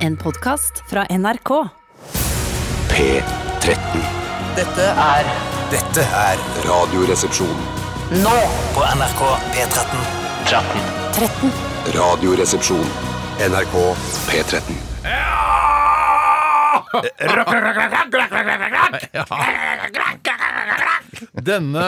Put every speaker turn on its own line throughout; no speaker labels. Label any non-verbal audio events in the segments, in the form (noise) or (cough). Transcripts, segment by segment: En podkast fra NRK.
P13.
Dette er
Dette er Radioresepsjon.
nå på NRK P13. 13.
Radioresepsjon. NRK P13.
Denne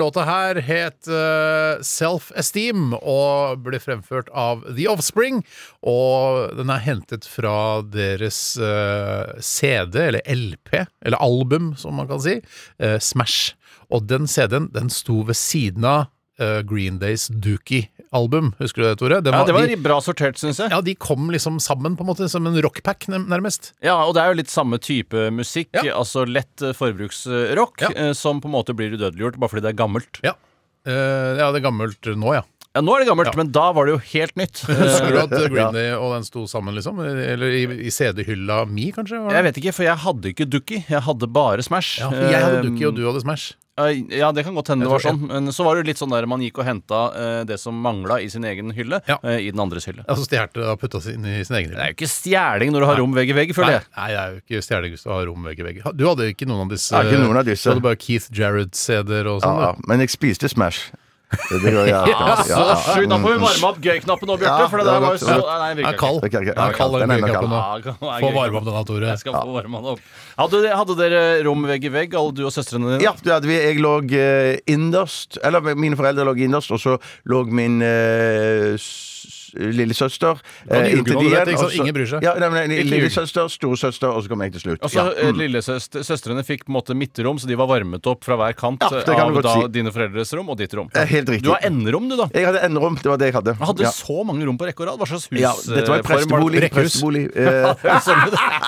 låta her het eh, Self Esteem og ble fremført av The Offspring. Og den er hentet fra deres eh, CD, eller LP, eller album, som man kan si, eh, Smash. Og den CD-en den sto ved siden av eh, Green Days Dookie-album. Husker du det, Tore? Den
Ja,
var-
det var
de,
bra sortert, syns jeg. Ja.
ja, de kom liksom sammen, på en måte, som en rockpack, nem- nærmest.
Og det er jo litt samme type musikk,
Ja.
altså lett eh, forbruksrock,
Ja.
eh, som på en måte blir udødeliggjort bare fordi det er gammelt.
Ja. Eh, ja, det er gammelt nå, ja.
Ja, nå er det gammelt,
Ja.
men da var det jo helt
(laughs)
nytt.
Husker
(laughs)
du at
Ja.
Green Day og den sto sammen, liksom? Eller i, i CD-hylla mi, kanskje? var det?
Jeg vet ikke, for jeg hadde ikke Dookie. Jeg hadde bare Smash.
Ja, for jeg hadde
Eh,
Dookie, og du hadde Smash.
Eh, Ja, det kan godt hende det
Jeg
var
tror-
sånn. Men så var det jo litt sånn der man gikk og henta eh, det som mangla i sin egen hylle,
Ja.
eh, i den andres hylle.
Altså stjålet og putta det inn i sin egen
Det
hylle.
er jo ikke stjeling når du har rom vegg i vegg, føler
Nei,
jeg.
nei, jeg er jo ikke stjelegutt og har rom vegg i vegg. Du hadde ikke noen av disse?
Jeg hadde ikke noen av disse.
Du hadde bare Keith Jarrett-CD-er og sånn?
Ja,
du.
men jeg spiste Smash. Det
(laughs)
gjør jeg. alltid. Ja, ja.
Sju, da får vi varme opp gøy-knappen nå, Bjarte.
Ja,
for det
det
der
var
var jo
godt,
så
det
Nei, det
Den
virker
er
ikke.
kald.
Det er ikke-
Den er kald,
den
den
er kald.
gøykappen nå.
Ja, det er
Få
gøy.
varme opp denne, Tore.
Jeg skal få varma den opp. Hadde, hadde dere rom vegg i vegg, alle du og søstrene dine?
Ja, det hadde vi. Jeg lå eh, innerst Eller mine foreldre lå innerst, og så lå min eh, s- lillesøster
var
eh,
en
inntil
ukulele,
de
ikke
igjen.
sant?
og så-
Ingen bryr seg.
Ja, nei, men,
Ikke
lillesøster, storesøster, og så kom jeg til slutt.
Og så
Ja. Mm.
eh, Lillesøstrene fikk på en måte midtrom, så de var varmet opp fra hver kant
Ja, det kan
eh, av
du godt
da,
si.
dine foreldres rom og ditt rom.
Eh, Helt riktig.
Du har enderom, du, da.
Jeg hadde enderom. Det var det jeg hadde.
Hadde
ja.
så mange rom på rekke og rad? Hva slags hus?
ja, dette var
eh, form
et
var
prestebolig.
det?
Rekkehus.
(laughs)
prestebolig eh, (laughs)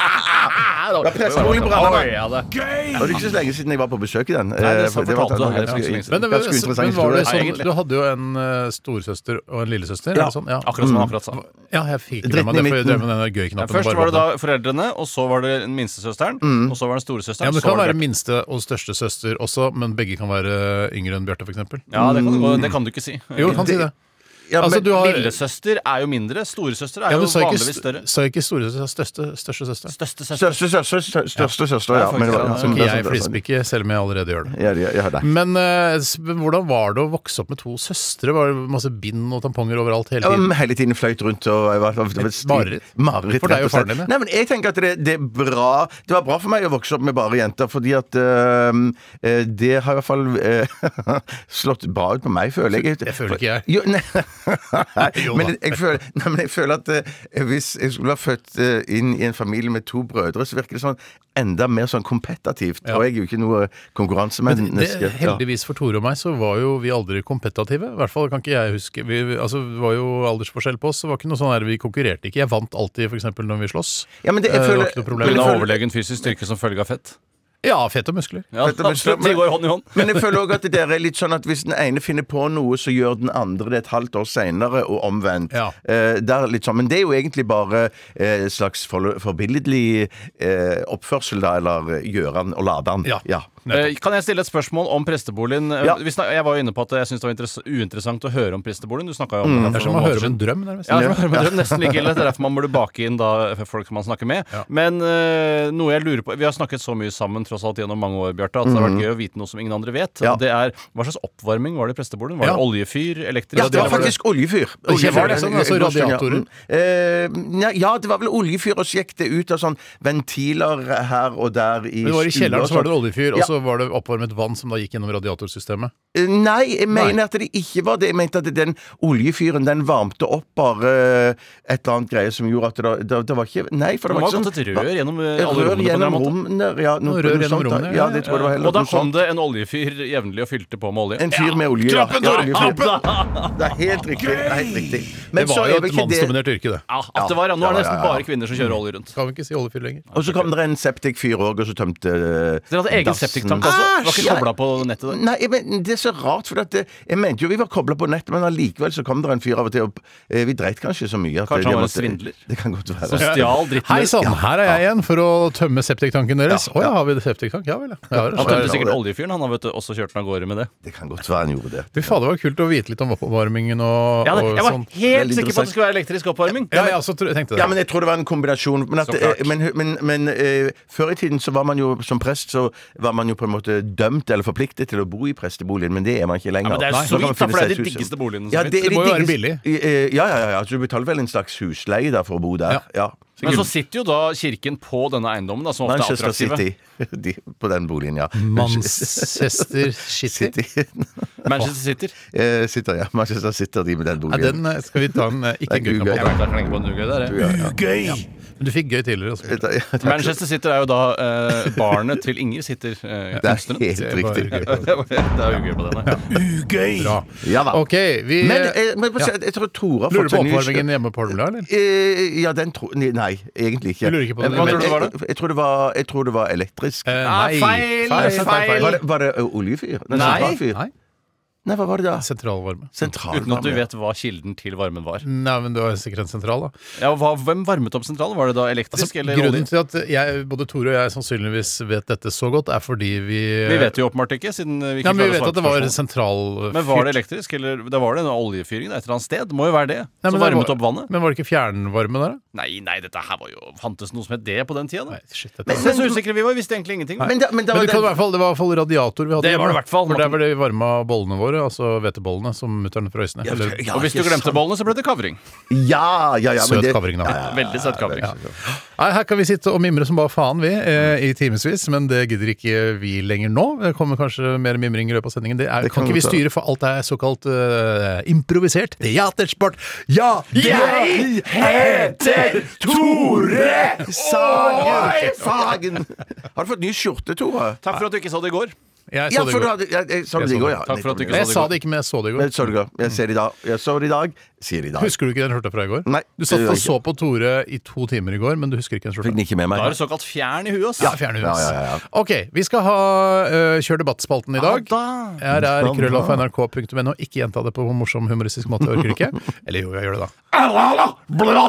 Ja,
prestebolig på Randaberg.
Oi, ja, det-
Det var ikke så lenge siden jeg var på besøk i den.
Nei, det
Eh,
sa-
for var-
fortalte du her for ikke så lenge siden.
Men, det,
Ganske interessant
men var det
historie.
sånn,
Egentlig.
du hadde jo en eh, storesøster og en lillesøster?
Ja.
eller Sånn? Ja.
Akkurat som han akkurat sa.
ja, jeg fikk ikke
Mm.
med
Dritten
meg det,
i
for jeg
midten.
drev med den gøy-knappen.
Først
og varme
var det
opp den.
da foreldrene, og så var det den minstesøsteren,
Mm.
og så var det den storesøsteren.
ja, men Det
så
kan være
var det-
minste og største søster også, men begge kan være eh, yngre enn Bjarte, f.eks.
Ja, det kan, du, gå- det kan du ikke si.
Mm. Jo, kan si det.
Ja,
Altså,
men-
du har,
Lillesøster er jo mindre, storesøster er
ja,
jo
men sa ikke,
vanligvis større.
st- sa ikke storesøster, største, største søster.
Største søster.
Største søster, stør- største søster, ja.
faktisk
Men det var-
Ok,
sant, ja.
ja, det er sant,
jeg
det er sant.
flisespikker, selv om jeg allerede gjør det.
altså. Ja, ja, ja, det.
Men eh, s- hvordan var det å vokse opp med to søstre? Var det masse bind og tamponger overalt hele
Ja,
tiden?
men hele tiden fløyt rundt og jeg var, det var- det var
Et mareritt.
mareritt,
For deg og
rett slett.
faren din, ja.
Nei, men jeg tenker at det, det er bra Det var bra for meg å vokse opp med bare jenter, fordi at øhm, eh, Det har i hvert fall eh, (laughs) slått bra ut på meg, føler jeg.
Det føler ikke jeg.
Jo, nei.
(laughs) Jo da.
men, jeg føler, nei, men jeg føler at eh, hvis jeg skulle ha født eh, inn i en familie med to brødre, så virker det sånn enda mer sånn kompetativt. Og jeg er jo ikke noe
Men det,
konkurransemenneske. Ja.
heldigvis for Tore og meg så var jo vi aldri kompetative. I hvert fall kan ikke jeg huske. Vi, vi- altså, det var jo aldersforskjell på oss, så det var ikke noe sånn her, vi konkurrerte ikke. Jeg vant alltid, f.eks. når vi slåss.
Ja, men det- jeg
Eh,
føler-
var ikke noe
På
problem.
grunn
Men
av
føler-
overlegen fysisk styrke som følge av fett.
Ja, fett og muskler. (laughs)
Ja,
Fett og muskler,
absolutt. De
men-
går hånd i hånd.
(laughs) Men jeg føler òg at dere er litt sånn at hvis den ene finner på noe, så gjør den andre det et halvt år seinere, og omvendt.
Ja.
Eh, der litt sånn. Men det er jo egentlig bare eh, slags for, forbilledlig eh, oppførsel, da, eller gjøran og ladan.
Ja.
Eh, Kan jeg stille et spørsmål om presteboligen? Eh,
Ja.
Vi snak, jeg var jo inne på at jeg syntes det var interess- uinteressant å høre om presteboligen. Du snakka jo om den.
Det er som å høre om en drøm, nærmest.
Ja, det er som å høre med drøm, nesten like ille. Det er derfor man burde bake inn da folk som man snakker med. Men eh, noe jeg lurer på Vi har snakket så mye sammen tross alt gjennom mange år, Bjarte, at det har vært gøy å vite noe som ingen andre vet.
Ja.
Og det er Hva slags oppvarming var det i presteboligen? Var
Ja.
det oljefyr? Elektrisk?
Ja, det var
eller
faktisk oljefyr.
Oljefyr, var det sånn, altså
En god stund, ja.
radiatorer?
Mm. Eh, ja, ja, det var vel oljefyr, og så gikk det ut av sånn ventiler her og der i
Men det var I
stuer
kjelleren
og
så var det
sånn.
oljefyr, og
Ja.
så var det oppvarmet vann som da gikk gjennom radiatorsystemet.
Eh, Nei, jeg mener
Nei.
at det ikke var det. Jeg mente at den oljefyren den varmte opp bare eh, et eller annet greie som gjorde at det, det, det var ikke Nei, for
Det må
det var
ha
ikke sånn-
gått et rør gjennom eh, alle
Rør
rommene. på en eller
gjennom
annen måte.
rommene. Ja, noe,
Noe rør
noe
gjennom
sånt, da.
rommene,
Ja,
ja,
det tror jeg det var heller
Og da
noe
kom
sånt.
det en oljefyr jevnlig og fylte på med olje.
En fyr med olje. ja.
Klappen,
Ja,
Tore!
oljefyr.
Klappen!
Det er helt riktig. det er Helt riktig.
Det
Men så
var
er
jo
vel
et
ikke det-
mannsdominert yrke, det.
Ja, at det var, ja. Nå er det
Ja, ja,
nesten
ja, ja.
bare kvinner som kjører olje rundt.
Kan vi ikke si oljefyr lenger.
Og så kom det en septikfyr òg, og så tømte
Dere hadde egen septik Takk,
Ah,
altså. Du var
Æsj!
ikke kobla på nettet? der.
Nei, men det er så rart, for at det, jeg mente jo vi var kobla på nettet, men allikevel så kom det en fyr av og til opp. Eh, Vi dreit kanskje så mye at
Kanskje
jeg
han var en
måtte-
svindler?
Det kan godt
Som
være.
stjal dritten
Hei
deres.
sann, her er jeg igjen for å tømme septiktanken deres. Å ja. har vi det septiktank? Ja vel, ja. ja.
Han
det sånn. er-
tømte sikkert oljefyren. Han har vet du, også kjørt den av gårde med det.
Det kan godt være han gjorde det.
Fy fader, det var kult å vite litt om oppvarmingen og, og
jeg var
sånn.
helt
Veldig
sikker på at det skulle være elektrisk oppvarming.
Ja, jeg også tro- tenkte det.
Ja, men jeg tror det var en kombinasjon. Men, at,
Så klart.
eh, men, men, men eh, før i tiden så var man jo som prest så var man jo på en måte dømt eller forpliktet til å bo i presteboligen, men det er man ikke lenger.
Ja, men det er
Nei,
så
nå kan
vidt, da,
man finne
for det er
seg
de
et hus.
diggeste boligene som
ja,
finnes.
er
Det
de
må jo være
diggeste- eh, Ja, ja, ja, ja. Så du betaler vel en slags husleie da for å bo der. Ja.
Men så sitter jo da kirken på denne eiendommen, da, som ofte er
Manchester
attraktive.
City. (laughs) De, på den boligen, ja.
Manchester City.
City.
Manchester City.
Eh, sitter, ja. Manchester sitter de med den
Ja,
boligen.
den eh, skal vi ta en eh, ikke
Nei,
gøy
Google.
Jeg
på.
vet jeg klinger på en uke der, jeg.
Gøy!
Men du fikk gøy tidligere. Også.
Ja, ja, det
Manchester City er jo da eh, barnet til Inger sitter (laughs) eh,
er
kunstneren.
helt
Det var
riktig.
gøy på.
Det er jo gøy på den. ja.
Ugøy!
Bra.
Ja da.
Ok, vi
Men,
eh,
eh, men jeg, jeg tror Tore har
lurer
fått
på
seg ny-
oppvarmingen hjemme på Holmlia, eller?
Eh, ja, den tror Nei, egentlig ikke.
Du lurer ikke på den?
Men-
Hva tror du det var,
jeg, jeg, tror det var, jeg tror det var elektrisk.
Eh,
Ah, feil, feil.
Var det, var det ø, oljefyr? Nei. sentralfyr?
Nei,
Nei, hva var det da?
sentralvarme.
Sentral
Uten at du vet hva kilden til varmen var.
Nei, men du har sikkert en sentral, da.
Ja, hva, hvem varmet opp sentralen? Var det da elektrisk
Altså,
eller
grunnen til
olje?
at jeg, både Tore og jeg sannsynligvis vet dette så godt, er fordi vi
Vi vet jo åpenbart ikke, siden vi ikke
ja, men vi
klarer å
vet
svare
at det
på
var
spørsmål.
sentralfyrt.
Men var det elektrisk, eller da var det en oljefyring da, et eller annet sted? Må jo være det.
Nei, men
Som
det
varmet
var-
opp vannet?
Men var det ikke fjernvarme der, da?
Nei, nei, dette her var jo Fantes noe som het det på den tida? da?
Nei, shit, dette
Men,
var-
Se så usikre vi var, vi visste egentlig ingenting.
Men, da, men, da
Men det,
var
kan i
den-
hvert fall, det var i hvert fall radiator vi hadde.
Det var det
hjemme,
i hvert fall.
For der var det vi varma bollene våre, altså hvetebollene som mutter'n frøs ned. Eller-
ja,
og hvis du
ikke
glemte
sant.
bollene, så ble det kavring.
Ja, ja, ja. men
Søt
det-
kavring, da.
Veldig søt kavring.
Nei, her kan vi sitte og mimre som bare faen, vi, eh, i timevis. Men det gidder ikke vi lenger nå. Det kommer kanskje mer mimring i løpet av sendingen. Det, er,
Det
kan,
kan
ikke vi
godt være.
styre, for alt er såkalt eh, improvisert. Teatersport! Ja! Jeg
heter Tore Sagen! Sagen! Har du fått ny skjorte, Tore?
Takk for at du ikke sa det i går.
Jeg
Ja,
så det
for
i går.
du hadde ja, Jeg sa
Jeg
det i
så
går,
det.
ja.
Takk for at du ikke
Jeg
sa det i
sa
går.
det ikke, men jeg så det i går.
Jeg så det i går. Jeg ser det i dag. Jeg så det i dag. Sier det i dag.
Husker du ikke den skjorta fra i går?
Nei,
Du satt
det gjør
og
jeg
så på Tore i to timer i går, men du husker ikke den skjorta.
Fikk den ikke med meg.
Da er du såkalt fjern i huet, ass.
Ja, fjerne huet.
Ja, ja, ja, ja.
Ok, vi skal ha eh, Kjør debattspalten i dag.
da.
Her er krøllalfa.nrk.no. Ikke gjenta det på en morsom, humoristisk måte. Jeg orker ikke. Eller jo, jeg gjør det, da.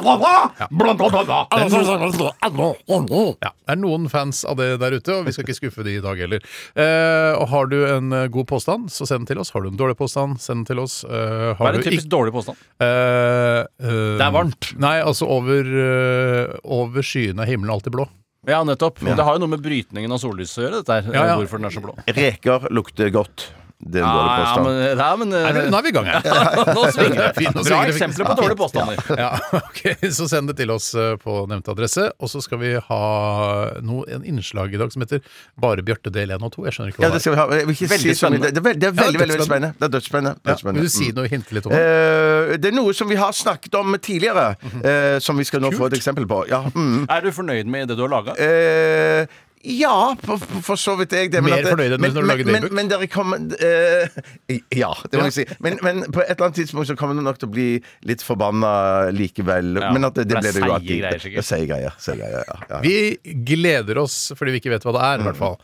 Ja, det er noen fans av det der ute, og vi skal ikke skuffe de i dag heller. Eh, og Har du en eh, god påstand, så send den til oss. Har du en dårlig påstand, send den til oss. Eh,
Hva
har
er
du
en typisk
ikke-
dårlig påstand?
Eh, eh,
Det er varmt.
Nei, altså over, eh, over skyene er himmelen alltid blå.
Ja, nettopp. Men det har jo noe med brytningen av sollyset å gjøre, dette her.
Ja, ja.
Hvorfor den er så blå.
Reker lukter godt. Det er en dårlig
Ja,
påstand.
men, ja, men
Nei,
eh,
Nå nå er vi i gang her.
(laughs) Nå svinger det.
Fint, nå
Bra
svinger det.
eksempler på dårlige påstander.
(laughs) Ja, ok, Så send det til oss eh, på nevnte adresse. Og så skal vi ha noe, en innslag i dag som heter Bare Bjarte del 1 og 2. Jeg skjønner ikke
Ja,
hva det
det
er.
skal vi ha. Jeg vil ikke
Veldig
si så mye.
spennende.
Det er, veld, det er
Ja,
veldig, veldig, veldig
dødsspennende.
spennende. Det er dødsspennende. dødsspennende.
Vil du si
Mm.
noe hinte litt om det?
Eh, det er noe som vi har snakket om tidligere, eh, som vi skal nå få et eksempel på. Ja, mm.
Er du fornøyd med det du har laga?
Eh, ja for, for så vidt er jeg det. men
Mer
at det-
fornøyd enn
men-
når du lager
men-
dagbok?
Men, men dere kommer eh, (laughs) Ja, det må jeg si. Men, men på et eller annet tidspunkt så kommer du nok til å bli litt forbanna likevel.
Ja,
Men at det, det
for
ble
det er
det jo
seige
alltid.
greier,
Det
sikkert.
er Seige greier. Seige greier, ja. ja.
Vi gleder oss fordi vi ikke vet hva det er, i hvert fall.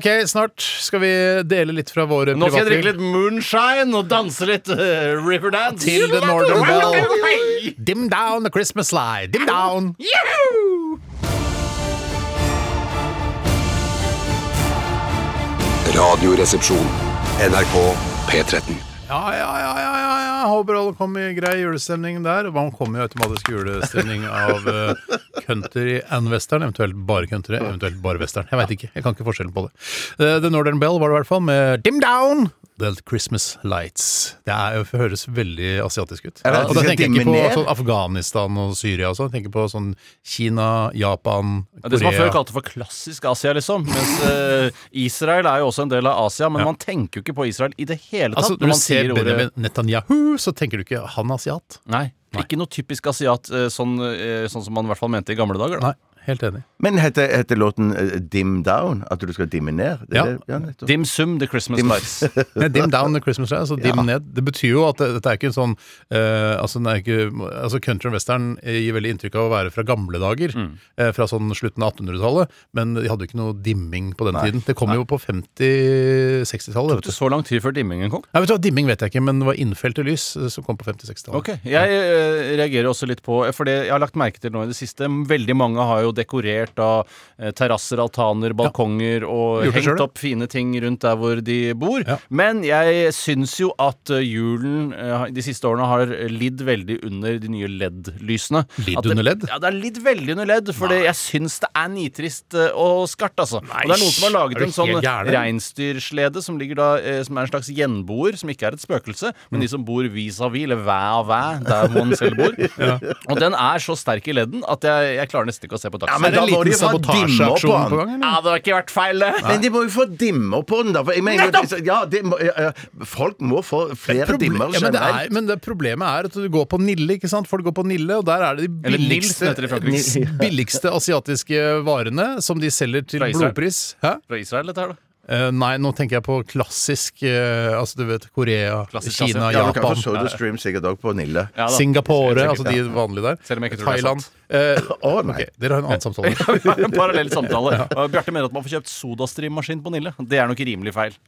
Ok, snart skal vi dele litt fra våre
Nå skal jeg
privatliv
drikke litt moonshine og danse litt eh, Riverdance.
til The Northern Bell. Dim down the Christmas light. Dim down.
Radioresepsjon. NRK P13.
Ja, ja, ja, ja, ja, ja. Håper alle kom i grei julestemning der. Man kommer jo automatisk i julestemning av eh, country and western, eventuelt bare country, eventuelt bare western. Jeg veit ikke, jeg kan ikke forskjellen på det. Eh, The Northern Bell var det i hvert fall, med Dim Down! The Christmas Lights. Det er, jo- høres veldig asiatisk ut.
Er det at
og
de
da
skal
tenker jeg ikke på
dimme ned?
sånn Afghanistan og Syria og sånn. Jeg tenker på sånn Kina, Japan, Korea.
Ja, Det som man før kalte for klassisk Asia, liksom. Mens eh, Israel er jo også en del av Asia, men man tenker jo ikke på Israel i det hele tatt.
Altså,
når
når du
man
ser
sier ordet
Benjamin Netanyahu, så tenker du ikke han er asiat.
Nei, Ikke noe typisk asiat, eh, sånn, eh, sånn som man i hvert fall mente i gamle dager. Da.
Nei, Helt enig.
Men heter, heter låten eh, Dim Down? At du skal dimme ned? Det er
Ja.
det- ja nettopp.
Dim sum the Christmas
(laughs)
lights.
Nei, dim down the Christmas tree, altså dim ned. Det betyr jo at det- dette er ikke en sånn eh, altså, den er ikke, altså Country and western gir veldig inntrykk av å være fra gamle dager, eh, fra sånn slutten av 1800-tallet, men de hadde jo ikke noe dimming på den tiden. Det kom jo på 50-60-tallet. vet du.
Så lang tid før dimmingen kom.
Nei, vet du hva, Dimming vet jeg ikke, men det var innfelte lys eh, som kom på 50-60-tallet.
Ok, Jeg eh, reagerer også litt på For det jeg har lagt merke til nå i det siste Veldig mange har jo dekorert av eh, terrasser, altaner, balkonger og
Gjort det
hengt
selv, ja.
opp fine ting rundt der hvor de bor.
Ja.
Men jeg syns jo at eh, julen eh, de siste årene har lidd veldig under de nye LED-lysene.
Lidd
At det-
under LED?
Ja, det er lidd veldig under LED, for det- jeg syns det er nitrist eh, og skarpt, altså. Og det er noen som har
er
laget
du
en sånn
helt gæren?
reinsdyrslede som ligger da, eh, som er en slags gjenboer, som ikke er et spøkelse, men de som bor vis-à-vis, eller hver-à-hver, der man selv
(laughs)
bor. Og den er så sterk i ledden at jeg, jeg klarer nesten ikke å se på
Er
dagsnytt.
men
det
da
en
må
liten
de jo ha dimmer
sabotasjeaksjon
på
på gang, eller?
Ja, det har ikke vært feil, det.
Men de må jo få dimmer på den, da. For jeg mener,
Nettopp!
Ja, det må, ja, ja, folk må få flere
Proble-
dimmer
ja, men, det er,
generelt.
men det problemet er at du går på Nille, ikke sant? Folk går på Nille, og der er det de
Eller Nils,
billigste,
heter det i (laughs) Frankrike.
Nils- billigste asiatiske varene som de selger til
Fra Israel.
blodpris. Hæ?
Fra Israel, dette her, da.
Eh, nei, nå tenker jeg på klassisk eh, Altså, du vet Korea,
Klassisk
Kina,
Asia.
ja, du kan få
Japan,
SodaStream sikkert òg på Nille.
Ja, da. (laughs)
Singapore,
Sikkert,
altså de vanlige der.
Selv om jeg ikke tror det er
Thailand.
sant.
Eh,
Å, nei.
ok, dere har en annen
(laughs)
samtale.
Vi har en parallell samtale. Og Bjarte mener at man får kjøpt sodastream-maskin på Nille. Det er nok rimelig feil.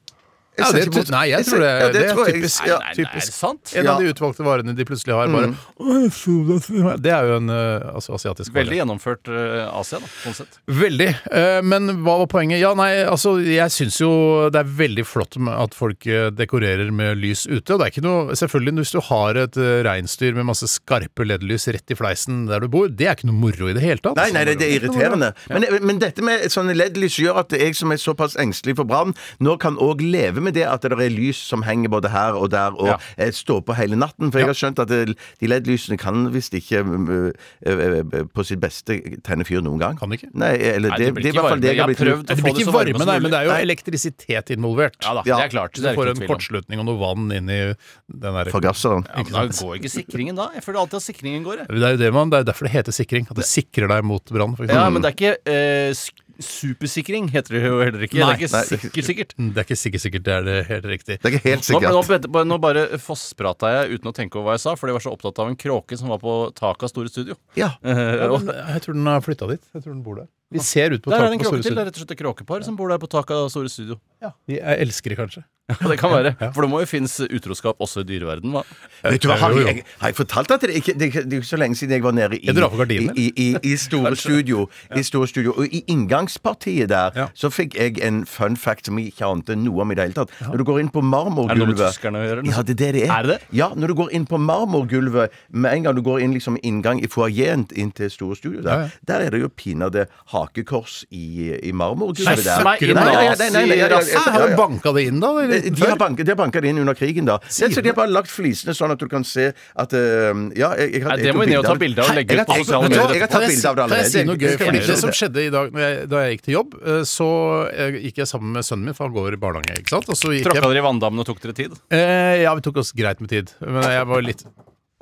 Ja,
ser
det,
ikke mot-
tr- nei, jeg
ser-
tror det,
ja,
det er
tror jeg-
typisk.
ja.
Nei,
typisk.
er det sant? Mm.
En
Ja.
av de utvalgte varene de plutselig har, bare «Åh, Sodastream her». Det er jo en eh, altså, asiatisk vare.
Veldig gjennomført eh, Asia, da, sånn sett.
Veldig. Eh, Men hva var poenget? Ja, nei, altså, jeg syns jo det er veldig flott med at folk eh, dekorerer med lys ute. Og det er ikke noe Selvfølgelig, hvis du har et eh, reinsdyr med masse skarpe LED-lys rett i fleisen der du bor, det er ikke noe moro i det hele tatt.
Nei, nei, det, det er irriterende. Men, eh, men dette med sånne LED-lys gjør at jeg som er såpass engstelig for brann, nå kan òg leve med det at det er lys som henger både her og der, og
Ja.
eh, står på hele natten. For jeg har skjønt at det, de LED-lysene kan visst ikke mm, eh, eh, på sitt beste tenne fyr noen gang.
Kan de ikke?
Nei, eller
Nei,
det,
det blir ikke
det er i hvert
varme.
fall det jeg
Jeg
har
har
blitt
det
prøvd
blir
få det
ikke
så varme
varme,
som
nei, men det er jo
mulig.
elektrisitet involvert.
Ja da,
Ja.
det er klart.
Du
Det er
får en
ikke noe tvil om.
kortslutning og noe vann inn i den der
Forgasseren.
Ja, men da går ikke sikringen da. Jeg føler alltid at sikringen går. Jeg.
Det er jo det man, det er derfor det heter sikring. At det sikrer deg mot brann,
Mm.
for
Ja,
eksempel.
men det er ikke eh, sk- supersikring, heter det jo heller ikke.
Nei.
det er
Nei.
ikke sikkert sikkert.
Det er ikke sikkert, sikkert det er det helt riktig.
Det er ikke helt
Nå, nå,
sikkert.
bare- nå bare fossprata jeg uten å tenke over hva jeg sa, for jeg var så opptatt av en kråke som var på taket av Store (laughs) Studio.
Ja.
Eh,
Ja,
og
men jeg tror den har flytta dit. Jeg tror den bor der. Vi ser ut på
der er det
taket
en
på
kråke
Store
til. Det
Studio.
er rett og slett et kråkepar som bor der på taket av Store Studio.
Ja, de er elskere, kanskje.
(laughs) Ja, Eh, det kan være. For det må jo finnes utroskap også i dyreverdenen, hva?
Vet du hva, har
Jo, jo.
jeg, har jeg fortalt at det ikke det, er ikke- det er ikke så lenge siden jeg var nede i,
Jeg drar for gardinen, eller?
i, i, i, store studio, i store studio. Og i inngangspartiet der
Ja.
så fikk jeg en fun fact som jeg ikke ante noe om i det hele tatt. Når du går inn på
Er det noe med
marmorgulvet
tyskerne å gjøre? eller noe
Ja,
sånt?
det er det det er.
Er det?
Ja, når du går inn på marmorgulvet med en gang du går inn liksom inngang i foajeen inn til store studio der,
Ja, ja.
der er det jo pinadø hakekors i, i marmorgulvet der.
Nei, snakker du
Nei, nei, nei,
nazi-
nei, nei, ja, ja, ja, ja,
Har
ja.
du banka det inn, da? eller?
Eh, De har, banket, de har banket det inn under krigen, da. Det,
du
så de har bare lagt flisene sånn at du kan se at eh, Ja, jeg, jeg, har-
Nei, det
jeg tok
må vi ned og
bilde
ta bilde av
av
og
Hei,
legge ut
jeg har-
på
jeg-
sosiale
vet du hva,
medier.
Jeg har tatt
Kan jeg
bilde av
si- Kan jeg
det
si
allerede.
noe gøy?
Jeg skal
Fordi
gjøre
det som skjedde i dag når jeg, da jeg gikk til jobb, eh, så eh, gikk jeg sammen med sønnen min, for han går i barnehage. ikke sant? Og så gikk
Tråkka
jeg,
dere i vanndammen og tok dere tid?
eh, ja, vi tok oss greit med tid, men jeg var litt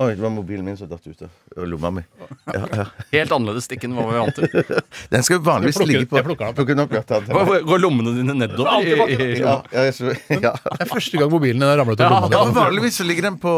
Oi, det var mobilen min som datt ut av lomma mi. Ja, ja.
Helt annerledes stikk enn hva vi var vant til. (laughs)
Den skal jo vanligvis
Jeg plukker-
ligge på
jeg plukker den opp.
Plukker den opp, ja, ta den.
Hva- hva- Går lommene dine nedover? i- i- i-
Ja, ja, jeg så-
(laughs)
(laughs) ja.
Det er første gang mobilen din har ramlet ut av
Ja,
lomma.
ja, men vanligvis så ligger den på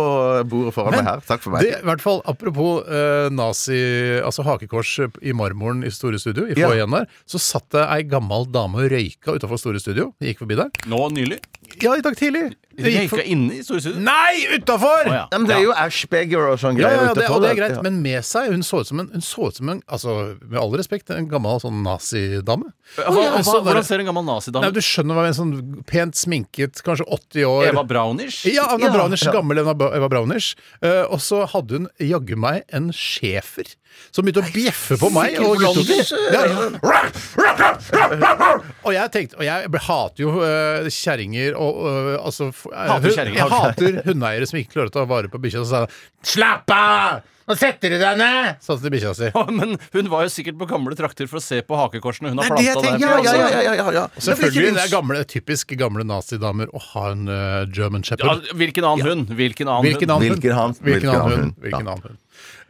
bordet foran meg her. Takk for
Det,
meg.
i hvert fall, Apropos eh, nazi, altså hakekors i marmoren i Store Studio, i
Ja.
foajeen der, så satt det ei gammel dame og røyka utafor Store Studio. Vi gikk forbi der.
Nå nylig?
Ja, i dag tidlig. Det
Jeg
gikk
gikk
for...
inne i Store Studio.
Nei, utafor!
Å, ja.
Ja, men det er jo Ashbegger og sånn
Ja,
greier
ja, det,
utenfor
og det er
der.
greit,
Ja.
men med seg Hun så ut som en, hun så ut som en altså, med all respekt, en gammel sånn nazidame.
Hva,
Og jeg
hva,
så bare-
hvordan ser en gammel
Nei,
nazidame
Du skjønner hva en sånn pent sminket, kanskje 80 år
Eva Braunish?
Ja, Eva
Ja,
Braunish,
ja.
gammel Eva Bra- Eva Braunish. Eh, og så hadde hun jaggu meg en schæfer som begynte å bjeffe på meg. Og,
Blondie?
guttunger. Ja. og jeg tenkte Og jeg hater jo eh, kjerringer og eh, altså, f- eh,
Hater
hun-
kjerringer.
Jeg hater hundeeiere som ikke klarer å ta vare på bikkja. Så sa jeg 'slapp av, nå setter du deg ned', sa hun til bikkja si.
Ja, (laughs) Men hun var jo sikkert på gamle trakter for å se på hakekorsene hun har
Nei, det jeg
planta
tenker,
der.
ja, ja, ja, ja, ja, ja.
Selvfølgelig, det er gamle, typisk gamle nazidamer å ha en eh, German
Ja,
shepherd.
hvilken annen hund? Hvilken annen
Hvilken
hund?
annen hund?
Hvilken han-
Hvilken annen hund?
Ja.
Hvilken annen hund?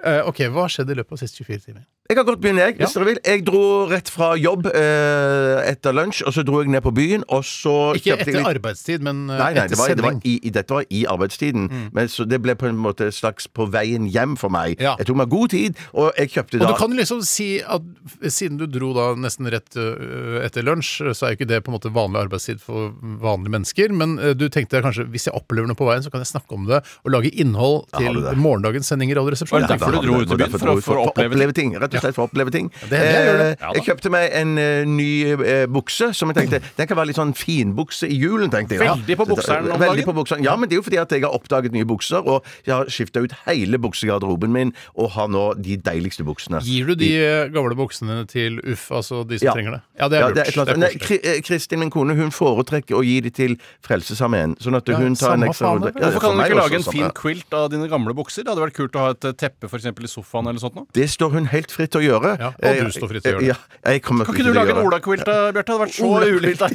Eh, ok, hva har skjedd i løpet av de siste 24 timer?
Jeg kan godt begynne, jeg. Hvis
Ja.
dere vil. Jeg dro rett fra jobb eh, etter lunsj, og så dro jeg ned på byen, og så
Ikke
kjøpte jeg
etter
litt-
arbeidstid, men eh,
Nei, nei, det
etter
var, det var
sending. Mm.
i, i, dette var i arbeidstiden. Men så det ble på en måte et slags på veien hjem for meg.
Ja.
Jeg tok meg god tid, og jeg kjøpte
Og
da
du kan liksom si at siden du dro da nesten rett ø, etter lunsj, så er jo ikke det på en måte vanlig arbeidstid for vanlige mennesker, men ø, du tenkte kanskje hvis jeg opplever noe på veien, så kan jeg snakke om det og lage innhold
har
til
du det.
morgendagens sending i
Var
Radioresepsjonen.
det derfor du
Ja, da
dro
hadde-
ut i byen?
derfor
For å-
dro jeg
for å oppleve
ting. Rett og slett for å oppleve ting.
det er det jeg gjør det.
Eh, jeg kjøpte meg en eh, ny eh, bukse som jeg tenkte Den kan være litt sånn finbukse i julen, tenkte jeg. da.
Veldig på bukseren om
Veldig
dagen.
på bukseren. Ja, men det er jo fordi at jeg har oppdaget nye bukser, og jeg har skifta ut hele buksegarderoben min og har nå de deiligste buksene.
Gir du de ø, gamle buksene til UFF, altså de som trenger det? Ja, det
Ja,
er
det er et eller
lurt.
annet-
Det
Nei,
er koselig.
Kri- eh, Kristin, min kone, hun foretrekker å gi de til Frelsesarmeen. Sånn at
Ja,
hun tar en
samme
ekstra
faen,
runde.
vel.
Ja,
Hvorfor
for
kan du
meg
ikke lage en
også,
fin
samme.
quilt av dine gamle bukser? Det hadde vært kult å ha et eh, teppe for eksempel, i sofaen eller sånt nå.
Det står hun helt fritt til å gjøre.
Ja, og
Eh,
du står fritt til å gjøre det.
Ja, jeg kommer
Kan ikke
ikke
du
til å
lage en
gjøre det.
olaquilt, eh, Bjarte? Det hadde vært så ulikt deg.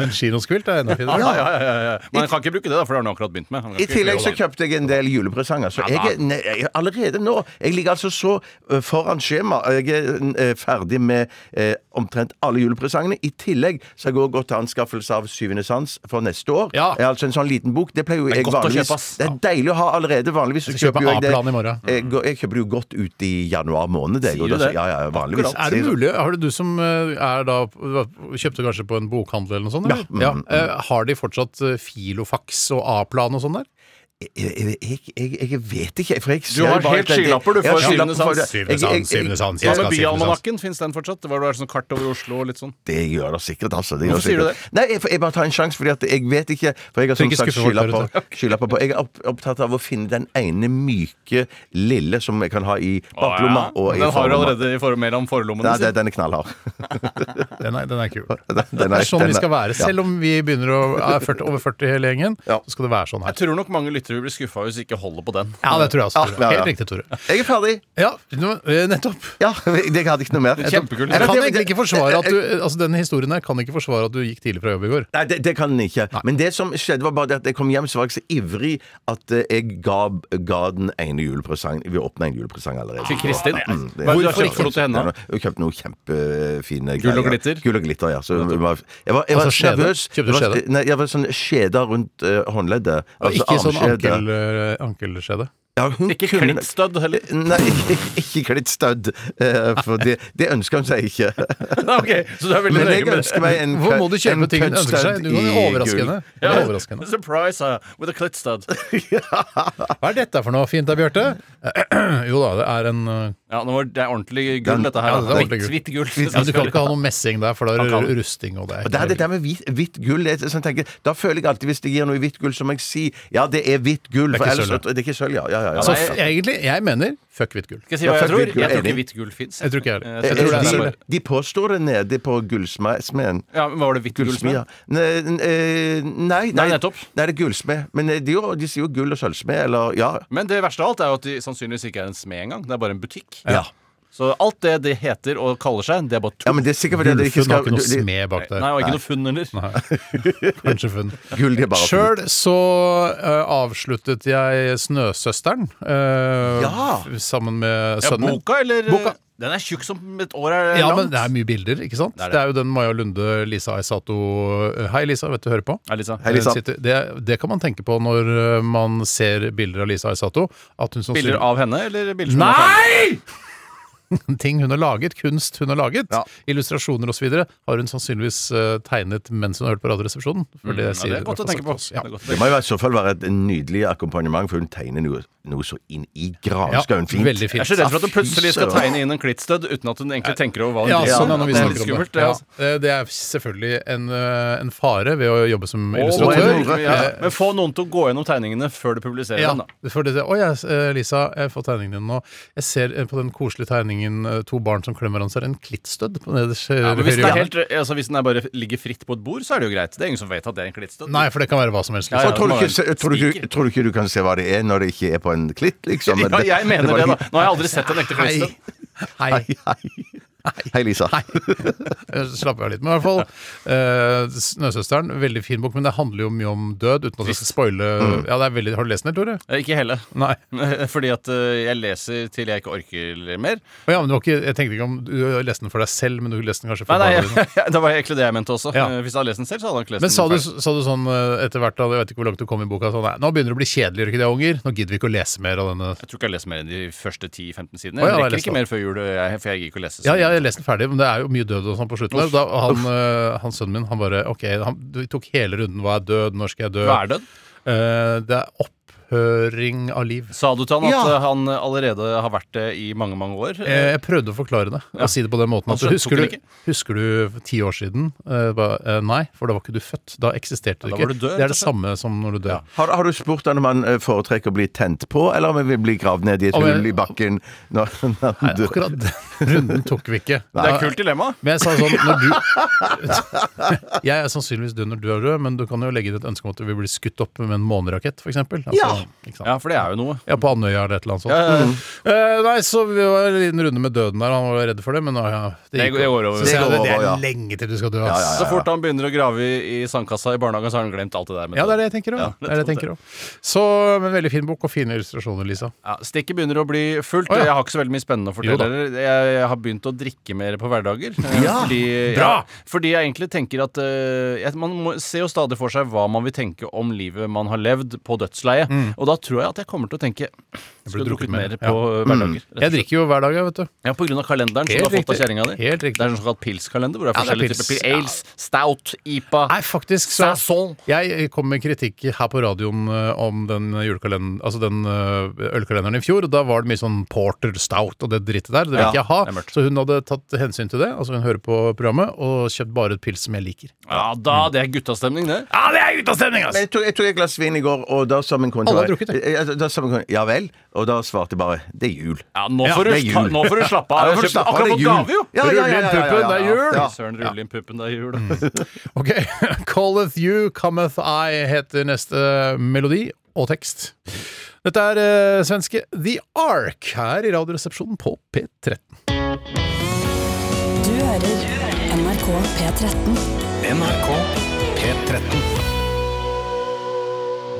En kinoskvilt er enda finere.
Ja, ja, ja, ja, ja. Men han kan ikke bruke det, da, for det har han akkurat begynt med. Han kan
I
ikke
tillegg
gjøre
så
det.
kjøpte jeg en del julepresanger. Så
Ja, da.
jeg er nei, jeg, er allerede nå Jeg ligger altså så eh, foran skjema. Jeg er eh, ferdig med eh, omtrent alle julepresangene. I tillegg så har jeg også gått til anskaffelse av Syvende sans for neste år.
Ja.
Eh, Altså en sånn liten bok. Det pleier jo
er
jeg
godt å
vanligvis
kjøpe, ass.
Det er deilig å ha allerede. Vanligvis så
Jeg skal
kjøper
kjøpe
jo jeg det
A-plan i morgen.
jeg, går- jeg kjøper det jo godt ut i januar måned. jeg,
Sier
og
du
da-
det?
Ja, ja, vanligvis.
Er det
Sier- sånn.
mulig? Har det du som ø, er da Kjøpte kanskje på en bokhandel eller noe sånt? Eller?
Ja. Mm,
Ø, Har de fortsatt ø, Filofax og A-plan og sånn der?
Jeg, jeg, jeg, jeg- jeg vet ikke. For jeg ser
Du har
jo bare
helt
at det-
skylapper, du,
Jeg har
for Syvende
skylapper for
Sans.
det.
Syvende
Jeg- jeg-
sans, syvende sans,
Ja,
jeg skal
men
ha syvende sans.
Byalmanakken, fins den fortsatt? Det var det sånn kart over Oslo og litt sånn.
Det gjør det sikkert, altså. Det gjør
Hvorfor sier du
sikkert. Nei, jeg, jeg bare tar en sjanse, fordi at jeg vet ikke. For jeg har
Så
som
ikke
sagt
skuffe folk der
skylapper skylapper på. Jeg er opp, opptatt av å finne den ene myke, lille som jeg kan ha i
Å,
baklomma. Og
ja.
i
Den har du
forlomma.
allerede i for mellom forlommene
Nei,
sine.
det, den
(laughs)
er knallhard.
Den er, den er kul.
Den, den
Det er sånn
den
vi skal
ja.
være. Selv om vi begynner å er 40, over 40 hele gjengen,
Ja.
så skal det være sånn
Jeg
her.
tror nok mange lyttere blir skuffa hvis de ikke holder på den.
Ja, det tror jeg også. Tore.
Ja, ja, ja.
Helt riktig, Tore.
Jeg er ferdig.
Ja, nå, eh, nettopp.
Ja, (laughs) jeg hadde ikke noe mer.
Kjempekult.
Jeg
Eller,
kan
det-
egentlig ikke forsvare at du, altså Denne historien her kan ikke forsvare at du gikk tidlig fra jobb i går.
Nei, det, det kan den ikke. Men det som skjedde, var bare det at jeg kom hjem, så var jeg så ivrig at eh, jeg ga, ga den ene julepresangen Vi åpna en julepresang allerede.
Til Kristin?
Mm, det-
Hva er det du har kjøpt for noe til henne?
Hun kjøpte noen kjempefine
Gull og glitter?
Gull og glitter, ja. Så hun var, jeg var, jeg var
Altså skjede?
nervøs.
Kjøpte du
Jeg var-
skjede?
Nei, jeg var sånn skjeda rundt eh, håndleddet.
Og
Altså
ikke sånn
armskjede.
ankel, eh, ankelskjede.
Ja, hun
Ikke
kunne-
klittstødd
(laughs)
heller. (laughs)
Nei, ikke, ikke klittstødd. eh, For det, det ønsker hun seg ikke.
Nei, ok, så du er veldig
Men
nøye
jeg
med
ønsker meg en
Hvor må du
kø- en
kjøpe ting du ønsker seg?
køddstødd
Du kan jo
i
overraske
gull.
henne. Det
Ja,
er overraskende.
Surprise her, with a klittstødd.
Hva er dette for noe fint da, Bjarte? (clears throat) Jo da, det er en eh,
Ja, nå var det er ordentlig gull,
Den-
dette her.
ja, det er
Hvitt
ordentlig
hvitt gull.
ja, eh, men Du kan ikke ha noe messing der, for da
Han
er
kan.
det rusting og det
Og det er
er
det der med hvit, hvitt gull. Jeg, sånn tenker, da føler jeg alltid, hvis det gir noe i hvitt gull, så må jeg si ja, det er hvitt gull.
Det er
for
ikke
ellers-
sølv, ja.
Det er ikke sølv, ja. ja, Eh, ja, ja.
Så f- egentlig, jeg mener fuck hvitt gull.
Skal jeg si
Ja,
hva jeg
fuck
tror?
hvitt gull,
Jeg tror ikke
enig.
hvitt gull fins. Eh,
Jeg tror ikke jeg heller.
Jeg
Jeg tror det
tror
er
det
sølv.
er
eh, de, de påstår det nede på gullsmeden.
Ja, men Hva var det hvitt gull som
Gullsmed? ja. Nei, n- eh, nei,
Nei, nettopp.
Nei, det er gullsmed. Men eh, de, jo- de sier jo gull- og sølvsmed, eller ja.
Men det verste av alt er jo at de sannsynligvis ikke er en smed engang. Det er bare en butikk.
Ja.
Så alt det de heter og kaller seg, det er bare
ja,
tull.
men det er sikkert fordi de ikke
Gullfunn har
skal
ikke noe
de- de-
smed bak der.
Nei, og ikke noe funn heller.
Kanskje funn.
Gull de er bare
Sjøl så eh, avsluttet jeg Snøsøsteren eh,
Ja.
f- sammen med
Ja,
sønnen min.
boka, eller? eh,
Boka.
Den er tjukk som et år er
Ja,
langt.
men det er mye bilder, ikke sant? Det
Det
er,
er det.
jo den Maja Lunde, Lisa Aisato eh, Hei, Lisa, vet du hører på?
Hei, Lisa.
Hei, Lisa.
Eh, sitter- Det, det kan man tenke på når eh, man ser bilder av Lisa Aisato. At hun
Bilder
sannsynlig-
av henne, eller bilder som er ferdig?
Nei! Ting hun har laget, kunst hun har laget, illustrasjoner osv., har hun sannsynligvis eh, tegnet mens hun har hørt på Radioresepsjonen. For det,
Mm, Ja,
sier
det er godt å
i hvert
tenke
fall
på.
sagt til
Det er
oss.
godt å
Det
tenke på.
må jo i så fall være et nydelig akkompagnement, for hun tegner noe, noe så inn i
Ja,
granskauen fint.
veldig
Jeg er
fint.
så redd for at hun plutselig skal
Fy søren.
tegne inn en klittstødd uten at hun egentlig tenker over hva hun
Ja,
driver
sånn
med.
er når vi
Det er litt
snakker om det.
skummelt, det.
Ja.
altså.
Eh, Det er selvfølgelig en, eh, en fare ved å jobbe som
Å,
illustratør.
hvor mye, ja. Men få noen til å gå gjennom tegningene før du publiserer
Ja,
dem, da.
for det, Oi, jeg, eh, Lisa, jeg får tegningen din nå. Jeg ser eh, på den koselige tegningen eh, to barn som klemmer hverandre, så er det en klittstødd på nederste
Ja, men
høyre
hvis, den er
hjørne.
helt, altså hvis den er bare ligger fritt på et bord, så er det jo greit. Det er ingen som vet at det er en klittstødd. (laughs)
Nei, for det kan være hva som helst.
Ja,
Og
det
tror, du
må
ikke,
være en
tror, du,
spiker.
ikke- tror du ikke du kan se hva det er når det ikke
(laughs)
er på en klitt, liksom?
Ja, jeg mener det, da. Nå har jeg aldri sett en ekte
Hei.
klittstødd.
(laughs)
Hei.
Hei. Hei, Lisa.
Eh, Slapper jeg litt. Men i hvert fall eh, 'Snøsøsteren', veldig fin bok, men det handler jo mye om død. Uten at jeg skal spoile
Mm.
Ja, det er veldig Har du lest den, Tore?
Eh, Ikke hele.
Nei.
(laughs) Fordi at eh, jeg leser til jeg ikke orker mer.
Å Ja, men det var ikke, jeg tenkte ikke om du leste den for deg selv, men du leste den kanskje for
Nei, nei,
barna
(laughs)
dine.
Det var egentlig det jeg mente også.
Ja.
Eh, Hvis jeg hadde lest den selv, så hadde jeg ikke lest
Men sa du,
den. ferdig.
sa du sånn eh, etter hvert, da, jeg vet ikke hvor langt du kom i boka, sånn nei, nå begynner det å bli kjedelig, gjør ikke det, unger? Nå gidder vi ikke å lese mer av denne.
Jeg tror ikke jeg har lest mer enn de første 10-15 sidene.
Å, ja,
Jeg
jeg
rekker
leste
ikke mer før jul, eh, jeg, for jeg gidder ikke å lese. så
Ja,
mye.
jeg har lest den ferdig, men det er jo mye død og sånn på slutten. der. Da, han, eh, han sønnen min, han bare OK, han du tok hele runden. Hva er død? Når skal jeg dø?
Hva er død?
Eh, det er opphøring av liv.
Sa du til han at
Ja.
eh, han allerede har vært det i mange, mange år?
Eh, Jeg prøvde å forklare det. Og si det på den måten
Han
at,
skjønte-
husker,
tok
du,
det
husker du for ti år siden? Eh, ba, eh, nei, for da var ikke du født. Da eksisterte du
da
ikke.
var du død,
det er
rett og
det
slett.
samme som når du dør.
(laughs) Har, har du spurt han om han eh, foretrekker å bli tent på, eller om han vil bli gravd ned i et
Om jeg-
hull i bakken når når (laughs) han
Nei,
dør?
akkurat den runden tok vi ikke.
Det er et kult dilemma.
Men jeg sa sånn når du, (laughs) Jeg er sannsynligvis død når du er død, men du kan jo legge inn et ønske om at du vil bli skutt opp med en månerakett, f.eks. Altså,
Ja.
ikke sant?
Ja, for det er jo noe.
Ja, på Andøya eller et eller annet sånt.
ja, ja.
Eh, nei, så vi var en liten runde med døden der. Han var redd for det, men nå, ja,
Det går- det går over.
Så sier
Det
jeg,
går
det er
over, ja.
lenge til du skal dø, ass.
Så fort han begynner å grave i, i sandkassa i barnehagen, så har han glemt alt det der. med
Ja, det
døden.
er det jeg tenker òg.
Ja,
det er det jeg tenker også. Så, men veldig fin bok og fine illustrasjoner, Lisa.
Ja, stikket begynner å bli fullt.
Å, ja.
Jeg har ikke så veldig mye spennende å
Jo da.
fortelle. dere. Jeg, jeg har begynt å drikke mer på hverdager. eh,
Ja,
fordi,
bra!
Ja, fordi jeg egentlig tenker at eh, jeg, Man må, ser jo stadig for seg hva man vil tenke om livet man har levd, på dødsleiet. Og da tror jeg at jeg kommer til å tenke Skulle
Mm. drukket
drukket
mer,
mer
ja. Mm.
på hverdager. rett og
Jeg
slett.
drikker jo hver dag, jeg, vet du.
Ja, på grunn av kalenderen som du
Helt
har fått av
riktig.
kjerringa di.
Helt riktig.
Det er en såkalt pilskalender, hvor det er
Ja, det er
forskjellige
pils.
typer pils.
Ja.
Ales, stout, IPA.
Nei, faktisk så
Sasol.
Jeg kom med kritikk her på radioen eh, om den julekalenderen Altså den eh, ølkalenderen i fjor. og Da var det mye sånn porter stout og det drittet der. Det vil
Ja,
ikke jeg ha.
det er mørkt.
Så hun hadde tatt hensyn til det, altså hun hører på programmet, og kjøpt bare et pils som jeg liker.
Ja da, det er guttastemning, det.
Ja, det er utastemning,
Men jeg tok, jeg tok et glass vin i går, og da sa min kone
Alle har
til meg-
drukket
Eh, eh, da sa min kone, Ja vel? Og da svarte jeg bare Det er jul.
Ja, nå
Ja,
får,
det er
du,
jul.
ta, nå
(laughs)
får du slappe av.
Ja, nå får du
Jeg
slappe av,
kjøpte
det er
akkurat
jul.
gave, jo!
Ja, ja, ja, ja, ja, ja,
det er
ja.
jul!
Ja. Mm.
Fy Søren, rull inn puppen, det er jul. (laughs)
Ok. (laughs) Calleth you, cometh I heter neste melodi og tekst. Dette er eh, svenske The Ark her i Radioresepsjonen på P13.
Du hører NRK P13.
NRK P13.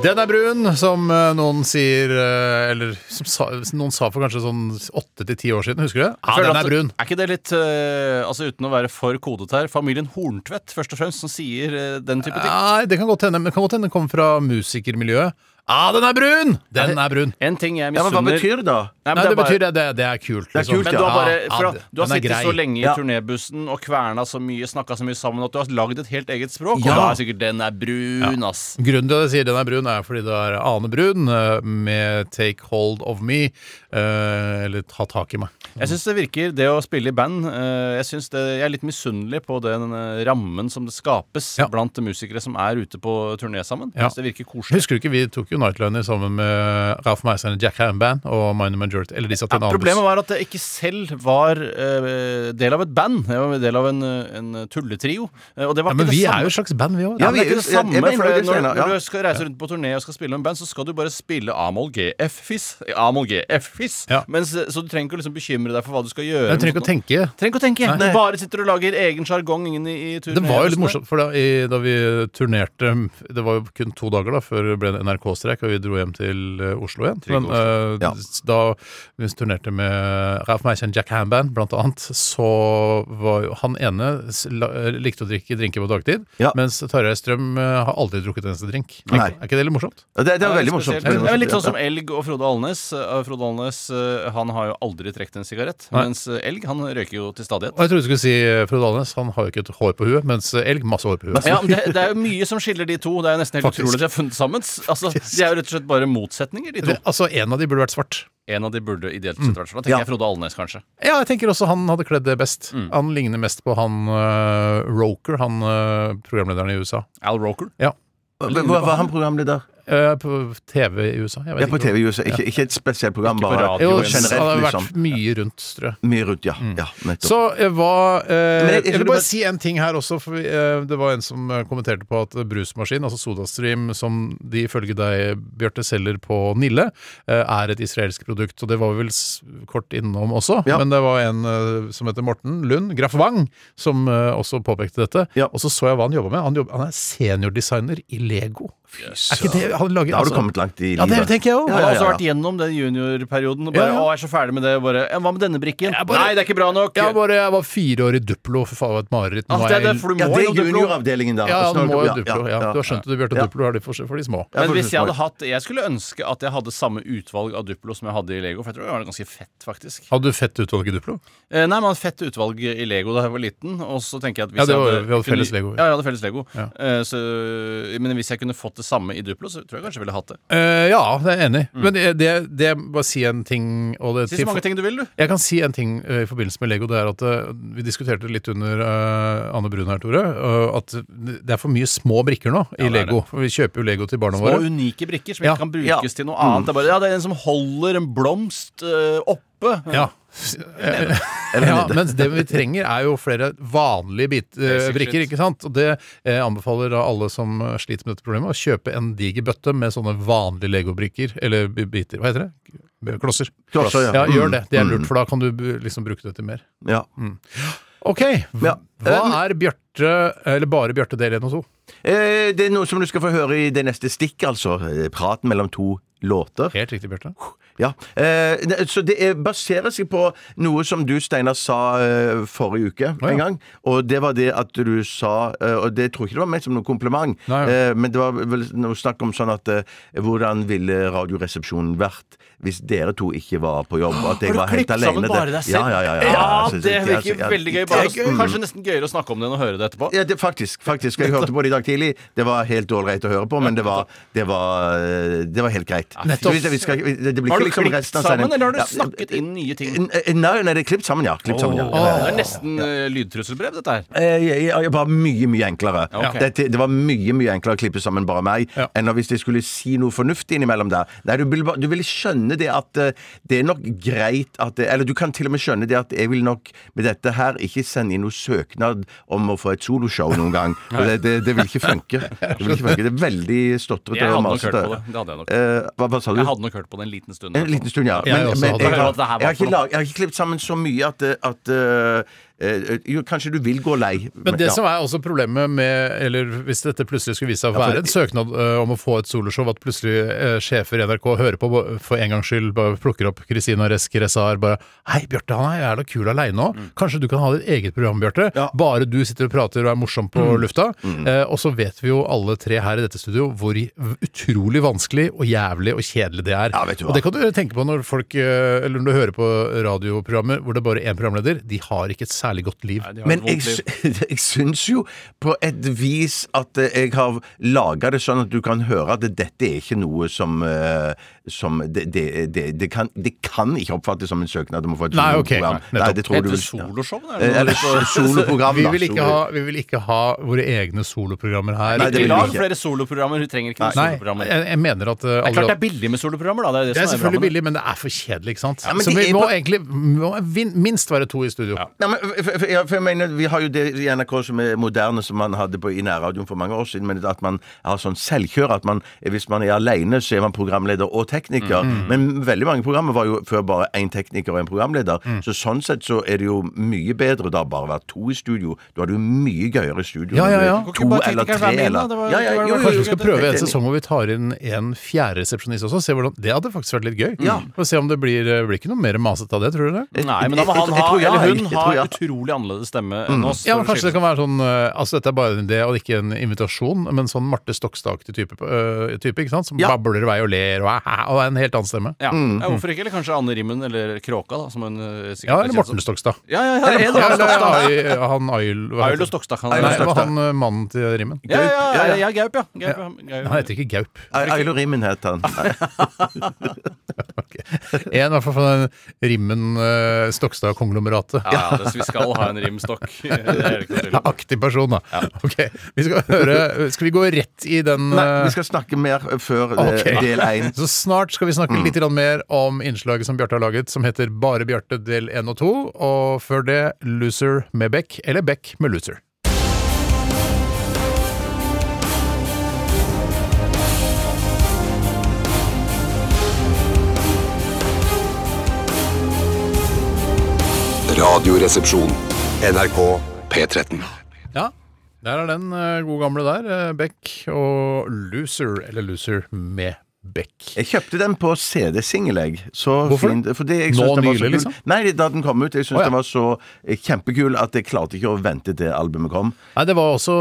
Den er brun, som eh, noen sier eh, Eller som sa, som noen sa for kanskje sånn åtte til ti år siden, husker du det? Ja,
Føler
den
at-
er brun.
Er ikke det litt eh, Altså uten å være for kodete her, familien Horntvedt først og fremst, som sier eh, den type ting?
Nei, det kan godt hende. Men det kan godt hende den kommer fra musikermiljøet. Ja, den er brun! Den er brun.
En ting jeg
Ja, men Hva
misunner
betyr det, da?
Nei,
Nei, det
bare-
betyr det. Det, det er kult. liksom.
er kult,
Men
ja.
du har, bare, for,
Ja,
da- du har
den er
sittet så
grei.
lenge i
Ja.
turnébussen og kverna så mye, snakka så mye sammen, at du har lagd et helt eget språk.
Ja.
Og da er sikkert 'den er brun', ass.
Grunnen til at jeg sier den er brun, er fordi det er Ane Brun eh, med 'Take Hold of Me', eh, eller 'Ta tak i meg'.
Jeg syns det virker, det å spille i band eh, Jeg, synes det, jeg er litt misunnelig på den eh, rammen som det skapes
Ja.
blant musikere som er ute på turné sammen.
Ja.
Jeg synes det virker koselig.
Husker du ikke, vi tok jo Nightliner sammen med Ralf Meissen og Jack Ham Band og Minor Majority. Eller de satt i en annen
Problemet
buss.
var at jeg ikke selv var eh, del av et band. Jeg var del av en, eh, en tulletrio. eh, Og det var
Ja,
ikke
men
det
vi
samme.
er jo et slags band, vi òg.
Ja,
Ja,
men det er
vi-
ikke det
jeg- jeg
samme.
mener
For
det,
det, når,
Steinar, ja.
når du skal reise rundt på turné og skal spille med band, så skal du bare spille A-moll G, F-fis. A-moll G, F-fis.
Ja.
Mens, Så du trenger ikke å liksom bekymre deg for hva du skal gjøre.
Jeg trenger
med
ikke å tenke.
sånt. trenger ikke å tenke.
Nei.
Du bare sitter og lager egen sjargong inn i, i turné.
Det var jo litt morsomt, for da, i, da vi turnerte Det var jo kun to dager da før det ble en NRK-streik, og vi dro hjem til eh, Oslo igjen.
Trygg
Men eh,
Ja.
s- da vi turnerte med Ralf Meissen, Jack Hamband blant annet, så var jo han ene s- la, eh, likte å drikke drinker på dagtid,
Ja.
mens Tarjei Strøm eh, har aldri drukket en eneste drink.
Nei.
Er ikke det litt morsomt?
Ja, Det, det er veldig morsomt.
Spesielt.
Veldig
Ja, men litt
morsomt,
sånn som Elg og Frode Alnes. Eh, Frode Alnes eh, han har jo aldri trukket en sigarett.
Nei.
Mens eh, Elg han røyker jo til stadighet.
Og jeg trodde du skulle si eh, Frode Alnes, han har jo ikke et hår på huet, mens eh, Elg masse hår på huet.
Ja, men det, det er jo mye som skiller de to. Det er jo nesten helt
Faktisk.
utrolig at de har funnet sammen. Altså, de er jo rett og slett bare motsetninger, de to.
Det, altså, en av de burde vært svart.
En av de burde ideelt sett vært sånn. Da tenker
Ja.
jeg Frode Alnes, kanskje.
Ja, jeg tenker også han hadde kledd det best.
Mm.
Han ligner mest på han eh, Roker, han eh, programlederen i USA.
Al Roker.
Ja.
ja. Hva- Hva var han programleder?
eh, på TV i USA. Jeg vet
Ja, på
ikke hvor-
TV USA. Ikke, ikke et spesielt program,
på
bare
radio,
Jo,
eller-
han har
generelt,
vært
liksom.
mye rundt, tror jeg.
Mye rundt, ja.
Mm.
ja nettopp.
Så eh, hva eh,
Men jeg- jeg
jeg,
tror
vil
det
bare
var-
si en ting her også. For vi, eh, det var en som eh, kommenterte på at brusmaskin, altså Sodastream, som de ifølge deg, Bjarte, selger på Nille, eh, er et israelsk produkt. Og det var vi vel s- kort innom også.
Ja.
Men det var en eh, som heter Morten Lund Graff Wang, som eh, også påpekte dette.
Ja.
Og så så jeg hva han jobber med. Han, jobber, han er seniordesigner i Lego. er ikke det han lager?
Da har du
altså-
kommet langt i
Ja, det
livet.
tenker jeg òg.
Han
Ja,
har
ja,
også
ja.
vært gjennom den juniorperioden. og
Ja,
Bare,
ja.
'Å, jeg er så ferdig med det.' og Bare, «Ja, 'Hva med denne brikken?'
bare-
Nei, det er ikke bra nok.
Jeg, bare, jeg var fire år i Duplo. Fy faen, det var et mareritt.
Ah,
Nå er
det er
jeg-
derfor du må
Ja, det
jo
er
Duplo.
junioravdelingen, da.
Ja,
Snart-
han må jo Duplo. Ja, Du har skjønt det, du, Bjarte.
Ja.
Duplo er det for, for de små.
Ja,
Men
for
hvis jeg hadde
små.
hatt Jeg skulle ønske at jeg hadde samme utvalg av Duplo som jeg hadde i Lego, for jeg tror det var ganske fett, faktisk.
Hadde du fett utvalg i Duplo?
Eh, Nei, man hadde fett utvalg i Lego da jeg var liten. Og så tenker jeg at
Ja,
hvis
det var-
jeg hadde,
vi hadde
kunne-
felles Lego, ja.
Ja, jeg hadde felles Lego.
Ja.
Eh, Så, men hvis jeg kunne fått det samme i Duplo, så tror jeg kanskje jeg ville hatt det.
Eh, ja, det er jeg enig i. Men det, det, det bare si en ting og det,
Si så mange ting du vil, du.
Jeg kan si en ting eh, i forbindelse med Lego. Det er at eh, Vi diskuterte det litt under eh, Anne Brun her, Tore. eh, at det er for mye små brikker nå i
det er
Lego. For Vi kjøper jo Lego til barna
Små,
våre.
unike brikker som
Ja.
ikke kan brukes
Ja.
til noe annet. Det er bare ja, det er en som holder en blomst eh, oppe.
Ja. ja, mens det vi trenger er jo flere vanlige bit, eh,
Basic
brikker,
shit.
ikke sant? Og det eh, anbefaler da alle som eh, sliter med dette problemet, å kjøpe en diger bøtte med sånne vanlige legobrikker, eller bi- biter, hva heter det? B- Klosser.
Klosser, ja.
Ja, gjør det. Det er
Mm,
lurt, for da kan du bu- liksom bruke det til mer.
Ja.
Mm. Ok, hv-
Ja.
hva er Bjarte, eller bare Bjarte del 1 og 2?
Eh, Det er noe som du skal få høre i det neste stikket, altså. eh, Praten mellom to låter.
Helt riktig, Bjarte.
Ja. Eh, ne- Så det er, baserer seg på noe som du, Steinar, sa eh, forrige uke
ja.
en gang. Og det var det at du sa eh, Og det tror jeg ikke det var ment som noen kompliment,
Nei.
eh, men det var vel noe snakk om sånn at eh, Hvordan ville Radioresepsjonen vært hvis dere to ikke var på jobb? At jeg
Har du
var helt
klippet
alene.
sammen bare
der?
deg selv?
Ja, ja, ja, ja,
Ja,
Så- så-
det virker
ja,
veldig gøy.
det
Bare,
er gøy.
Kanskje nesten gøyere å snakke om det enn å høre det etterpå.
Ja, det, faktisk. faktisk. Jeg hørte på det i dag tidlig. Det var helt ålreit å høre på, men det var, det var, eh, det var helt greit.
nettopp.
Så vi- vi skal ikke- det det blir
Har
ikke
du
liksom
klippet
resten av
sammen,
sendingen.
eller har du
Ja,
snakket inn nye ting?
n- eh, Nei, nei, det er klippet sammen, ja. Klippet sammen, ja.
Åh,
ja, ja, ja.
Det er nesten eh, lydtrusselbrev, dette her.
Eh, jeg- jeg- jeg var mye, mye enklere.
Ok.
Dette, det var mye mye enklere å klippe sammen bare meg
Ja.
enn hvis de skulle si noe fornuftig innimellom der. Nei, du vil, ba- du vil skjønne det at eh, det er nok greit at det, Eller du kan til og med skjønne det at jeg vil nok med dette her ikke sende inn noe søknad om å få et soloshow noen
(laughs)
gang. For det, det, det vil ikke funke. Det vil ikke funke. Det er veldig
Jeg
stotrete
hadde
og
nok hørt
masete.
på det. det hadde jeg, nok.
Eh, hva, hva sa du?
jeg hadde nok hørt på det en liten stund.
En liten stund, ja.
Jeg
Men,
også
men jeg,
hadde
hørt
har,
at det
jeg,
her var
har
for noe.
ikke lag, jeg har ikke klippet sammen så mye at, eh, at eh, eh, Jo, kanskje du vil gå lei.
Men det
ja.
som er også problemet med Eller hvis dette plutselig skulle vise seg å
for
være
det-
en søknad ø, om å få et soloshow, at plutselig ø, sjefer i NRK hører på bo- for en gangs skyld, bare plukker opp Christina Resk Rezar bare 'Hei, Bjarte, han er jævla kul aleine òg. Kanskje du kan ha ditt eget program, Bjarte?'
Mm. Ja. Mm.
Bare du sitter og prater og er morsom på lufta. Eh, og så vet vi jo alle tre her i dette studio hvor i- utrolig vanskelig og jævlig og kjedelig det er.
Ja, vet du hva.
og det kan du tenke på når folk ø, Eller når du hører på radioprogrammer hvor det er bare én programleder. De har ikke et særlig godt liv.
Men jeg, sy- (laughs) jeg syns jo på et vis at eh, jeg har laga det sånn at du kan høre at dette er ikke noe som, eh, som det, det, det, det, kan, det kan ikke oppfattes som en søknad om å få et
Nei, ok.
soloprogram.
Nei,
Nei,
nettopp.
det tror du
Heter det
vil
soloshow? da?
Eh, Eller soloprogram,
Vi
da.
vil ikke
Solo-
ha, vi vil ikke ha våre egne soloprogrammer her.
Nei,
Vi
det vil vi
lar
ikke.
flere soloprogrammer. Hun trenger ikke noen
Nei,
soloprogrammer.
jeg, jeg mener at uh,
Det er
alle-
klart det er billig med soloprogrammer, da. Det er, det
det er
som
selvfølgelig
bra med det.
billig, men det er for kjedelig, ikke sant?
Ja, men
Så
de
vi
er
må
på-
egentlig må vin- minst være to i studio.
Nei, men, for, for, ja, for jeg mener, Vi har jo det i NRK som er moderne, som man hadde på, i nærradioen for mange år siden. Men at man har sånn selvkjør. At man, hvis man er alene, så er man programleder og tekniker.
Mm.
Men veldig mange programmer var jo før bare én tekniker og én programleder.
Mm.
Så sånn sett så er det jo mye bedre da bare å være to i studio. Da er det jo mye gøyere studio.
Ja,
når
ja,
du er
ja.
Kan ikke
To
bare
eller
teknikeren være
tre
med, da?
eller
Det var-
Ja, ja,
det var-
jo, jo,
Kanskje
jo,
vi skal prøve en
helt enig.
sesong hvor vi tar inn en fjerde resepsjonist også. Se hvordan, det hadde faktisk vært litt gøy.
Ja.
Og se om det blir, uh, blir ikke noe mer masete av det, tror du det?
Nei, men da må
Jeg-
han
jeg- jeg
ha,
tror ja,
eller
jeg-
hun
jeg
ha
tror ja.
utrolig annerledes stemme enn oss.
Mm. Ja, men
for å
Kanskje det
skille
kan være sånn uh, Altså, dette er bare en idé og ikke en invitasjon, men sånn Marte Stokstad-aktig type, uh, type, ikke sant? Som
Ja.
babler i vei og ler og, eh, og er en helt annen stemme.
Ja. ja, hvorfor ikke? Eller kanskje Anne Rimmen eller Kråka, da. Som hun eh,
Mm.
sikkert
Ja,
er
eller
kjent
Morten
som.
Stokstad.
Ja, ja, ja,
Ja,
eller
eller
Stokstad.
Ai- han Ail hva
Aul
heter
og Stokstad.
Aul
Kan
og
Nei, det var
Stokstad.
han eh, mannen til Rimmen.
Ja, ja,
Ja,
ja,
ja.
ja, Gaup, ja. Gaup, ja. Gaup.
Han heter ikke Gaup.
Eilo Rimmen het han.
Ah, En i hvert fall fra den Rimmen eh, Stokstad-konglomeratet.
Ja, det skal vi skal skal ha en rimstokk. (laughs) Det er det ikke noe tvil
Ja,
om.
aktiv person, da. Ok, vi skal, høre, skal vi gå rett i den
Nei,
eh,
vi skal snakke mer før eh,
Ok.
del
(laughs)
én.
Så snart skal vi snakke
Mm.
litt grann mer om innslaget som Bjarte har laget, som heter Bare Bjarte del 1 og 2. Og før det Loser med Beck, eller Beck med Loser.
Radioresepsjon. NRK P13.
Ja, der er den eh, gode gamle der. eh, Beck og Loser, eller Loser med Beck.
Jeg kjøpte den på CD-singel, jeg. Så
Hvorfor?
Fin, fordi jeg
Nå
syntes den var så
nylig,
kul.
liksom?
Nei, da den kom ut. Jeg syntes
Å, ja.
den var så eh, kjempekul at jeg klarte ikke å vente til albumet kom.
Nei, det var også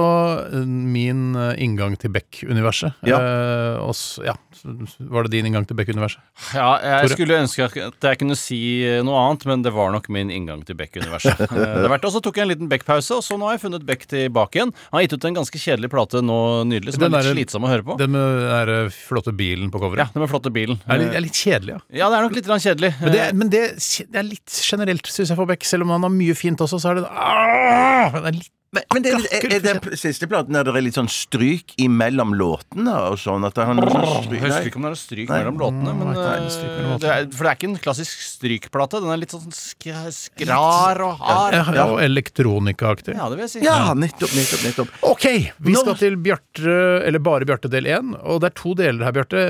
eh, min eh, inngang til Beck-universet. Eh, og s- ja, s- var det din inngang til Beck-universet?
Ja, jeg
Tore?
skulle ønske at jeg kunne si eh, noe annet, men det var nok min inngang til
(laughs)
Beck-universet. Eh, Det vært, og Så tok jeg en liten Beck-pause, og så nå har jeg funnet Beck tilbake igjen. Han har gitt ut en ganske kjedelig plate nå nydelig, som
Den
er litt
der-
slitsom å høre på.
Den med den der eh, flotte bilen på
Ja,
coveret?
den med flotte bilen.
Det er litt, det er litt kjedelig, ja.
Ja, det er nok litt grann kjedelig.
Men det, men det, det er litt generelt, syns jeg, for Beck. Selv om han har mye fint også, så er det Åh, det er litt
Men, men det, er, er den pl- siste platen der det er litt sånn stryk imellom låtene og sånn? At han
Eh, Jeg husker ikke om det er noe stryk
Nei.
mellom låtene.
Nei,
Men,
det er ikke stryk mellom
eh, det er, for det er ikke en klassisk strykplate. Den er litt sånn sk skrar og hard.
ja, ja. elektronikaaktig.
Ja, det vil jeg si.
Ja, nettopp, nettopp, nettopp.
Ok, vi
Nå-
skal til Bjarte, eller bare Bjarte del én. Og det er to deler her, Bjarte.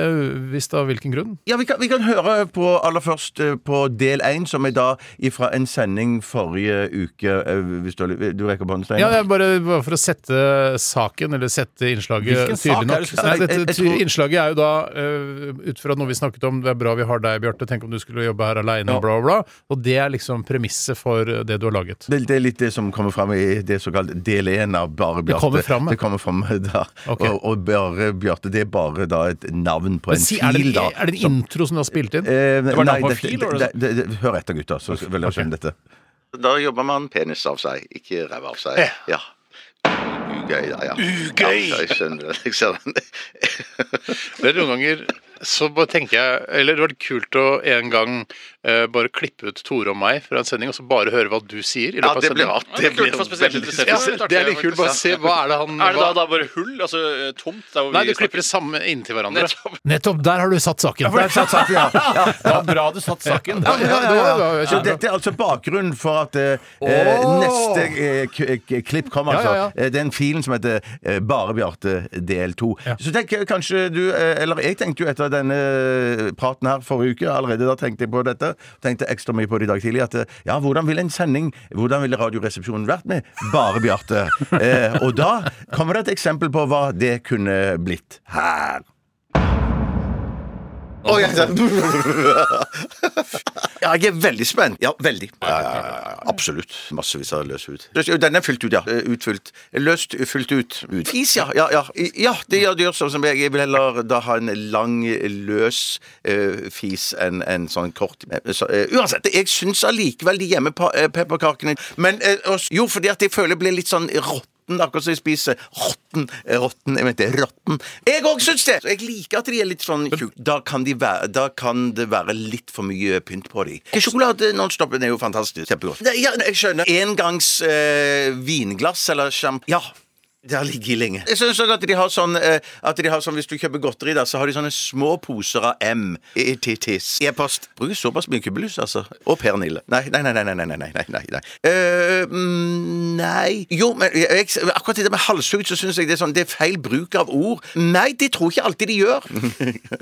Visst av hvilken grunn?
Ja, vi kan, vi kan høre på aller først eh, på del én, som er da fra en sending forrige uke. eh, Hvis du, har lyst- du rekker båndet, Steinar?
Ja, det er bare, bare for å sette saken, eller sette innslaget
Hvilken sak er
tydelig
det
nok.
du skal
Nei,
si?
dette,
Jeg- jeg tror-
Innslaget er jo da, eh, ut fra noe vi snakket om, det er bra vi har deg, Bjarte, tenk om du skulle jobbe her aleine,
Ja.
og bla, bla, bla. Og det er liksom premisset for eh, det du har laget.
Det, det er litt det som kommer fram i det såkalte del én av Bare Bjarte.
kommer fram, ja.
Det kommer fram da.
Ok.
Og, og Bare Bjarte, det er bare da et navn på en
Men si, er, det,
fil, da.
er det en
som-
intro som du har spilt inn?
Eh,
var navn
nei,
på en
det,
fil,
det,
var det
det, det, det, hør etter, gutta, så vil dere skjønne dette.
Da jobber man penis av seg, ikke ræv av seg. Ja. Ugøy, da, ja.
Ugøy!
Ja, jeg skjønner det, (laughs) liksom.
Men noen ganger så bare tenker jeg Eller det var litt kult å en gang eh, bare klippe ut Tore og meg fra en sending, og så bare høre hva du sier. i
Ja,
løpet
Altså,
det
av
blir
sendingen.
rart.
Ja,
Det blir
for spesielt
veldig
interesserte.
spesielt.
Ja, det er litt kult. Bare se hva er det han Er det da, hva- da bare hull? Altså eh, tomt? Der hvor Nei, vi du klipper det samme inntil hverandre. snakker-
Nettopp, der har du satt saken. Der, satt saken.
(laughs)
Det var bra du satt
(laughs)
saken.
Ja, ja, ja, ja, ja,
Så
ja.
dette er altså bakgrunnen for at eh, eh, neste eh, k k klipp kommer,
Ja,
altså.
ja,
Eh, Den filen som heter eh, Bare Bjarte del 2. Så tenk eh, kanskje du eh, Eller jeg tenkte jo etter denne eh, praten her forrige uke, allerede da tenkte jeg på dette, tenkte ekstra mye på det i dag tidlig, at eh, ja, hvordan ville en sending, hvordan ville Radioresepsjonen vært med Bare Bjarte?
(laughs)
Eh, og da kommer det et eksempel på hva det kunne blitt her.
Oi, jeg- ja, jeg er veldig spent. Ja, veldig. Ja, ja, ja, ja, absolutt. Massevis av løs hud. Løs- jo, Den er fylt ut, ja. Eh, Utfylt. Løst, fylt ut. Ut. Fis, ja. Ja, ja. I- ja det gjør det gjør sånn som jeg. Jeg vil heller da ha en lang, løs eh, fis enn en sånn kort eh, så, eh, Uansett, jeg syns allikevel de hjemmepepperkakene Men eh, også- jo, fordi at jeg føler jeg blir litt sånn rått råtten, akkurat som jeg spiser rotten, rotten, jeg mente rotten. Jeg òg syns det! Så Jeg liker at de er litt sånn tjukke. Da, kan de være- da kan det være litt for mye pynt på dem. Sjokolade Nonstop den er jo fantastisk. Kjempegodt. Nei, Ja, jeg skjønner. Engangs eh, vinglass eller sjamp... Ja. Det har ligget lenge. Jeg synes også at de har sånn, eh, at de har sånn Hvis du kjøper godteri, da, så har de sånne små poser av M. I i- tiss. I e-post. Bruker såpass mye kubbelus, altså. Og pernille. Nei, nei, nei. nei, nei, nei, nei, nei, nei, nei. Eh, mm, nei. Jo, men jeg, jeg- akkurat det der med halshugd, så syns jeg det er sånn Det er feil bruk av ord. Nei, det tror jeg ikke alltid de (laughs) gjør.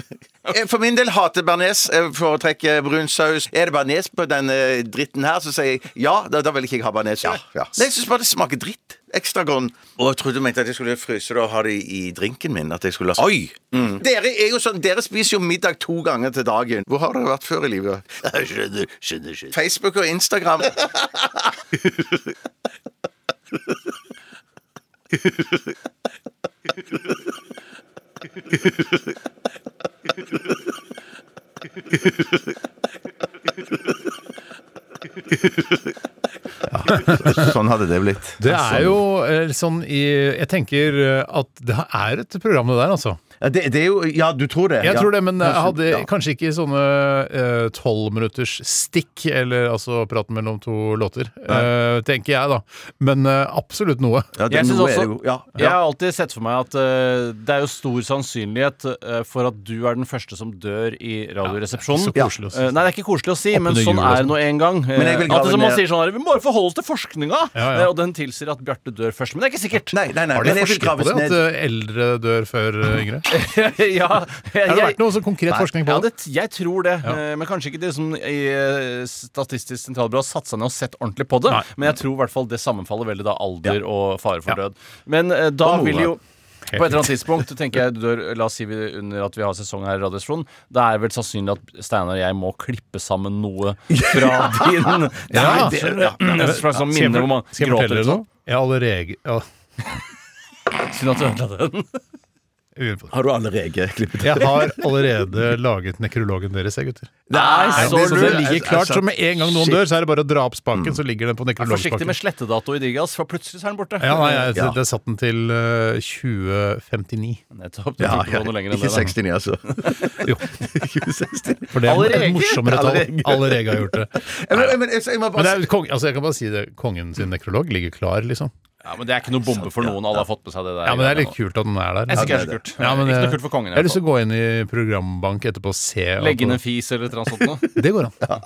Eh, For min del hater bearnés. eh, Foretrekker brun saus. Er det bearnés på denne dritten her, så sier jeg ja. Da, da vil ikke jeg ha bearnés. Ja, Nei, Jeg syns bare det smaker dritt. Ekstra grønn. Og jeg trodde du mente at jeg skulle fryse det og ha det i drinken min. At jeg skulle Oi! Mm. Dere er jo sånn, dere spiser jo middag to ganger til dagen. Hvor har dere vært før i livet? Skjønner, skjønner, skjønner. Facebook og Instagram. Sånn hadde det blitt.
Det er jo eh, sånn i Jeg tenker eh, at det er et program, det der, altså.
Ja, det, det er jo, ja du tror det?
Jeg
ja.
tror det, men jeg hadde
ja.
kanskje ikke sånne eh, tolvminutters stikk, eller altså praten mellom to låter, eh, tenker jeg, da. Men eh, absolutt noe.
Ja, det,
Jeg synes
noe er
også-
det jo. Ja.
Jeg har alltid sett for meg at eh, det er jo stor sannsynlighet eh, for at du er den første som dør i Radioresepsjonen.
Så koselig å si.
Eh, nei, det er ikke koselig å si, men
under
sånn
jul og
er det
sånn.
nå en gang. Eh,
Men jeg vil
at det som man
grave ned-
sier sånn her, Vi må bare forholde oss til forskninga!
Ja, ja.
Eh, og den tilsier at Bjarte dør først. Men det er ikke sikkert. (laughs)
Nei, nei, nei.
Har de
men jeg vil
forsket på
graves
det, at
ned.
eh, eldre dør før eh, yngre?
(laughs)
ja, jeg,
Har det vært noe sånn konkret
Nei,
forskning på
ja,
det?
det? Jeg tror det. eh, Men kanskje ikke det som i eh, Statistisk sentralbyrå har satt seg ned og sett ordentlig på det.
Nei.
Men jeg tror i hvert fall det sammenfaller veldig da alder og fare for død. Men eh, da
Og mora.
vil jo på et eller annet tidspunkt tenker jeg, du dør, la oss si vi, under at vi har sesong her i Radioresepsjonen, da er det vel sannsynlig at Steinar og jeg må klippe sammen noe
(laughs)
fra din
Ja.
det, ja. Et slags sånn minne hvor man
Skal jeg fortelle
gråter.
dere
sånn.
noe? Jeg har allerede ja,
Synd at du ødela den.
jeg begynner på det.
Har du allerede klippet
Jeg har allerede laget nekrologen deres, jeg, gutter.
Nei, så
Så det
lurt.
ligger klart, så med en gang noen dør, så er det bare å dra opp
Mm.
spaken, så ligger den på
Vær forsiktig
nekrologspaken.
med slettedato i Digas, for plutselig så er den borte.
Ja, nei, jeg,
Ja.
det satt den til eh, 2059.
Nettopp. Du
Ja,
tenkte på noe lenger enn
ikke
det. da.
69, altså. (laughs)
Jo,
Ikke 69.
for det er
Allerege?
et morsommere tall.
Allerege.
Allerege har gjort det.
Men, men, jeg, jeg må
Men det
bare
er, jo kong, altså jeg kan bare si det, kongen sin nekrolog ligger klar, liksom.
Ja, men Det er ikke noe bombe for noen. Alle har fått med seg det der.
Ja, Men det er litt kult at den er der.
Jeg synes ikke
Ja, det
det er så
er
kult.
det. Ja, men,
ikke
eh,
noe kult for kongen. i
Jeg har
hvert
lyst til
fall.
å gå inn i programbank etterpå og se. alt
Legge inn
det-
en fis eller et eller annet sånt. nå.
Det går an.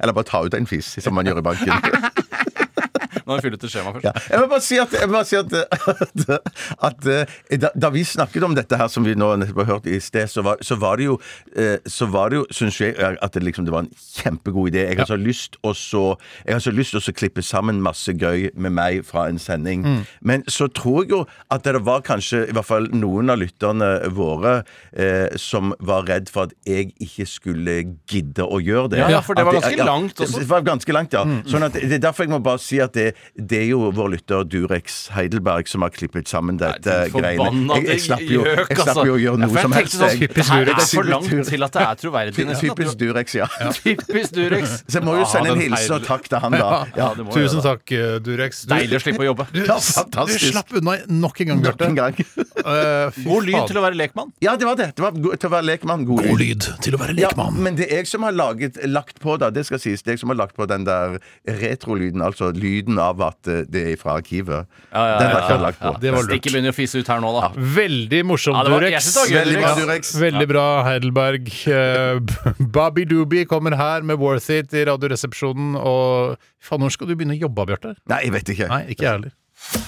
Eller bare ta ut en fis, som man gjør i banken.
Nå har vi fylt ut et skjema først.
Ja. Jeg vil bare si at, jeg vil bare si at, at, at eh, da, da vi snakket om dette her, som vi nå nettopp har hørt i sted, så var, så var det jo, eh, så var det jo syns jeg, at det, liksom, det var en kjempegod idé. Jeg har så lyst å så- jeg har så lyst til å klippe sammen masse gøy med meg fra en sending.
Mm.
Men så tror jeg jo at det var kanskje i hvert fall noen av lytterne våre eh, som var redd for at jeg ikke skulle gidde å gjøre det.
Ja, ja, for det
At
var ganske langt også.
det var ganske langt, ja.
Mm.
Sånn at Det er derfor jeg må bare si at det, det er jo vår lytter Durex Heidelberg som har klippet sammen dette
Nei, du
greiene.
forbanna
Jeg, jeg, slapp jo,
gjøk,
jeg slapp
altså.
jo å gjøre
Ja, for
noe
jeg
som
tenkte
helst.
sånn,
jeg.
Det her er for
Typisk
langt
Durex.
til at det er troverdig. nesten, at
Typisk
du-
Durex, ja.
Typisk Durex.
Så jeg må jo
Ja,
sende en
den
hilsen og
feil-
takk til han, da. Ja,
det må jeg
Tusen
gjøre, da.
takk, eh, Durex. Du,
Deilig å slippe å jobbe.
du,
Ja,
du
fantastisk.
slapp unna nok en gang,
Nok
Bjarte.
en gang.
Eh, fy
God lyd
faen.
til å være lekmann.
Ja, det var det. Det var go- til å være lekmann. God
God
lyd.
lyd til å være
Ja,
lekmann.
men det er jeg som har laget, lagt på, da. Det skal sies. Det er jeg som har lagt på den der retrolyden, altså lyden av at eh, det er fra arkivet. den har jeg ikke lagt på.
Det
Det var
var
lurt.
Stikket begynner å fise ut her nå, da.
Veldig morsom,
Ja, det var- jeg
Durex.
synes det var gøy,
Veldig bra,
Durex.
Durex.
Veldig bra, Heidelberg. Eh, (laughs) Bobby Doobie kommer her med Worth It i Radioresepsjonen. Og faen, når skal du begynne å jobbe, Bjarte?
Nei, jeg vet ikke.
Nei, ikke jeg heller.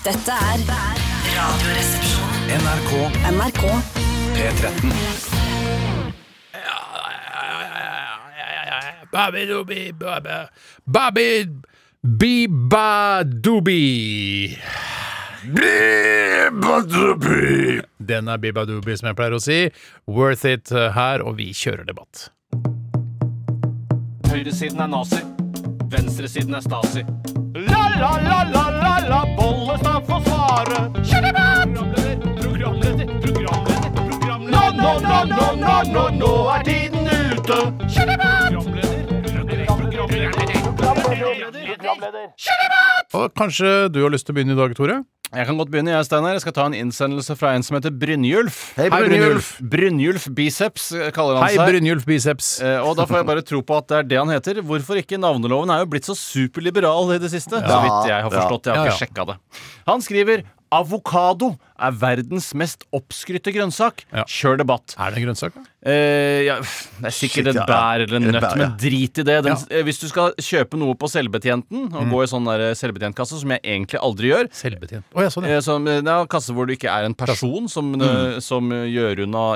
Dette er Radioresepsjonen.
NRK
NRK
P13.
Bobby Doobie, Bobby Bobby Biba Doobie. Den er Biba Doobie, som jeg pleier å si. Worth It eh, her, og vi kjører debatt.
Høyresiden er nazi. Venstresiden er Stasi. La, la, la, la, la, la, Bollestad får svare. Kjør debatt! Programleder, programleder, programleder. Nå, nå, nå, nå, nå, nå, nå er tiden ute. Kjør debatt!
Og kanskje du har lyst til å begynne i dag, Tore?
Jeg kan godt begynne, jeg, Steinar. Jeg skal ta en innsendelse fra en som heter Brynjulf.
Hei, Brynjulf.
Brynjulf Biceps eh, kaller han
Hei,
seg.
Brynjulf Biceps.
Eh, Og da får jeg bare tro på at det er det han heter. Hvorfor ikke? Navneloven er jo blitt så superliberal i det siste. Så vidt jeg har forstått. Jeg
Ja,
har ikke sjekka det. Han skriver avokado er verdens mest oppskrytte grønnsak.
Ja.
Kjør debatt.
Er det en grønnsak? da?
Eh, ja, pff, det er sikkert
Shit,
et
ja,
bær eller en
Et
nøtt,
bær, ja. Mm.
men drit i det. Den,
Ja.
eh, Hvis du skal kjøpe noe på selvbetjenten, og gå i sånn der selvbetjentkasse, som jeg egentlig aldri gjør,
Selvbetjent. Å ja, sånn, ja.
Eh, Som, eh, det er en kasse hvor du ikke er en person som, eh, som eh, gjør unna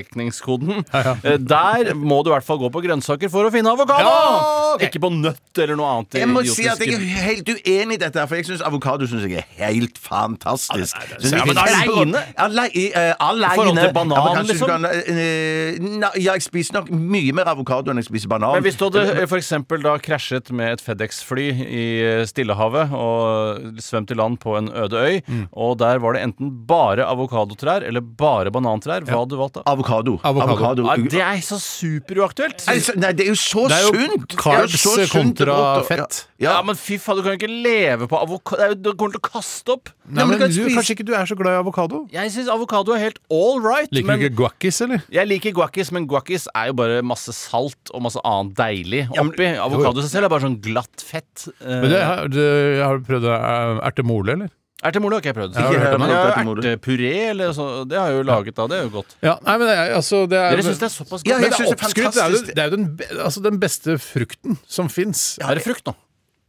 innstrekningskoden. Eh, Der må du i hvert fall gå på grønnsaker for å finne avokado!
Ja, ok.
Ikke på nøtt eller noe annet.
Jeg må si
idiotisk.
at jeg er helt uenig i dette, her, for jeg syns avokado synes jeg er helt fantastisk. Synes
Ja,
jeg
men
er kjempegodt.
alene?
Alle- i, eh, Alene
I forhold til banan,
Ja, men kanskje du
liksom?
kan, eh, eh, eh, na, ja, jeg spiser nok mye mer avokado enn jeg spiser banan.
Men hvis du hadde f.eks. da krasjet med et FedEx-fly i eh, Stillehavet og svømt i land på en øde øy, og der var det enten bare avokadotrær eller bare banantrær, hva hadde du valgt da?
Avokado.
Avokado.
Nei, det er så superuaktuelt!
Nei, så- Nei, det er jo så
Det er jo
sunt! Det er
carbs
så sunt
kontra
og godt, og-
fett.
Ja,
Ja, ja.
men fy faen, du kan jo ikke leve på avokado Du kommer til å kaste opp!
Nei, men
men du kan
du,
spise-
Kanskje ikke du er så glad i avokado?
Jeg syns avokado er helt all right,
Liker
men
du ikke guacis, eller?
jeg liker guacis, men guacis er jo bare masse salt og masse annet deilig
men-
oppi. Avokado i seg selv er bare sånn glatt fett. Eh,
Men det, har, du- har du prøvd eh, ertemole, eller?
Ertemole har ikke jeg prøvd.
har jeg hørt om.
men jeg har
Ertemole.
ertepuré eller så, det har jeg jo laget da. Det er jo godt.
Ja, nei, men det er, altså, det er,
Dere syns det er såpass godt?
Ja, jeg
men det
synes
er,
det
Skryt, det er jo,
fantastisk.
det er jo den, be- altså, den beste frukten som fins.
opp- er det frukt nå?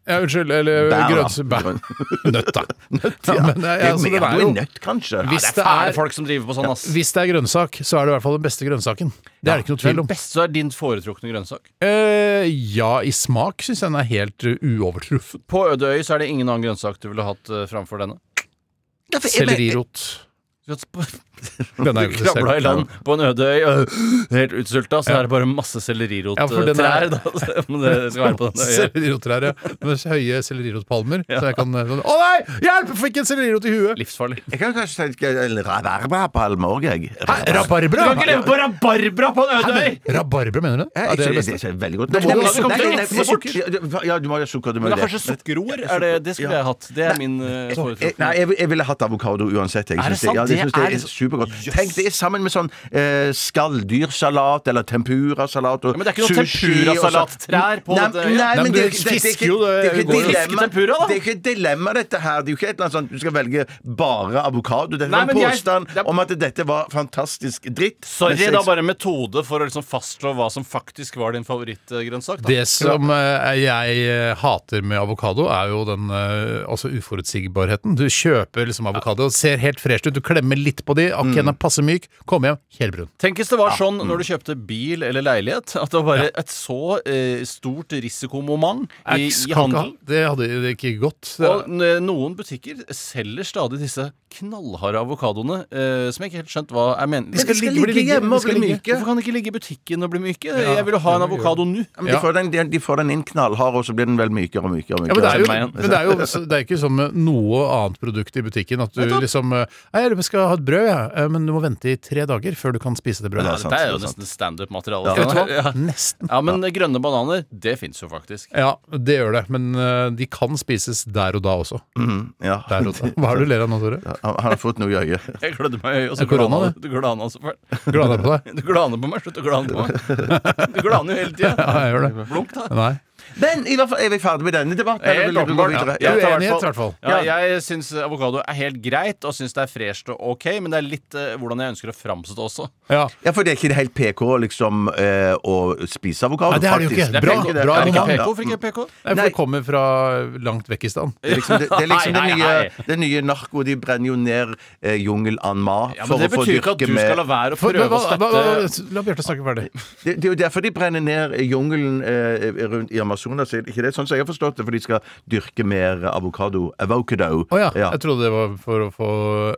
Ja, unnskyld, eller
Bær, da.
grønnsbær. (laughs) Nøtt, da. ja, men, eh, altså,
det
det
er
er
jo
jo,
nøtt, kanskje.
Hvis
Det er fæle folk som driver på sånn, ass.
Hvis det er grønnsak, så er det i hvert fall den beste grønnsaken. Det er det ikke noe tvil om.
Best så er din foretrukne grønnsak.
Eh, ja, i smak syns jeg den er helt uh, uovertruffen.
På Øde øy så er det ingen annen grønnsak du ville hatt eh, framfor denne.
Ja, for jeg-
Sellerirot.
Du (laughs)
Den er jo ikke
krabla i
selv. (laughs)
land på en øde øy, øh, helt utsulta, så er det bare masse
Ja, for den er-
sellerirottrær. (laughs) da, som det skal være på denne øya.
Sellerirottrær, ja. Med høye sellerirotpalmer. Så jeg kan eh, sånn Å nei! Hjelp! Jeg fikk en sellerirot i huet!
Livsfarlig.
Jeg kan kanskje si eller rabarbrapalme òg, jeg.
Rabarbra!
Du kan ikke leve på rabarbra på en
Hæ,
øde øy!
men Rabarbra, mener du det?
Ja,
Ja, det er det
det
beste.
er veldig godt.
Da må
Nei,
du
nei,
ha- det kommer
nei,
til å
nei,
ekte sukker.
ja, Ja, du må ha sukker. Du må
Men
jo
det er kanskje
det.
sukkerroer? Er det, det skulle jeg hatt. Det er min eh,
Eh, Nei,
foretrukne.
jeg, vil- jeg ville hatt avokado uansett. Jeg
Er det
synes
sant?
Ja, det,
Det
synes jeg
er-
er supergodt. Tenk, det er sammen med sånn eh, skalldyrsalat eller tempurasalat og
men det er ikke noe
sushi og sånn.
tempurasalattrær på
nei,
dette,
Nei,
ja.
Nei,
men,
men du
det, det, det, er
fisker
ikke-
jo det-
det er
går
ikke
jo.
et
Fiske
dilemma.
tempura, da.
Det er ikke et dilemma, dette her. Det er jo ikke et eller annet sånn du skal velge bare avokado. Det er
Nei,
en
men jeg-
påstand
det er-
om at dette var fantastisk dritt.
Sorry,
Mens jeg-
det er bare en metode for å liksom fastslå hva som faktisk var din favorittgrønnsak. da.
Det som eh, jeg eh, hater med avokado, er jo den eh, altså uforutsigbarheten. Du kjøper liksom avokado, ser helt fresh ut, du klemmer litt på de, akkurat den er passe myk, kommer hjem, helt brun.
Tenk hvis det var sånn når du kjøpte bil eller leilighet, at det var bare et så eh, stort risikomoment i,
Eks-
i
kan ikke ha-
handelen.
Det hadde det ikke gått. Det,
Og n- noen butikker selger stadig disse knallharde avokadoene, eh, som jeg ikke helt skjønt hva er meningen.
Men de skal ligge hjemme og bli myke.
Hvorfor kan de ikke ligge i butikken og bli myke? Jeg vil jo ha en avokado nå.
Ja, men de, får den, de får den inn knallhard, og så blir den vel mykere og mykere. og
ja, men det er jo,
Kjenn meg igjen.
men det er jo så- det er ikke som med noe annet produkt i butikken at du
liksom. Nettopp.
liksom eh, Nei, jeg skal ha et brød, jeg, eh, men du må vente i tre dager før du kan spise det
Ja,
brødet.
det
Dette er jo
sant, sant.
nesten standup-materiale.
Vet du hva?
Ja.
Nesten.
Ja, men grønne bananer, det fins jo faktisk.
Ja, det gjør det, men eh, de kan spises der og da også.
Ja.
Der
(laughs)
og da. Hva er det du ler av nå, Tore?
Han, han har fått noe i øyet.
Jeg gleder meg, og
Er
så
korona,
glaner
det?
du. Glana så fælt.
Glad deg på deg.
Du glaner på meg. Slutt å glane på meg. Du glaner jo hele tida.
Ja, jeg gjør det.
Blunk, da.
Nei.
Men i hvert fall er vi ferdig med denne debatten. eller
Helt
vil du gå
åpenbart.
videre?
Ja.
Ja.
Uenighet, i hvert fall.
Ja, jeg syns avokado er helt greit, og syns det er fresht og ok, men det er litt eh, hvordan jeg ønsker å framstå også.
Ja.
Ja, for det er ikke det helt PK liksom, eh, å spise avokado,
Nei, det er det jo ikke.
faktisk.
Bra-
ikke det.
bra Mm.
Er det ikke
moment.
PK? Hvorfor ikke PK?
Nei, for
Nei.
det kommer fra langt vekk i stand.
Det er liksom det, det, er liksom
Nei,
det,
nei,
nye,
nei.
det nye narko. De brenner jo ned eh, jungel an ma
Ja,
for
men Det
å få
betyr ikke at du
dyrke
skal la
med
være å
For,
prøve
hva,
å
hva, hva,
støtte
la Bjarte snakke ferdig.
det, det er jo derfor de brenner ned jungelen eh, rundt i Amazonas. Er det Ikke det sånn som jeg har forstått det, for de skal dyrke mer avokado. Avocado.
Å ja. Jeg trodde det var for å få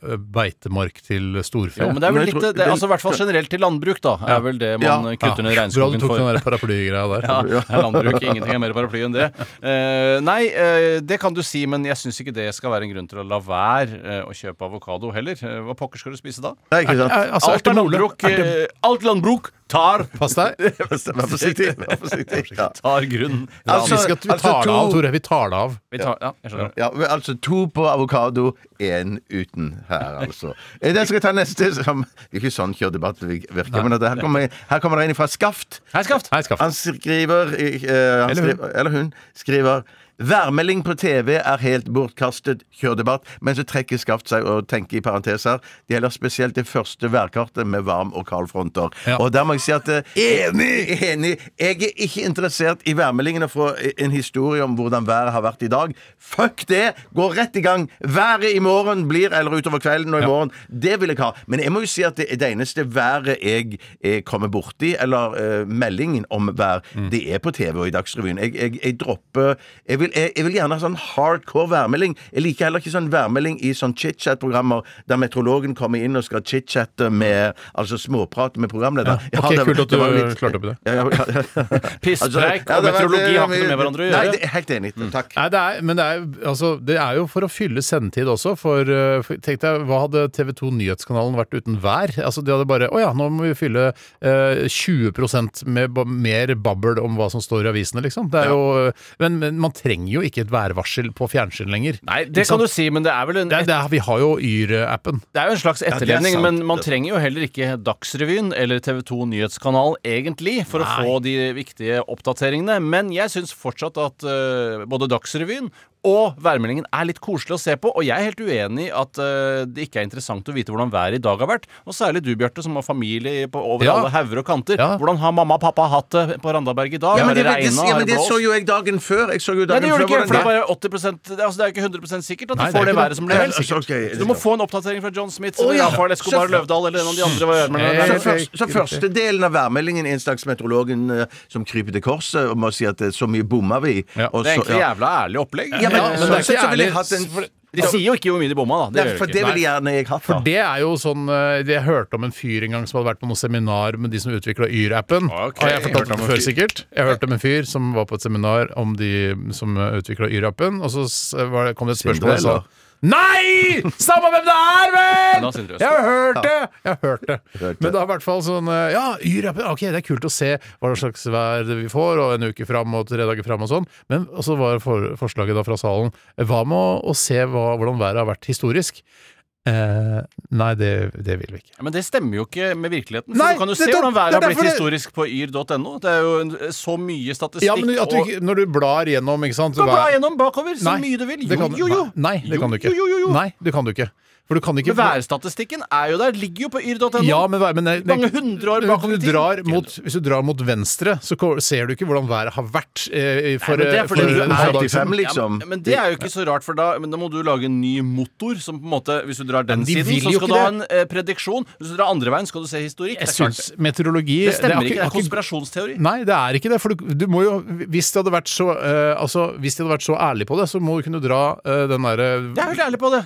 eh, beitemark til storfe.
Jo, men det er vel
Men jeg
litt,
tror-
det, er altså i hvert fall generelt til landbruk, da, er vel det man
Ja.
eh, kutter ned
Ja, Bra du
regnskogen
tok
for.
den der paraplygreia der.
(laughs) Ja, det er landbruk. Ingenting er mer paraply enn det. Eh, nei, eh, det kan du si, men jeg syns ikke det skal være en grunn til å la være eh, å kjøpe avokado heller. Eh, hva pokker skal du spise da?
Nei, ikke sant?
Eh, Altså,
alt, er
ertemole.
landbruk,
Erte-
eh, alt landbruk tar
Pass deg.
(laughs) Vær forsiktig. Vær forsiktig. Ja.
Tar grunn.
Vi, skal, vi
altså,
tar det av,
to-
Tore. Vi tar det av.
Vi tar, ja, jeg skjønner.
Ja, men altså to på avokado, én uten her, altså. Eh, Den skal jeg ta neste, som det er Ikke sånn kjør debatt vir- virker, men at her kommer, her kommer det en fra Skaft.
Hei, Skaft.
Hei, skaff.
Han skriver, eh, han
Eller hun.
skriver Eller hun skriver Værmelding på TV er helt bortkastet. Kjør debatt. Men så trekker Skaft seg og tenker i parentes her. Det gjelder spesielt det første værkartet med varm og kald fronter.
Ja.
Og der må jeg si at eh, Enig! Enig. Jeg er ikke interessert i værmeldingene fra en historie om hvordan været har vært i dag. Fuck det! Gå rett i gang. Været i morgen blir eller utover kvelden og i morgen. Det vil jeg ha. Men jeg må jo si at det, det eneste været jeg eh, kommer borti,
Mm.
eller eh, meldingen om vær, det er på TV og i Dagsrevyen. Jeg, jeg, jeg dropper Jeg vil jeg, jeg vil gjerne ha sånn hardcore værmelding. Jeg liker heller ikke sånn værmelding i sånn chit-chat-programmer der meteorologen kommer inn og skal chit-chatte med Altså småprate med programleder.
Ja, ok, kult at du klarte opp i det.
Ja,
(laughs)
ja, ja, ja.
Pisspreik og
det var-
meteorologi har ikke noe med hverandre å
Nei,
gjøre. Mm.
det er helt enig. Takk.
Nei, det er, men det er, altså, det er jo for å fylle sendetid også. For, eh, for tenk deg, hva hadde TV 2 Nyhetskanalen vært uten vær? Altså, de hadde bare Å ja, nå må vi fylle eh, 20 med ba mer babbel om hva som står i avisene, liksom. Det er jo, men, men man trenger jo ikke et værvarsel på fjernsyn lenger.
Nei, det
Ikke
kan
sant?
du si, men det er vel en,
det er, det er, Vi har jo Yr-appen.
det er jo en slags
det er
etterlevning.
sant.
men man trenger jo heller ikke Dagsrevyen eller TV 2 Nyhetskanal egentlig for å få de viktige oppdateringene. Men jeg syns fortsatt at eh, både Dagsrevyen og værmeldingen er litt koselig å se på. Og jeg er helt uenig i at eh, det ikke er interessant å vite hvordan været i dag har vært. Og særlig du, Bjarte, som har familie på over
Ja.
alle hauger og kanter.
Ja.
Hvordan har mamma og pappa hatt det på Randaberg i dag?
Ja, men det,
har det
det,
regna?
ja,
Har
men
det
det så
blåst?
jo jeg dagen før. Jeg så jo
Nei,
dagen
det gjør det
før
ikke, for det er
hvordan
bare 80 det, altså, det er jo ikke 100 sikkert at
Nei, det
du
er
får det
ikke det.
været som
Det er
ble
helt
Så- ok,
Så du må få en oppdatering fra John Smith eller
ja.
Rafael Escobar Løvdahl eller en av de andre. hva gjør man med
Så,
det?
Selvfølgelig.
først, så første delen av værmeldingen er en slags meteorologen eh, som kryper til korset og må si at eh, så mye bomma vi.
Ja,
og
Det er
så-
egentlig
ja.
jævla ærlig opplegg.
Ja, men,
Ja, men
så,
det er
så,
ikke
så ville jeg
ærlig.
hatt en for,
De sier jo ikke hvor mye de bomma, da. Det
Nei,
gjør
for
de
det
ikke.
ville gjerne jeg hatt, da.
For det er jo sånn eh, det Jeg hørte om en fyr en gang som hadde vært på noe seminar med de som utvikla Yr-appen.
Ah, Ok.
Har jeg fortalt
Hørte om
det
en
før,
fyr.
sikkert? Jeg hørte om en fyr som var på et seminar om de som utvikla Yr-appen, og så s- var det, kom det et spørsmål og sa
Sindre,
Nei! Samme hvem det er,
Men da
vel!
Sindre Østby.
Jeg har hørt det! Jeg har hørt det.
Hørt det.
Men da i hvert fall sånn eh, Ja, Yr-appen, ok, det er kult å se hva slags vær vi får, og en uke fram og tre dager fram og sånn, men og så var for, forslaget da fra salen eh, Hva med å, å se hva, hvordan været har vært historisk? Eh, nei, det, det vil vi ikke.
Ja, Men det stemmer jo ikke med virkeligheten.
Nei,
For du kan jo se
nettopp.
hvordan været
Det er
har blitt
derfor det-
historisk på yr.no. Det er jo en- så mye statistikk
Ja, men at du, ikke- når du blar gjennom, ikke sant
og Du kan
hva-
bla gjennom bakover så
Nei,
mye du
det
vil. Jo,
kan-
jo, jo.
Nei, det kan du ikke.
Jo, jo, jo, jo.
Nei, det kan du ikke. For du kan ikke
Men værstatistikken er jo der. Ligger jo på yr.no.
Ja, men, vær- men det-
Mange hundre år bakover i
hvis du
tid.
drar mot, Hvis du drar mot venstre, så ko- ser du ikke hvordan været har vært eh, for,
Nei, men det er
for,
fordi du er
for dager siden.
85, liksom.
Ja, men, men det er jo ikke så rart, for da, men da må du lage en ny motor. Som på en måte, Hvis du drar den
de
siden,
vil
så
jo
skal
ikke
du ha
det.
en eh, prediksjon. Hvis du drar andre veien, skal du se
Jeg
historikk. Det er klart
syns meteorologi
det. det stemmer
har
ikke. Det er
har
konspirasjonsteori.
Nei, det er ikke det. For du, du må jo, hvis de hadde vært så eh, Altså, hvis de hadde vært så ærlige på det, så må du kunne dra eh, den derre
Jeg er helt ærlig på det.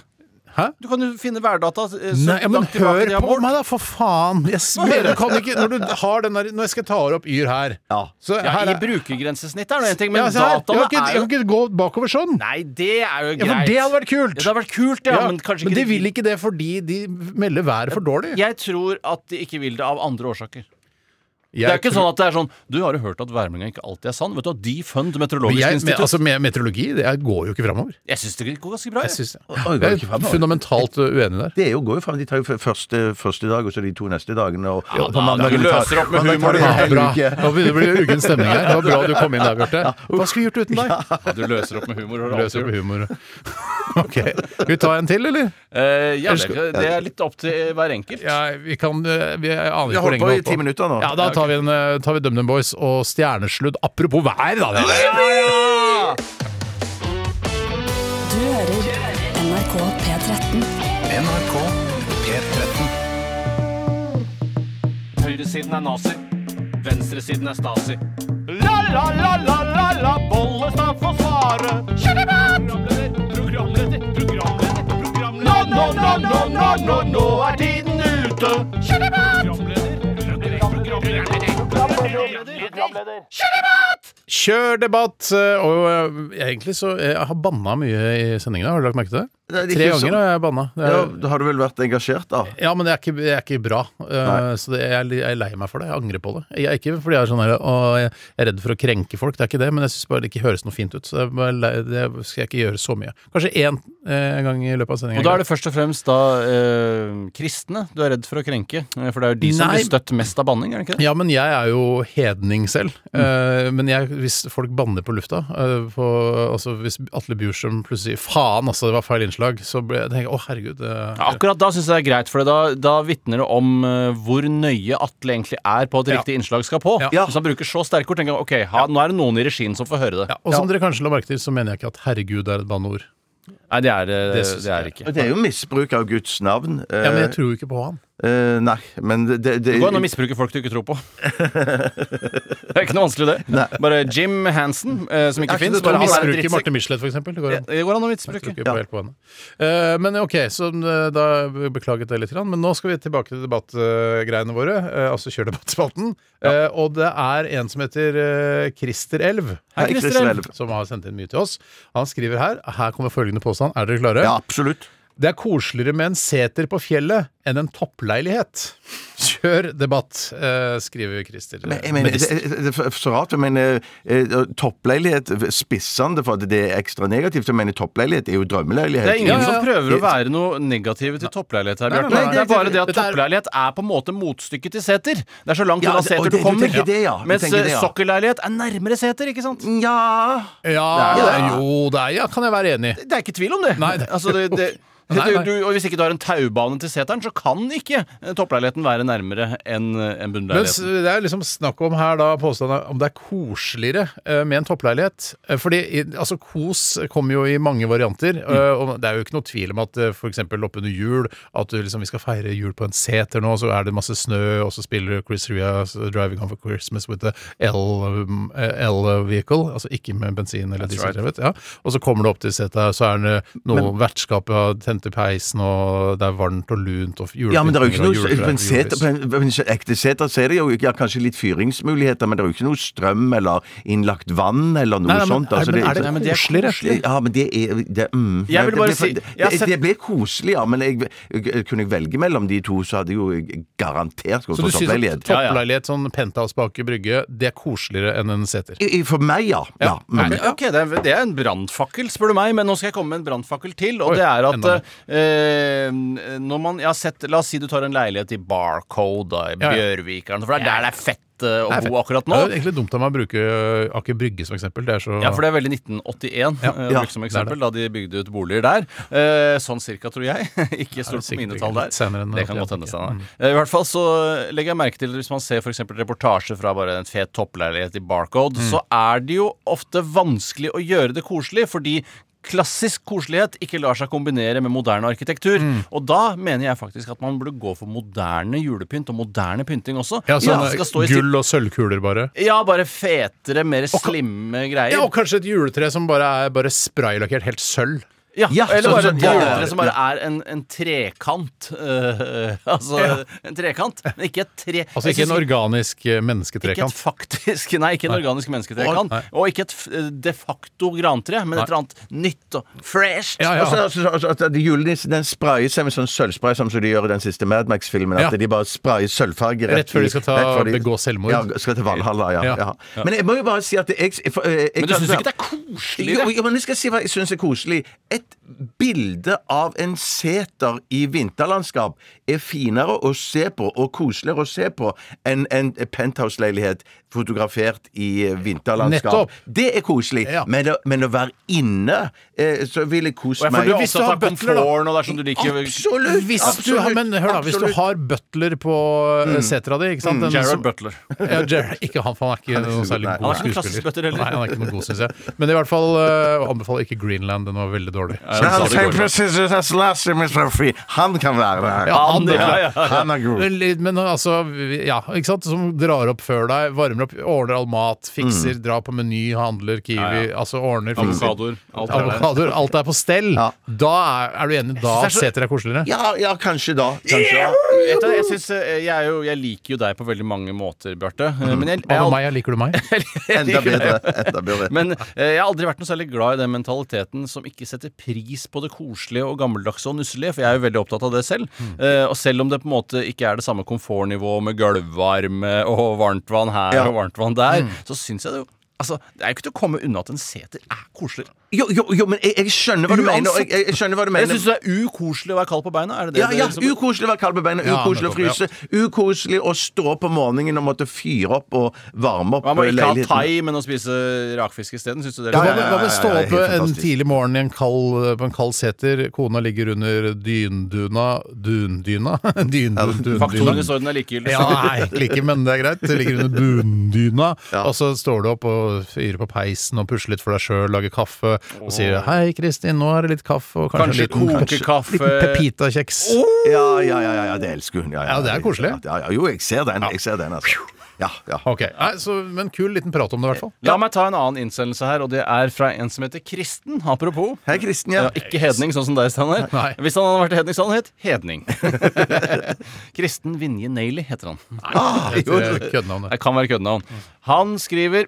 Hæ?
Du kan jo finne værdata. eh, så
Nei, ja, men
langt tilbake
hør
de har
på
målt.
meg, da, for faen! Jeg
(laughs)
sver, du kan ikke, når du har den der Når jeg skal ta opp Yr her
Ja.
så
Ja,
her
I brukergrensesnitt er det en ting, men
Ja, se her. Jeg kan
dataene
ikke,
er
jeg
jo
kan ikke gå bakover sånn!
Nei, det er jo greit.
Ja, for det hadde vært
Ja,
kult!
det hadde vært kult, ja,
Ja,
men kanskje
men
ikke
de vil ikke det fordi de melder været for dårlig.
Jeg tror at de ikke vil det av andre årsaker.
Jeg
det er ikke
tror-
sånn at det er sånn Du har jo hørt at værmeldinga ikke alltid er sann. Vet du at Defund Meteorologisk
jeg, men,
institutt
altså, med meteorologi det er- går jo ikke framover.
Jeg syns det går ganske bra.
Jeg,
jeg.
synes det.
Oi, går
jeg
ikke
er
fremover.
fundamentalt uh, uenig der.
Det er jo, går jo fram. De tar jo f- første, første dag, og så de to neste dagene. Og, og på
da,
mandag
du
de tar-
løser opp med
mandag tar
humor,
de
du.
en
Ja,
hel
bra.
uke.
Nå begynner det å bli ukens stemning her. Det var bra du kom inn der, Bjarte. Hva skulle vi gjort uten deg?
Ja, du løser opp med humor. Har du
Løser
alltid
på
gjort.
humor. (laughs) Ok. Skal vi ta en til, eller?
Eh, ja, det, det er litt opp til hver enkelt.
Ja, vi kan eh, Vi jeg aner ikke
Vi har
hvor
holdt
lenge
på
vi
i ti minutter nå.
Ja, da tar vi, en, eh, tar vi DumDum Boys og Stjernesludd. Apropos vær, da. Det.
Du hører NRK P13.
NRK P13.
Høyresiden er nazi, venstresiden er stasi. La la la la la la Bollestad får svare. Programleder, programleder, programleder, programleder. Nå, nå, nå, nå, nå, nå, nå er tiden ute. Programleder, programleder, programleder, programleder.
Kjør debatt! eh, Og eh, egentlig så eh, Jeg har banna mye i sendingene. Har du lagt merke til det?
Nei, det er
Tre
ikke så-
ganger har jeg banna. Det
Ja,
er-
da har du vel vært engasjert, da?
Ja, men det er ikke, det er ikke bra. Eh, så det, jeg, er li- jeg er lei meg for det. Jeg angrer på det. Jeg er ikke fordi jeg er sånn her, å, jeg er redd for å krenke folk, det er ikke det. Men jeg syns bare det ikke høres noe fint ut. Så jeg er bare lei, det skal jeg ikke gjøre så mye. Kanskje én eh, gang i løpet av sendinga.
Og da er det først og fremst da eh, kristne du er redd for å krenke. eh, For det er jo de som
Nei.
blir støtt mest av banning, er det ikke det?
Ja, men jeg er jo hedning selv. Eh, men jeg, hvis folk banner på lufta eh, på, altså Hvis Atle Bjurstrøm plutselig sier 'faen, altså, det var feil innslag', så blir jeg, tenker jeg 'å, herregud'. eh,
Ja, Akkurat da syns jeg det er greit, for da, da vitner det om eh, hvor nøye Atle egentlig er på at
Ja.
riktig innslag skal på.
Ja.
Hvis han bruker så sterke ord, tenker jeg ok, ha, nå er det noen i regien som får høre det.
Ja, og som dere kanskje la merke til, så mener jeg ikke at 'herregud' er et banneord.
Nei, det er eh,
Det syns
det er
jeg.
ikke.
Og Det er jo misbruk av Guds navn. eh,
Ja, men jeg tror jo ikke på han.
Eh, nei, men det, det, det
Det går an å misbruke folk du
(laughs)
ikke tror på. det er ikke noe vanskelig, det. Bare Jim Hansen, eh, som ikke
ikke
fins.
det bare
Bare
han er en
misbruke
drittsekk.
Marte Michelet, for eksempel. Det går an.
Det går an å
Jeg tror
misbruke.
ikke på helt på henne. Eh, men ok, så eh, da beklaget jeg litt, grann, men nå skal vi tilbake til debattgreiene våre. eh, altså kjør debattspalten. Eh, og det er en som heter eh, Christer Elv,
Hei, Christer Christer Elv. Elv.
som har sendt inn mye til oss. Han skriver her Her kommer følgende påstand. Er dere klare?
Ja, absolutt.
Det er koseligere med en seter på fjellet enn en toppleilighet. Kjør debatt, eh, skriver Christer.
Men, jeg mener, det, det, det er så rart, men eh, eh, toppleilighet spissende for at det er ekstra negativt. Jeg mener, toppleilighet er jo drømmeleilighet.
Det er ingen
Ja, ja, ja.
som prøver å være noe negative til toppleilighet her,
Nei,
Bjarte.
nei, nei,
Det er bare det at
dette er-
toppleilighet er på en måte motstykket til seter. Det er så langt
Ja,
unna
det- og
seter du
det- du
kommer.
tenker det, ja. Du
Mens
tenker det, ja.
eh, sokkelleilighet er nærmere seter, ikke sant?
Ja
Ja, det er,
Ja.
jo, det er, ja, kan jeg være enig i.
Det er ikke tvil om det.
Nei, det-
Altså, det, det
Nei,
du,
nei.
du, og Hvis ikke du har en taubane til seteren, så kan ikke eh, toppleiligheten være nærmere enn en
Men s-
bunnleiligheten.
det er liksom snakk om her da påstanden om det er koseligere eh, med en toppleilighet. Eh, Fordi i- altså kos kommer jo i mange varianter.
Mm.
eh, Og det er jo ikke noe tvil om at eh, for eksempel oppunder jul, at du liksom, vi skal feire jul på en seter nå, så er det masse snø, og så spiller Chris Ria 'Driving Home for Christmas' with the um, L-vehicle, altså ikke med bensin eller dieseldrevet. Ja. Og så kommer du opp til seter, så er det noe vertskap, ja, tente peisen, og det er varmt og lunt, og julepynt
Ja, men det er jo ikke
og
noe
juletrær,
på en, seter,
julelys.
på en, på en ekte seter så er det jo ikke- ja, kanskje litt fyringsmuligheter, men det er jo ikke noe strøm eller innlagt vann eller noe
Nei, nei, men
sånt. altså,
er- men er det
Nei, men det er
koseligere?
koselig? Ja, men det er det, mm,
Jeg vil
det
bare
blir for-
si-
det,
jeg har
det,
sett-
det blir koselig, ja, men jeg, jeg, kunne jeg velge mellom de to, så hadde jeg jo garantert gått
Så
for
du syns
toppleilighet.
at toppleilighet, sånn penthouse bak i brygge, det er koseligere enn en seter?
I- i- For meg, ja. ja. mm.
Ok, ok, det er, det er en brannfakkel, spør du meg, men nå skal jeg komme med en brannfakkel til. Og
Oi,
det er at
enda
eh, når man jeg har sett, La oss si du tar en leilighet i Barcode da, i
Ja, ja.
Bjørvikeren, for det er der det er fett eh, å
Det er
bo
fett.
akkurat
Det
nå.
er jo egentlig dumt av meg å bruke ø, Aker Brygge som eksempel. Det er så
Ja, for det er veldig 1981, ja,
ja,
brukt som
det er det.
eksempel, da de bygde ut boliger der. Eh, sånn cirka, tror jeg. (laughs) ikke stol på
sikkert
mine tall
litt
der.
senere enn Mm.
det kan godt
81,
hende. Steinar. Eh, I hvert fall så legger jeg merke til, hvis man ser f.eks. reportasje fra bare en fet toppleilighet i Barcode,
Mm.
så er det jo ofte vanskelig å gjøre det koselig, fordi Klassisk koselighet ikke lar seg kombinere med moderne arkitektur.
Mm.
Og da mener jeg faktisk at man burde gå for moderne julepynt og moderne pynting også.
Ja, sånn
det skal stå i stil-
gull og sølvkuler, bare.
Ja, bare fetere, mer
ka-
slimme greier.
Ja, Og kanskje et juletre som bare er bare spraylakkert helt sølv.
Ja,
Ja,
eller
sånn
bare
som-
et
ja, ja,
juletre
ja.
som bare er en, en trekant. eh, (laughs) altså en trekant, men ikke et tre...
Altså
Jeg
ikke
synes
en organisk ø,
Ikke et
mennesketrekant.
faktisk, (laughs) nei, ikke en organisk mennesketrekant.
Nei.
Og ikke et f- øh, de facto grantre, men
Nei.
et eller annet nytt og fresh.
Ja,
Og så-
ja.
og så- og så- altså, at de Julenissen den sprayer seg med sånn sølvspray som de gjør i den siste Mad Max-filmen. At
Ja.
de bare sprayer sølvfarge
Rett før de skal ta-
rett før
begå selvmord.
Ja, skal til Valhalla, ja.
Ja.
ja. Men jeg må jo bare si at jeg, jeg, jeg
Men du syns ikke det er koselig?
jo, jo, men jeg skal si hva jeg syns er koselig. Et bilde av en seter i vinterlandskap er finere å se på og koseligere å se på enn en penthouse-leilighet fotografert i vinterlandskap.
Nettopp.
Det er koselig.
Ja.
Men, å, men å være inne, eh, så vil jeg kose
For
meg.
du er
hvis du
opptatt
har
av
butler, da.
komforten, altså, og det er som du liker
Absolutt!
Hvis du,
absolutt,
har- men hør da, hvis du
absolutt.
har butler på
Mm.
ø, setra di ikke sant? Den som-
Jared Butler.
(laughs) Ja, Jared, ikke han, for han er ikke
er ikke
noen
så god,
særlig
nei.
god
Han er ikke noen klassespøtter
skuespiller.
heller.
Nei, han er ikke noe god, synes jeg. Men i hvert fall uh, anbefaler ikke Greenland. Den var veldig dårlig.
Men han
sa det i går,
sier precis det som Lars sier, Mr. Free. Han kan være der.
Ja, han-
Han er god.
Men, litt- men altså, vi- ja, ikke sant? Som drar opp før deg, varmer opp, ordner all mat, fikser,
Mm.
drar på Meny, handler Kiwi, altså ordner fikser.
Avokadoer. Alt er der.
Avokadoer. Alt er på stell.
Ja.
Da er, er du enig? Da
Jeg synes det
seter er koseligere?
Ja, ja, kanskje da. Kanskje da.
Vet du, jeg, synes, eh, jeg, er jo, jeg liker jo deg på veldig mange måter, Bjarte. eh, Men jeg, jeg,
Hva
er
med meg? ja, Liker
(laughs)
du meg?
(laughs)
Enda bedre. Enda bedre.
Men eh, jeg har aldri vært noe særlig glad i den mentaliteten som ikke setter pris på det koselige og gammeldagse og nusselige, for jeg er jo veldig opptatt av det selv.
Mm.
Eh, og selv om det på en måte ikke er det samme komfortnivået med gulvvarme og varmtvann her og varmtvann der,
Mm.
så syns jeg det jo Altså, Det er jo ikke til å komme unna at en seter er koselig.
Jo, jo, jo, men jeg, jeg skjønner hva du mener. og Jeg, jeg, jeg skjønner hva du
Jeg
mener.
syns det er ukoselig å være kald på beina. Er det det?
Ja, ja,
det liksom-
ukoselig å være kald på beina,
Ja,
ukoselig å
nettopp,
fryse, ukoselig å stå på morgenen og måtte fyre opp og varme opp
Man må ikke ha
leiligheten.
thai, men å spise rakfisk isteden. Syns du det? er
Hva
litt-
med, hva med stå
ja, ja,
opp
helt
en
fantastisk.
tidlig morgen i en kald, på en kald seter, kona ligger under dynduna (laughs) Dundyna? Dynduna?
sånn- Faktorene i sorden er likegyldig.
Ja, nei, egentlig ikke, men det er greit. Det ligger under bundyna, og så står du opp og fyrer på peisen og pusler litt for deg sjøl, lager kaffe, og sier 'Hei, Kristin, nå er det litt kaffe og kanskje, en
Kanskje
liten,
kokekaffe.
liten pepitakjeks'.
Ja, ja, ja, ja, ja, det elsker hun. Ja,
Ja, det er koselig.
Ja, ja, jo, jeg ser den. Jeg ser den altså. Ja, ja.
Ok, Nei, så, Men kul liten prat om det, i hvert fall.
La meg ta en annen innsendelse her, og det er fra en som heter Kristen. Apropos.
Hei, Kristen.
Ja,
Ja.
ikke hedning, sånn som deg, Steinar.
Nei.
Hvis han hadde vært hedning, så hadde han hett Hedning.
(laughs)
Kristen Vinje Naily heter han.
Etter eh, køddenavnet.
Det kan være køddenavn. Han skriver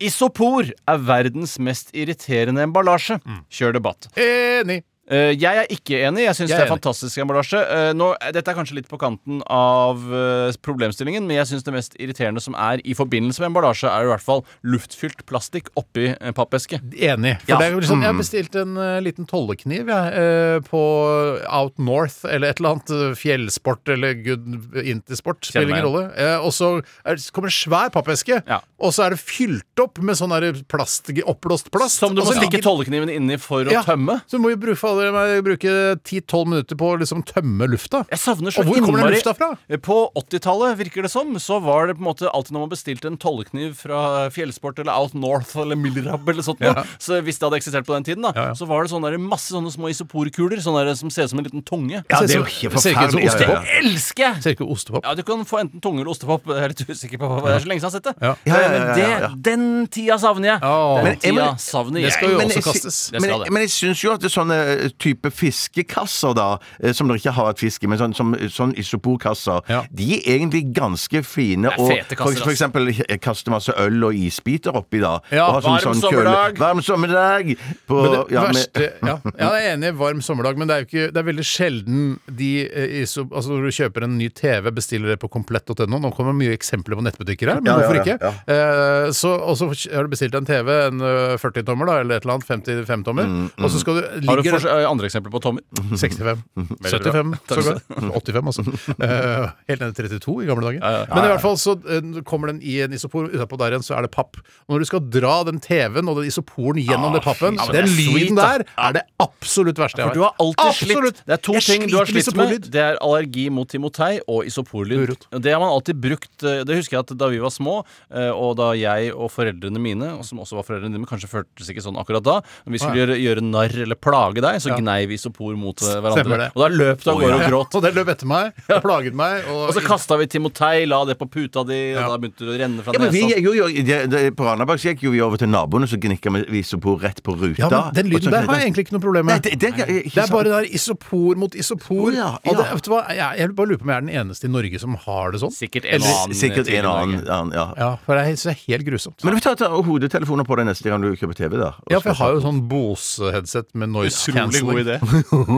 Isopor er verdens mest irriterende emballasje.
Mm.
Kjør debatt.
Enig!
Eh, jeg er ikke enig. Jeg
Jeg
syns det
er
er
enig.
fantastisk emballasje. Eh, nå, dette er kanskje litt på kanten av eh, problemstillingen, men jeg syns det mest irriterende som er i forbindelse med emballasje, er i hvert fall luftfylt plastikk oppi eh, pappeske.
Enig. For det er jo liksom, jeg
Mm.
har bestilt en eh, liten tollekniv jeg, eh, på Out North eller et eller annet. eh, Fjellsport eller good intersport. Spiller
meg
ingen rolle. Eh, og så er, det- kommer det en svær pappeske,
Ja.
og så er det fylt opp med sånn der plast, oppblåst plast.
Som du
og
må
så
stikke
ligger-
tollekniven inni for å
Altså, Ja,
tømme.
Så må vi bruke, fader meg, bruke 10-12 minutter på å liksom tømme lufta.
Jeg savner
Og
så
hvor kommer den
innmari- Eh,
lufta fra?
På 80-tallet, virker det som, så var det på en måte alltid når man bestilte en tollekniv fra Fjellsport eller Out North eller Milrab eller sånt noe, så hvis det hadde eksistert på den tiden, da, så var det sånne der, masse sånne små isoporkuler sånne der, som ser ut som en liten tunge.
Ja, det er jo
Ser
helt
ikke- ser ikke ut som
forferdelig. Ja, ja,
ostepop.
ja.
Elsker jeg!
Ser ikke ut som ostepop.
Ja, Du kan få enten tunge eller ostepop. Jeg er litt usikker på hva det er så lenge siden jeg har sett det.
Ja.
Ja, ja, ja,
Men
ja, ja.
det, den tida savner jeg.
Åh.
Den
Men
tida
Emil,
savner
det
jeg.
skal jo
Men
også
jeg sy-
kastes.
Det
Men,
skal det.
jeg- men jeg syns jo at det er sånne eh, type fiskekasser, da, eh, som dere ikke har et fisk i, men sånn, som, sånn isoporkasser,
Ja.
de er egentlig ganske fine.
er
Og
fete kasser,
for, for
ass.
eksempel eh, kaste masse øl og isbiter oppi da.
altså. Ja,
og sånn,
varm sommerdag.
Varm sommerdag! På,
Men det
ja, men-
verste, ja, ja, jeg er enig. Varm sommerdag, men det er jo ikke Det er veldig sjelden de eh, iso, Altså Når du kjøper en ny TV, bestiller det på komplett.no. Nå kommer mye eksempler på nettbutikker her, men
Ja, ja,
hvorfor
ja,
ikke? Eh, så, og så har du bestilt en TV, en eh, 40-tommer da, eller et eller annet, 55-tommer,
Mm,
og så skal du eh,
Har du
ligger-
for, andre eksempler på tommer?
65. 75, Mhm. sågar. 85, altså. Eh, helt ned til 32 i gamle dager. Men i hvert fall så eh, kommer den i en isopor, utapå der igjen så er det papp. Og når du skal dra den TV-en og den isoporen gjennom det pappen,
men Ah, det
den
er sweet,
lyden
da.
der er det absolutt verste jeg
For du har alltid
Absolutt.
slitt Det er to
Jeg
ting du har
sliter med
slitt med.
isoporlyd.
Det er allergi mot timotei og isoporlyd.
Urot.
Og Det har man alltid brukt eh, Det husker jeg at da vi var små, eh, og da jeg og foreldrene mine, og som også var foreldrene dine, men kanskje føltes ikke sånn akkurat da, når vi skulle gjøre, gjøre narr eller plage deg, så gnei vi isopor mot eh,
Stemmer
hverandre.
det.
Og da løp du av gårde og gråt.
Ja, (laughs) og det løp etter meg og plaget meg. Og,
Og så kasta vi timotei, la det på puta di, og
Ja.
da begynte det å renne fra
Ja, men vi
altså-
nesa.
gikk jo, det, det, på Randaberg så gikk jo vi over til naboene, så gnikka vi isopor rett på ruta.
ja, men Den
Og så-
lyden der har jeg egentlig ikke noe problem
Nei,
med.
det, det, det,
Det er bare det der isopor mot isopor.
Å, ja,
Og det,
ja.
vet du hva? Jeg, jeg bare lurer på om jeg er den eneste i Norge som har det sånn.
Sikkert en og annen.
Sikkert
til i
en og
Norge.
annen. annen, Ja.
Ja, for det er, så det er helt grusomt.
Men du får ta, ta hodetelefoner på deg neste gang du kjøper TV, da. og
Ja, for
skal
jeg har jo sånn Bose-headset med noise
Utrolig god
(laughs)
idé.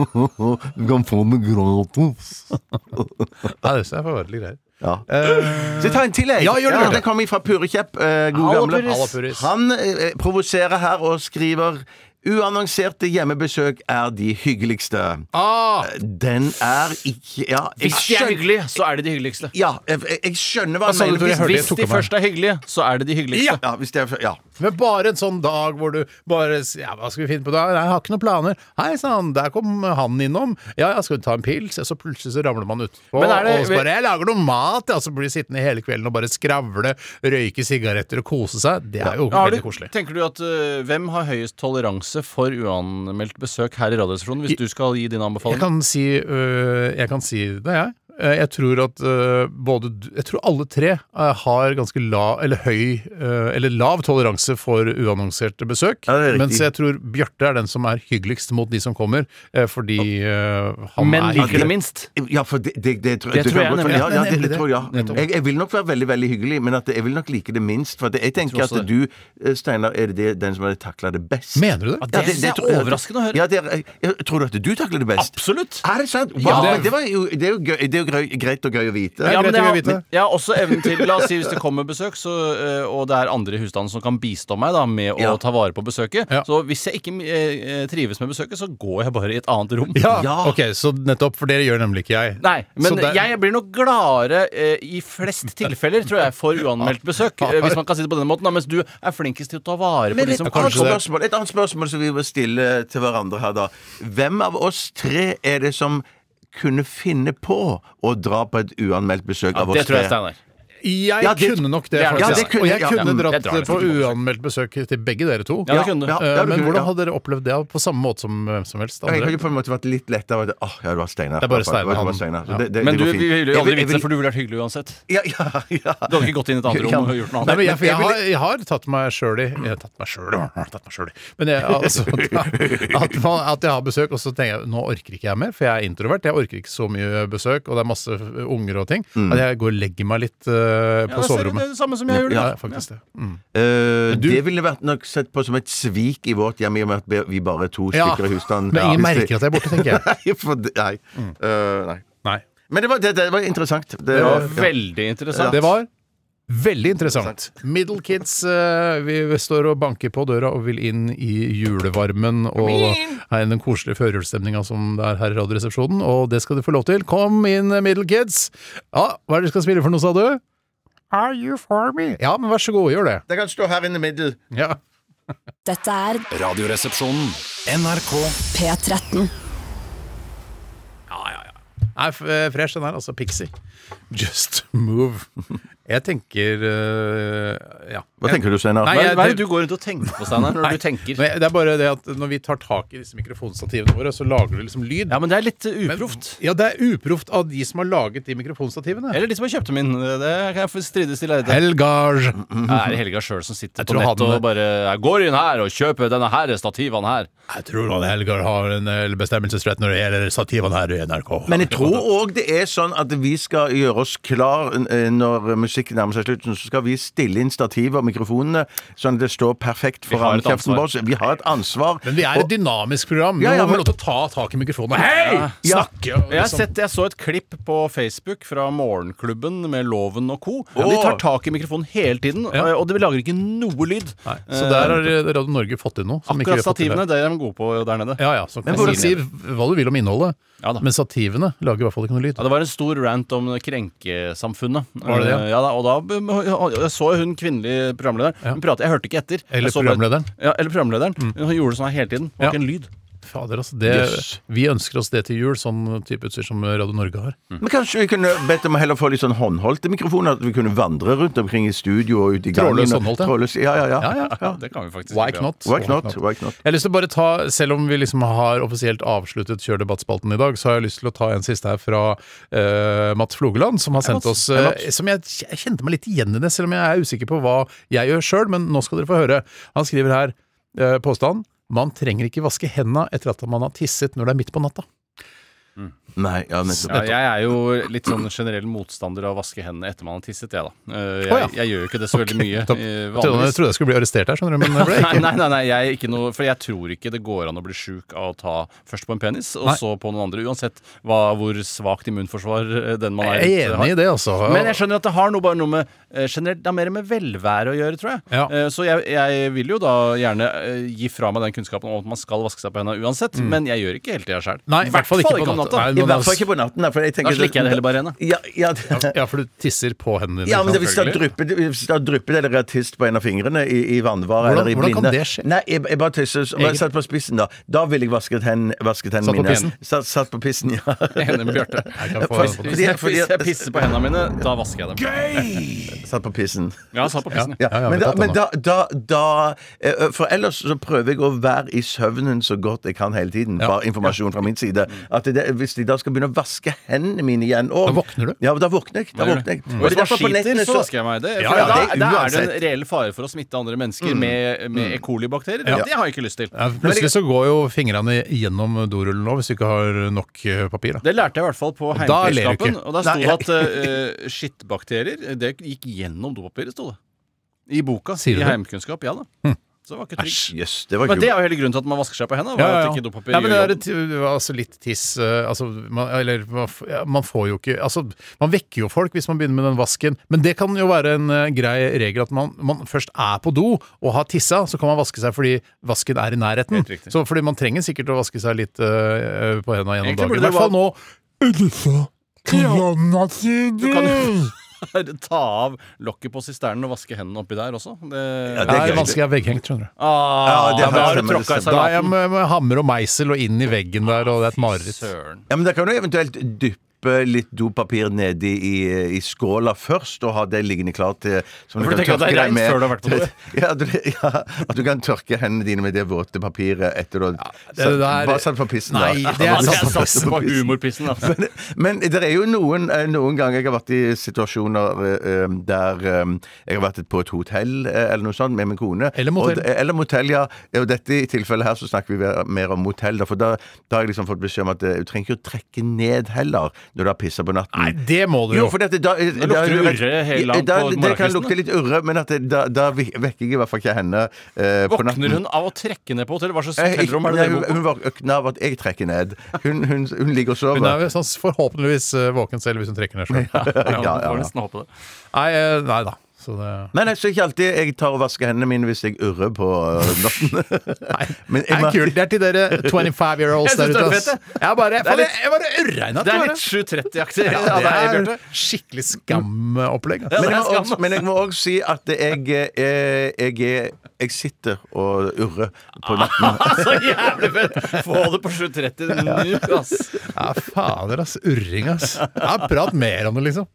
Du kan få den gratis.
Nei, det synes jeg er forferdelige greier.
Ja. Så ta en til, jeg.
Eh, Ja, gjør det, gjør det.
Den kommer fra Purekjepp. eh, god
Halla,
gamle.
Purres.
Halla, Purres.
Han eh, provoserer her og skriver Uannonserte hjemmebesøk er de hyggeligste.
Ah,
Den er ikke Ja,
Hvis
jeg
de er
skjønner,
hyggelige, så er de de hyggeligste.
ja, jeg, jeg skjønner hva
Hva
han
sa du, Tore? Jeg
mener.
hørte
Hvis
tok
de
av meg.
først er hyggelige, så er det de hyggeligste.
Ja, ja, hvis det er, ja.
men bare en sånn dag hvor du bare s- ja, 'Hva skal vi finne på da?' 'Jeg har ikke noen planer.' 'Hei sann, der kom han innom.' 'Ja ja, skal vi ta en pils?' Og så plutselig så ramler man utpå.
Men er det-
Og så bare 'Jeg lager noe mat', ja. Så blir de sittende hele kvelden og bare skravle, røyke sigaretter og kose seg. Det er jo
Ja, har
veldig
du-
koselig.
Tenker du at øh, Hvem har høyest toleranse for uanmeldt besøk her i Radioresepsjonen, hvis du skal gi din
Jeg
anbefaling?
kan si, øh, jeg kan si det, jeg. Eh, Jeg tror at øh, både du- Jeg tror alle tre eh, har ganske la, eller høy eh, eller lav toleranse for uannonserte besøk.
Ja, det er riktig.
mens jeg tror Bjarte er den som er hyggeligst mot de som kommer, eh, fordi eh, han
Men
er
liker det
hyggelig.
minst.
Ja, for det, det, det, tror,
Det
du
tror
kan
jeg
godt-
nemlig.
Ja, ja, det,
Nemlig
det
det.
tror jeg.
Nettopp.
jeg. Jeg vil nok være veldig veldig hyggelig, men at jeg vil nok like det minst. For det, jeg tenker at
også det.
du, eh, Steinar, er det det- den som hadde takla det best.
Mener du det?
Ja, det synes jeg er
tror-
overraskende å høre.
Ja, det er, jeg, jeg, tror du at du takler det best?
Absolutt.
Er det sant? Wow,
Ja.
det, var jo, det er jo, gøy, det er jo grei- greit og gøy å vite.
Ja,
Ja, men
greit
jeg,
å
har,
vite.
jeg har også evnen til La oss si hvis det kommer besøk, så, øh, og det er andre i husstanden som kan bistå meg da med å
Ja.
ta vare på besøket.
Ja.
Så hvis jeg ikke øh, trives med besøket, så går jeg bare i et annet rom.
Ja.
Ja.
ok, så nettopp, for dere gjør nemlig ikke jeg.
Nei, men
Så det-
jeg blir nok gladere eh, i flest tilfeller, tror jeg, for uanmeldt (laughs) besøk. eh, hvis man kan si det på denne måten. Da, mens du er flinkest til å ta vare på
Men
de
et,
som
annet
liksom kanskje
spørsmål, et annet spørsmål som vi må stille til hverandre her, da. Hvem av oss tre er det som kunne finne på å dra på et uanmeldt besøk av oss
Det tror jeg,
tre?
Steinar.
Jeg
Ja, det-
kunne nok det,
Ja, det
faktisk.
kunne-
og jeg
ja,
kunne
mm,
dratt
jeg drar det
på
for to
uanmeldt besøk til begge dere to.
Ja, det kunne du.
Ja,
Eh,
ja, du
men
kunne-
hvordan
ja.
hadde dere opplevd det på samme måte som hvem som helst
Jeg
andre?
hadde på en måte vært litt lettere. Åh, ja, det var Steinar.
Det er bare
var- var-
Steinar,
var
han-
Steinar. Så
ja.
Det, det,
Men
det
du
går
vi
fint.
ville jo
Jeg
aldri
vil-
vite det,
jeg
for du ville vært hyggelig uansett.
vil- (laughs) Ja, ja, ja.
Du hadde ikke gått inn i et annet rom og gjort
Nei,
noe annet.
men jeg, for jeg,
jeg
har, jeg har tatt meg sjøl i Jeg har tatt meg sjøl i tatt meg selv i. Men jeg, altså, at, man, at jeg har besøk, og så tenker jeg nå orker ikke jeg mer, for jeg er introvert. Jeg orker ikke så mye besøk, og det er masse unger og ting. At jeg går og legger meg litt eh, på
Ja, det er det
soverommet.
er det samme som jeg gjorde.
Ja,
Ja.
faktisk det. Mm.
Eh, det ville vært nok sett på som et svik i vårt hjem, i og med at vi bare er to
Ja,
stykker i husstanden.
Men ingen
Hvis det-
merker at jeg er borte, tenker jeg.
(laughs)
Mm.
Nei, for det- nei. Eh, nei.
Nei.
Men det var, det, det var interessant. Det,
Det
ja.
var veldig interessant.
Det var veldig interessant. Middle Kids, eh, vi står og banker på døra og vil inn i julevarmen og er den koselige førjulsstemninga som det er her i Radioresepsjonen, og det skal du få lov til. Kom inn, eh, Middle Kids. Ja, hva er det du skal spille for noe, sa du? Are you for me? Ja, men vær så god, gjør det.
Det kan stå her inne i middel.
Ja.
Dette er
Radioresepsjonen. NRK
P13.
Nei, f- eh, fresh den her, altså Pixie. Just move. (laughs) Jeg tenker eh, ja.
Hva tenker du, Steinar?
Nei,
Hva
jeg-
hva er det du går rundt og tenker på, Steinar, når du tenker?
Nei, det er bare det at når vi tar tak i disse mikrofonstativene våre, så lager det liksom lyd.
Ja, men det er litt uh,
Men-
uproft.
Ja, det er uproft av de som har laget de mikrofonstativene.
Eller de som har kjøpt dem inn. uh, Det kan jeg få strides til. Det
Helgage!
er Helga sjøl som sitter
Jeg
på
tror
nettet
han-
og bare jeg 'Går inn her og kjøper denne her stativene her'.
Jeg tror at Helgar har en eh, bestemmelsesrett når det gjelder stativene her i NRK.
Men jeg tror òg det er sånn at vi skal gjøre oss klar eh, når musikken nærmer seg slutten. Så skal vi stille inn stativet og mikrofonene sånn at det står perfekt
har
foran
et ansvar.
kjeften vår. Vi har et ansvar.
Men vi er
Og-
et dynamisk program. Vi
Ja, ja,
må få
men-
lov til å ta tak i mikrofonen. Hei!
Ja.
Snakke og
Jeg, har
liksom
sett, jeg så et klipp på Facebook fra Morgenklubben med Loven og co. De tar tak i mikrofonen hele tiden,
Ja.
og de lager ikke noe lyd.
Nei, Så der har eh, Radio Norge fått inn noe. som ikke vi har
Akkurat
fått til
stativene,
her.
det er de gode på der nede.
Ja, ja, så kan
Men
du
hvordan-
si hva du vil om innholdet,
Ja da.
men stativene lager i hvert fall ikke noe lyd.
Ja, det var en stor rant om krenkesamfunnet.
Var det det?
Eh, Ja, da, og da og jeg så hun kvinnelige programlederen.
Ja.
Hun pratet, Jeg hørte ikke etter.
Eller
Jeg så bare-
programlederen. Mm.
Ja, eller programlederen. Hun gjorde sånn her hele tiden. Det
Ja.
var ikke en lyd.
Fader, altså. Det, Vi ønsker oss det til jul, sånn type utstyr som Radio Norge har.
Men kanskje vi kunne bedt om å heller få litt sånn håndholdte mikrofoner? At vi kunne vandre rundt omkring i studio og ut i gangen.
Trådløs
og-
håndholdt, ja.
trådløs, ja. Ja, ja,
Ja, ja,
ja.
Det kan vi faktisk
Why
gjøre.
not?
Why not? Why not?
Jeg har lyst til å bare ta, Selv om vi liksom har offisielt avsluttet Kjør debattspalten i dag, så har jeg lyst til å ta en siste her fra eh, Mats Flogeland, som har sendt oss eh, Som jeg, jeg kjente meg litt igjen i det, selv om jeg er usikker på hva jeg gjør sjøl, men nå skal dere få høre. Han skriver her eh, påstand man trenger ikke vaske henda etter at man har tisset når det er midt på natta.
Nei, ja, nettopp.
Ja, jeg er jo litt sånn generell motstander av å vaske hendene etter man har tisset, jeg, da. Eh, Jeg,
Å, ja.
jeg gjør jo ikke det så veldig mye.
Topp.
eh,
Jeg trodde, jeg
vanligvis.
trodde jeg skulle bli arrestert her, skjønner du, men (laughs) det ble jeg
Nei,
ikke.
nei, nei, nei jeg, er ikke noe, for jeg tror ikke det går an å bli sjuk av å ta først på en penis, og
Nei.
så på noen andre. Uansett hva, hvor svakt immunforsvar eh, den man er.
Jeg er enig i det, altså.
Men jeg skjønner at det har noe, bare noe med eh, generelt, det har mer med velvære å gjøre, tror jeg.
Ja.
Eh, Så jeg, jeg vil jo da gjerne eh, gi fra meg den kunnskapen om at man skal vaske seg på hendene uansett, men jeg gjør ikke helt det sjøl.
Mm. Nei, i hvert fall ikke på
om
natta.
natta.
Nei, noen
I
av
hvert
oss-
fall ikke på natten. Da, for jeg tenker-
Da slikker jeg det heller bare inn, da.
Ja, ja, det-
Ja, for du tisser på hendene dine.
Ja, men det, hvis det
Selvfølgelig.
drypper hvis det drypper eller er tist på en av fingrene i, i vannvare
Hvordan-
eller i
hvordan
blinde
kan det skje?
Nei, jeg, jeg bare tisser. så-
Eget-
Satt på spissen, da. Da ville jeg vasket, hen, vasket hendene
Satt på
mine.
pissen?
Satt, satt på pissen,
(laughs)
ja.
Enig med Bjarte.
Jeg kan få-
Faktisk-
Hvis (laughs) jeg,
fordi-
hvis jeg pisser på hendene mine, da vasker jeg dem.
Satt på pissen.
Ja, sa på pissen.
Ja,
ja,
men
vi
da,
tatt den
men da, da, da eh, For ellers så prøver jeg å være i søvnen så godt jeg kan hele tiden. Bare informasjon fra min side. At det, hvis de da skal begynne å vaske hendene mine igjen og,
Da våkner du.
Ja, da våkner jeg. Da våkner jeg.
Og Mm. hvis
det er
man
derfor på
skiter,
nettene
så vasker jeg meg. Det,
Ja,
for
ja,
da,
det-
da er det en
uansett.
reell fare for å smitte andre mennesker med, med E. coli-bakterier. Det har jeg ikke lyst til.
Ja, plutselig så går jo fingrene gjennom dorullen nå, hvis du ikke har nok eh, papir. Da.
Det lærte jeg i hvert fall på
da ler du
heimkunnskapen.
ikke.
Og der sto det (laughs) at eh, skittbakterier det gikk gjennom dopapiret, sto det. I boka.
Sier du
I
det?
heimkunnskap. Ja da. Så det var ikke
Jøss,
trygt.
det var
Men
kult.
det er jo hele grunnen til at man vasker seg på hendene. var at ikke dopapir
Ja, men det
gjør
er
jobben.
et, altså litt tiss eh, altså, man, Eller man, f- ja, man får jo ikke Altså, man vekker jo folk hvis man begynner med den vasken, men det kan jo være en eh, grei regel at man, man først er på do og har tissa, så kan man vaske seg fordi vasken er i nærheten.
Helt riktig.
Så fordi man trenger sikkert å vaske seg litt eh, på hendene
Egentlig
gjennom dagen. I
burde det
hvert fall nå.
Du kan jo ta av lokket på sisternen og vaske hendene oppi der også. Det,
Ja, det
Det
er
er
gøy.
vanskelig å være vegghengt, skjønner du.
ah,
Ja, det har
da har
jeg
du
stemmer,
tråkka i
det
Da er jeg
salaten.
med, med hammer og meisel og inn i veggen der, og det er et mareritt.
Søren.
Ja, men da kan du eventuelt dyppe stappe litt dopapir nedi i, i skåla først, og ha det liggende klart til som
For du tenker at det er rent før du har vært på do?
(laughs) Ja, du, ja, at du kan tørke hendene dine med det våte papiret etter du har
det der-
Bare satt på pissen,
Nei,
da.
det er
Bare
sant.
satt på
Sats på (laughs)
pissen.
humorpissen, altså.
(laughs) Men, men det er jo noen, eh, noen ganger jeg har vært i situasjoner eh, eh, der eh, jeg har vært et- på et hotell eh, eller noe sånt med min kone.
Eller motell.
Og, eh, eller motell, ja. Og dette i tilfellet her så snakker vi ver- mer om motell, da, for da, da har jeg liksom fått beskjed om at eh, du trenger ikke å trekke ned heller når du har pissa på natten.
Nei, det må du jo.
Jo, for dette, da, eh, da, eh,
lukter det urre helt langt
da,
på
Det kan
morgenkvisten,
lukte litt urre, men at det, da, da vi- vekker jeg i hvert fall ikke henne eh, på natten.
Våkner hun av å trekke ned på hotellet? Hva slags
Eh, ikke-
hotellrom er det
nei,
dere
hun,
bor på?
hun våkner av at jeg trekker ned. Hun, hun, hun ligger og sover.
Hun er jo sånn forhåpentligvis eh, våken selv hvis hun trekker ned sjøl.
ja, ja,
man får
ja.
nesten håpe det.
(laughs) Nei, eh, nei da. Så det
Men jeg, så ikke alltid jeg tar og vasker hendene mine hvis jeg urrer på øh,
(laughs)
natten.
Nei,
Men
det
jeg
er
må-
kult. Det er til dere 25-year-olds
(laughs) Jeg
der
synes det
ute.
er
ass.
fett,
Jeg bare, faen,
litt-
jeg- jeg bare urra i natt.
Det er
bare.
litt 7.30-aktig. Ja,
Ja,
det er,
det
Bjarte.
er skikkelig skamopplegg. ass.
Ja,
Men
det
jeg
er
må også,
skam.
men jeg må også si at jeg, eh, jeg, er- jeg sitter og urrer
Ah,
på
(laughs)
natten.
Så jævlig fett! Få det på 7.30 nå, ass.
Ja, fader, ass. Urring, ass. Ja, prat mer om det, liksom.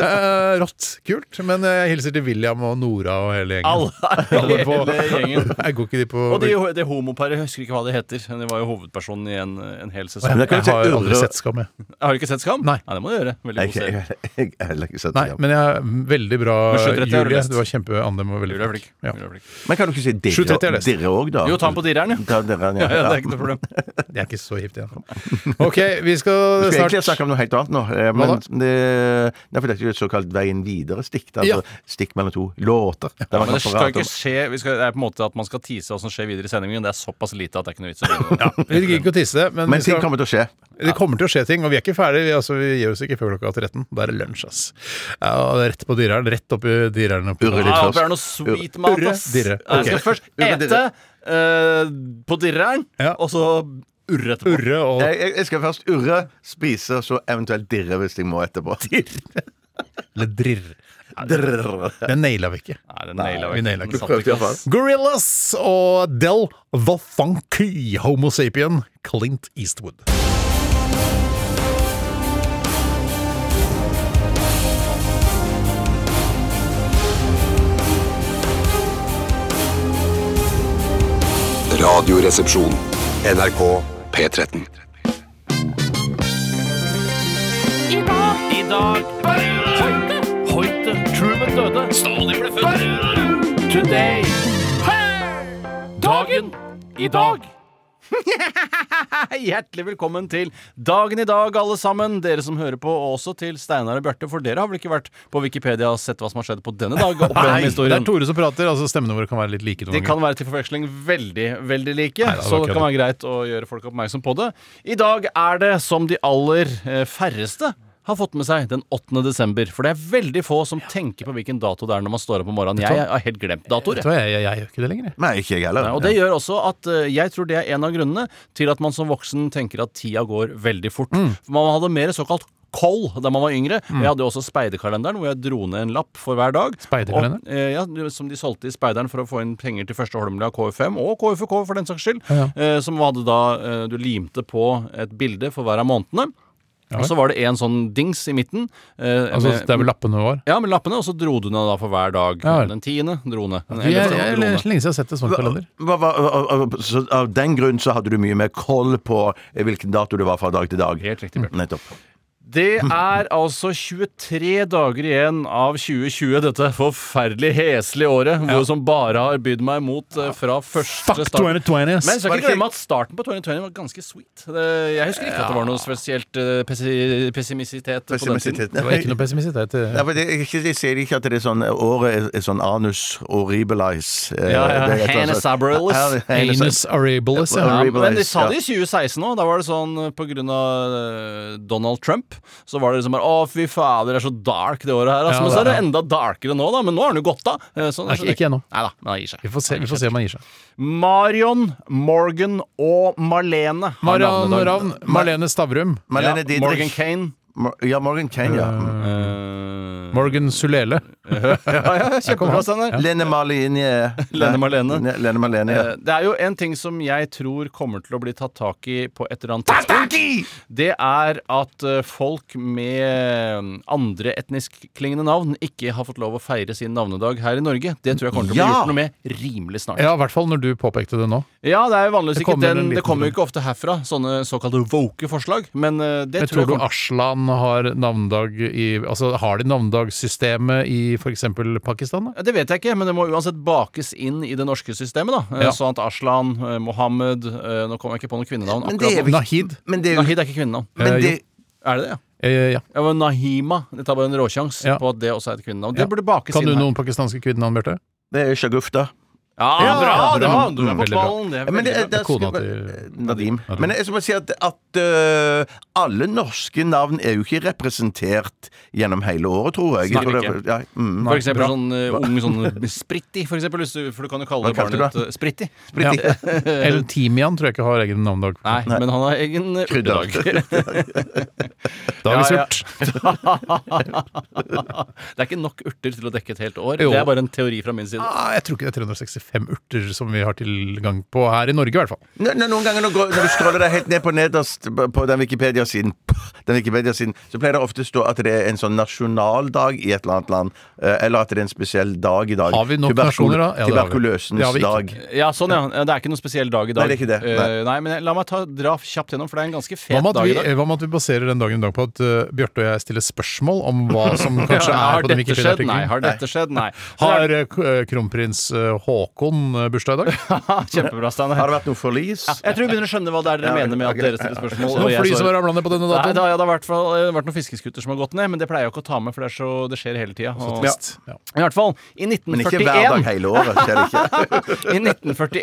Eh, rått. Kult. Men eh, jeg hilser til William og Nora og hele gjengen.
Alle,
Alle på-
hele gjengen.
(laughs) Jeg går ikke de på
Og det de homoparet, jeg husker ikke hva det heter. men De var jo hovedpersonen i en, en hel sesong.
Men jeg
Jeg
kan si
har jo aldri
urre
sett Skam, jeg.
Har du ikke sett Skam?
Nei.
det må du gjøre. Veldig
Jeg
god serie.
jeg- jeg har heller ikke sett
Nei,
det.
men jeg er veldig bra,
Men 7.30 har du
Julie.
lest.
Du var kjempe Andem var
Julie
veldig
er flink.
flink. Ja.
Julie er flink.
Men kan du ikke si
7.30 har jeg
dirre
lest.
dirre òg, da?
Jo, ta den på direren, ja.
Ta dirren,
(laughs) Ja,
ja.
ja, det er
ja.
ikke noe problem.
Jeg er ikke så hipt igjen. OK, vi
(laughs) Vi
skal
skal egentlig
snart
snakke om noe helt annet nå. eh, Men det, nei, for dette er jo et såkalt Veien videre-stikk. da,
Ja.
Altså stikk mellom to låter. Der man
Men det
kan
skal
prate
ikke
om-
skje vi skal, Det er på en måte at man skal tease hva som skjer videre i sendingen. Det er såpass lite at det er ikke noe vits å begynne.
Vi gidder ikke å tisse, men,
Men
vi skal,
ting kommer til å skje.
det kommer til å skje ting. Og vi er ikke ferdige. Vi, altså, vi gir oss ikke før klokka 13. Da er det lunsj, ass. Ja, og rett på dyreren. Rett oppi dyreren. oppi-
Urre litt
Ja,
først.
det er noe sweet mat,
Urre,
ass.
dirre.
Jeg skal
Ok.
først
Urre,
ete
dirre.
eh, på dirreren,
Ja.
og så urre etterpå.
Urre og
Jeg, jeg- jeg skal først urre, spise, og så eventuelt dirre hvis jeg må etterpå.
(laughs) Eller drirr.
Drrr.
Den naila vi ikke.
Nei, den naila
vi
vi
naila ikke.
Den satt ikke, ass.
Gorillas og Del The Funky Homo Sapien Clint Eastwood.
Radioresepsjon. NRK P13.
I dag Hoite Hoite Truman døde Stalin ble født Today Dagen I dag
Hei, Hjertelig velkommen til dagen i dag, alle sammen. Dere som hører på, og også til Steinar og Bjarte. For dere har vel ikke vært på Wikipedia og sett hva som har skjedd på denne
(laughs)
dag? opp gjennom
det er
historien
Tore som prater. altså Stemmene våre kan være litt like. noen
de kan
ganger.
være til forveksling veldig, veldig like,
det
så
var
det
ikke
kan være greit å gjøre folk oppmerksom på det. I dag er det, som de aller eh, færreste har fått med seg, den 8. desember. For det er veldig få som tenker på hvilken dato det er når man står opp om morgenen. Jeg har helt glemt datoer.
Vet du
jeg.
hva, jeg, jeg, jeg gjør ikke det lenger. jeg.
Nei, ikke jeg heller.
Ja, Og det gjør også at eh, jeg tror det er en av grunnene til at man som voksen tenker at tida går veldig fort.
Mm.
For man hadde mer såkalt koll da man var yngre. Og Jeg hadde jo også speiderkalenderen hvor jeg dro ned en lapp for hver dag.
Speiderkalender?
Og, eh, ja, som de solgte i Speideren for å få inn penger til Første Holmlia KFM, og KFUK for den saks skyld. eh, som hadde da eh, Du limte på et bilde for hver av månedene.
Ja,
Og så var det en sånn dings i midten. eh,
Altså,
med-
det er vel lappene våre.
ja, med lappene, og så dro du ned da for hver dag.
Ja vel.
den tiende dro ned. Den
Jeg, jeg,
ellevte
jeg,
dro ned.
lenge siden jeg har sett en sånn kalender.
Hva, hva, av, av, så av den grunn så hadde du mye mer koll på eh, hvilken dato det var fra dag til dag. Mm,
Helt riktig, Bjørn.
Nettopp.
Det er altså 23 dager igjen av 2020, dette forferdelig heslige året, hvor som bare har bydd meg imot eh, fra første
Fuck
start.
2020, ass.
Men jeg skal
Var det
ikke
ikke-
glemme at starten på 2020 var ganske sweet. Det, jeg husker ikke at det var noe spesielt eh, pessi- pessimisitet på den tiden.
Pessimisitet.
Det var ikke noe pessimisitet.
Nei,
eh.
for det, er ikke, jeg ser ikke at det er sånn eh, Året er, er sånn anus horribilis. eh,
Ja, ja.
det er et eller annet
Hanus
sånt.
abrilis.
Ja, det-
eh,
Hanus-
Anus Arabilis, ja.
Ja,
Ja, men de
Horribilis,
sa
ja.
det i 2016 òg. Da var det sånn eh, på grunn av eh, Donald Trump. Så var det liksom bare Å, fy fader, det er så dark det året her.
Ja,
Altså. men
det
så er det
er
enda darkere nå, da. Men nå har han jo gått av. Eh, Sånn,
Nei, ikke- ikke ennå.
Nei da, men han gir seg.
Vi får, se, vi får se om han gir seg.
Marion, Morgan og Marlene. har
Marian
navnedag.
Ravn, Marlene Stavrum.
Marlene
Ja, Morgan
Didrik.
Kane.
Mor- Ja, Morgan Kane, ja.
eh,
Morgan Sulele.
(laughs) Ja, ja, kjempebra, Steinar.
Lene Marlene.
Lene Marlene.
Ne- Lene Marlene, ja.
Eh, Det er jo en ting som jeg tror kommer til å bli tatt tak i på et eller annet tidspunkt. Det er at eh, folk med eh, andre etniskklingende navn ikke har fått lov å feire sin navnedag her i Norge. Det tror jeg kommer til å bli
Ja!
gjort noe med rimelig snart.
Ja, i hvert fall når du påpekte det nå.
Ja, det er jo vanligvis
Det
ikke
kommer en
den,
liten
Det kommer jo
del.
ikke ofte herfra, sånne såkalte woke forslag, men eh, det
Jeg tror du
jeg kommer-
Aslan har navnedag i Altså, har de navnedagssystemet i f.eks. Pakistan, da?
Ja, Det vet jeg ikke, men det må uansett bakes inn i det norske systemet. da Eh,
Ja.
Sånn at Aslan, eh, Mohammed eh, Nå kom jeg ikke på noe kvinnenavn.
Men
akkurat
det er
nå.
vel-
Nahid?
Men det er jo
Nahid er ikke kvinnenavn.
men
Eh,
det,
Er det det, ja?
Eh, ja.
Ja, men Nahima. Jeg tar bare en råsjans
Ja.
på at det også er et kvinnenavn.
Ja.
Det burde bakes
Kan du
inn her.
noen pakistanske kvinnenavn, Bjarte?
det er Shagufta.
Ja,
Ja,
bra!
bra.
Det var, du er på
Veldig bra.
ballen. Det er
Men det,
veldig bra.
det,
Kona
det,
til
Nadim. Men jeg må si at, at øh, alle norske navn er jo ikke representert gjennom hele året, tror jeg. jeg
Snakker
tror det- ja, mm.
For eksempel
bra.
sånn eh, ung sånn Spritti, for eksempel. hvis du- For du kan jo kalle
Hva kalte du
barnet
det?
ditt eh, Spritti.
Ja. El Timian tror jeg ikke har egen navnedag.
Nei, men han har egen eh,
Krydderdag.
krydderdag.
Dagens
Ja, ja.
urt.
(laughs) det er ikke nok urter til å dekke et helt år.
Jo.
Det er bare en teori fra min side.
Ah, jeg tror ikke det er 365 urter som vi har tilgang på her i Norge, i hvert fall.
Nå- nå- Noen ganger når, går- når du scroller deg helt ned på nederst på- på den Wikipedia-siden, den Wikipedia-siden, så pleier det ofte å stå at det er en sånn nasjonaldag i et eller annet land. eh, Eller at det er en spesiell dag i dag.
Har vi nok nasjoner da? Ja, det har vi. Det har
tuberkuløsens
vi ikke.
dag.
Ja, sånn ja. Det er ikke noen spesiell dag i dag.
Nei, det er ikke det.
Eh,
Nei.
nei men jeg- la meg ta, dra kjapt gjennom, for det er en ganske
Hva
fet
med, at
dag
vi, eh,
i dag.
hva med at vi baserer den dagen i dag på at eh, Bjarte og jeg stiller spørsmål om hva
(laughs)
som kanskje
Ja,
er
har
på den
dette skjedd? Nei.
Wikipedia-artikkelen?
Har dette skjedd? Nei. (laughs)
Har eh, k- eh, kronprins eh, Haakon eh, bursdag i dag?
Kjempebra, Steinar.
Har det vært noe forlis?
Jeg tror vi begynner å skjønne hva det er dere
Ja,
mener med at
ok.
dere stiller spørsmål. og
Noen
jeg
fly som har
svarer.
ramla ned på denne
Nei,
datoen?
da, ja, det har i hvert fall eh, vært noen fiskeskuter som har gått ned, men det pleier jeg jo ikke å ta med, for det, er så, det skjer hele tida.
Ja.
I hvert fall, i
Men ikke hver dag
1941,
hele året. Ser du ikke?
i 1941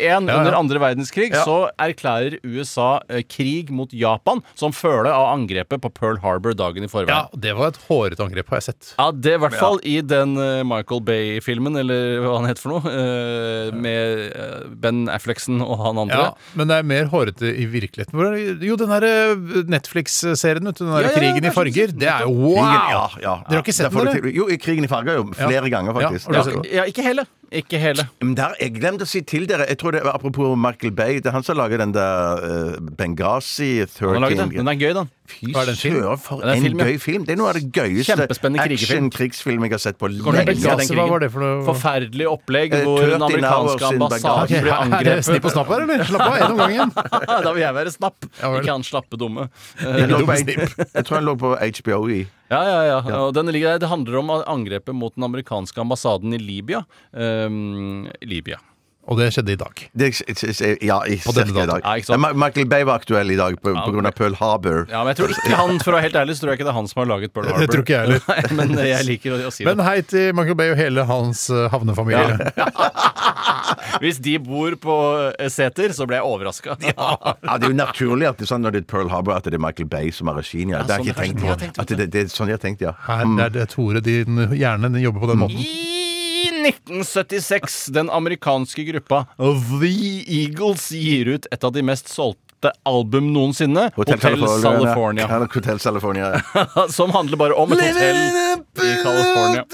(laughs) ja.
under andre verdenskrig, så erklærer USA eh, krig mot Japan som følge av angrepet på Pearl Harbor dagen i
Ja,
forveien. Ja.
det var et hårete angrep, har jeg sett.
det er i hvert fall i den eh, Michael Bay-filmen, eller hva han het for noe, eh, med eh, Ben Afflexen og han andre.
Ja, men det er mer hårete i virkeligheten. Hvor er- Jo, den derre Netflix-serien, vet du, den derre
Ja, ja,
Krigen
det
i
er sånn-
farger, det er jo wow!
Krigen- ja, ja.
Dere har ikke sett
Der
den,
får du
eller?
til- Jo, i Krigen i farger, jo. Flere
Ja.
ganger,
Ja,
faktisk.
har du
Ja.
sett den?
Ja, ikke hele. Ikke hele.
Men der, jeg glemte å si til dere jeg tror det var Apropos Michael Bay. Det er han som lager den der eh, Benghazi 13
Han har laget den. Den er gøy, den.
Fy
Hva er det, en film?
søren, for
Ja, det er
en
film, ja.
gøy film! Det er noe av det gøyeste
Kjempespennende krigerfilm.
action-krigsfilm jeg har sett på
Går det an å
lenge.
legge av den
Hva var
krigen?
det for noe?
Forferdelig opplegg
Eh,
hvor den
13 hours
amerikanske ambassaden
in Baghdad.
Ok,
ble
her er det snipp og
angrepet.
snapp her, eller? Slapp av, én om gangen.
(laughs) da vil jeg være snapp,
(laughs) Ja vel.
ikke han slappe dumme.
(laughs) Den lå
Eh,
på- Jeg tror han lå på HBO i
Ja, ja, ja. Og den ligger der. Det handler om angrepet mot den amerikanske ambassaden i Libya. Um, Libya.
Og det skjedde i dag.
det, Ja, i
På denne
cirka i dag.
datoen.
Ja, ikke sant?
Ma- Michael Bay var aktuell i dag pga. Pearl Harbor.
Ja, men jeg tror ikke han, for å være helt ærlig, så tror jeg ikke det er han som har laget Pearl Harbor.
tror ikke jeg heller.
(laughs) Nei, Men jeg liker å, å si det.
Men hei til Michael Bay og hele hans eh, havnefamilie.
Hvis de bor på eh, Seter, så ble jeg overraska.
Ja, Det er jo naturlig at det er sånn når det er Pearl Harbor at det er Michael Bay som er regien. Ja. Det har
sånn
jeg
det er. Jeg
ikke tenkt på.
har tenkt
At det, det er sånn jeg har tenkt, ja.
Her er det Tore, din hjerne den jobber på den
Mm.
måten.
(laughs) I 1976, den amerikanske gruppa The Eagles gir ut et av de mest solgte album noensinne, Hotel California,
Hotel California. ja.
(laughs) som handler bare om et hotell i California.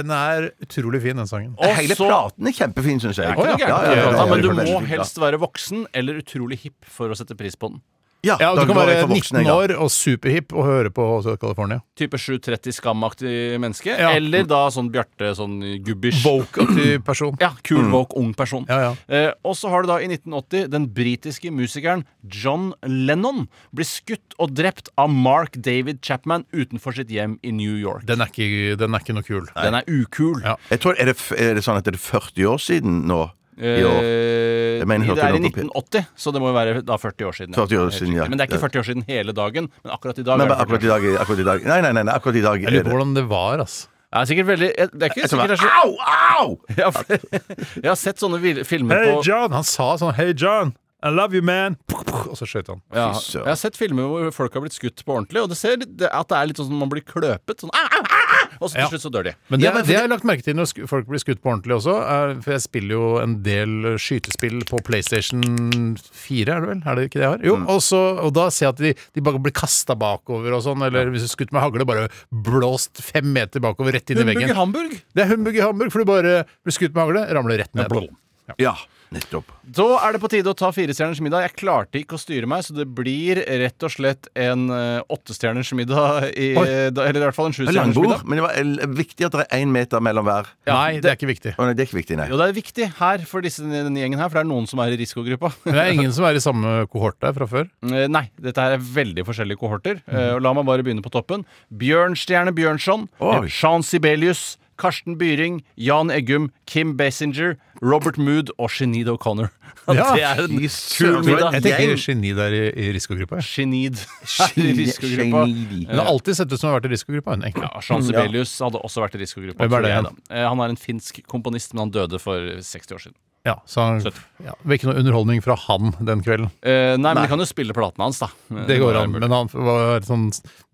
Den er utrolig fin, den sangen.
Og
Hele
så-
platen er kjempefin, syns
Det
jeg.
er ikke noe
Ja,
gærent med
ja, ja, ja,
plata,
ja,
men du
ja,
må
veldig.
helst være voksen eller utrolig hipp for å sette pris på den.
Ja,
Ja,
da
Du kan
går jeg
være
for voksne,
19
ja.
år og superhipp og høre på Hotel California.
Type 730 skamaktig menneske,
Ja.
eller da sånn Bjarte, sånn gubbish. (clears throat)
Vocal-aktiv person.
Ja, kul,
Mm.
woke, ung person.
Ja, ja.
Eh, og så har du da i 1980 den britiske musikeren John Lennon blir skutt og drept av Mark David Chapman utenfor sitt hjem i New York.
Den er ikke, den er ikke noe kul.
Den er ukul.
Ja.
Jeg tror, er, det, f- er det sånn at det er 40 år siden nå? I år?
Eh,
Jeg mener, hørte
det er i
du noe på-
1980, så det må jo være da 40 år siden.
40 år
Helt
siden,
riktig.
ja.
Men det er ikke 40 år siden hele dagen. Men akkurat i dag.
Men
er det 40 år
akkurat i dag, akkurat i dag Nei, nei, nei, nei akkurat i dag
Jeg
er
lurer
det
på hvordan det var, altså.
Det er sikkert veldig jeg- Det er ikke
Jeg tror
sikkert det
det
er (laughs) så
Au! Au!
ja, for- Jeg har sett sånne vil- filmer
Hey
på
John! Han sa sånn Hey John, I love you man! Og så skjøt han.
ja,
Fy søren.
Jeg har sett filmer hvor folk har blitt skutt på ordentlig, og det ser litt- det, at det er litt sånn som man blir kløpet. Sånn, au, au, au, au! og så til
Ja.
slutt så dør de.
Men det,
Ja, men for
det
det-
har jeg lagt merke til når sk- folk blir skutt på ordentlig også. Er, for jeg spiller jo en del eh, skytespill på PlayStation 4, er det vel? Er det ikke det jeg har? Jo, og, så, og da ser jeg at de, de bare blir kasta bakover og sånn, eller hvis du er skutt med hagle, bare blåst fem meter bakover, rett inn i
Humbug i
veggen.
Hamburg.
Det er humbug i Hamburg, for du bare blir skutt med hagle, ramler rett ned.
blom.
Ja, nettopp.
Da er det på tide å ta firestjerners middag. Jeg klarte ikke å styre meg, så det blir rett og slett en eh, åttestjerners middag. I,
Oi.
da, eller i hvert fall en sjustjerners
Langbord.
middag.
Men det var eh, viktig at det er én meter mellom hver.
Nei, det er ikke viktig.
Å nei, det er ikke viktig, nei.
Jo, det er viktig her for disse, denne gjengen her, for det er noen som er i risikogruppa.
Men det er ingen som er i samme kohort der fra før.
Eh, Nei, dette her er veldig forskjellige kohorter. Eh, og La meg bare begynne på toppen. Bjørnstjerne Bjørnson,
Oi.
Shan Sibelius, Karsten Byring, Jan Eggum, Kim Basinger, Robert Mood og Shenid O'Connor. (laughs)
Ja,
det er en kul
det
Jeg
var
middag.
tenker geni der i, i risikogruppa. jeg.
Shenid (laughs) er i risikogruppa.
Geni.
Hun har alltid sett ut som hun har vært i risikogruppa. hun, egentlig.
Mm, Ja, Shan Sibelius hadde også vært i risikogruppa.
Hvem er
tror
det
jeg,
igjen?
da. Eh, Han er en finsk komponist, men han døde for 60 år siden.
Ja, så han,
Søtt.
ja, det var ikke noe underholdning fra han den kvelden.
Eh, nei, men vi kan jo spille platene hans, da. Eh,
Det går
er
an,
mulig.
men han var et sånn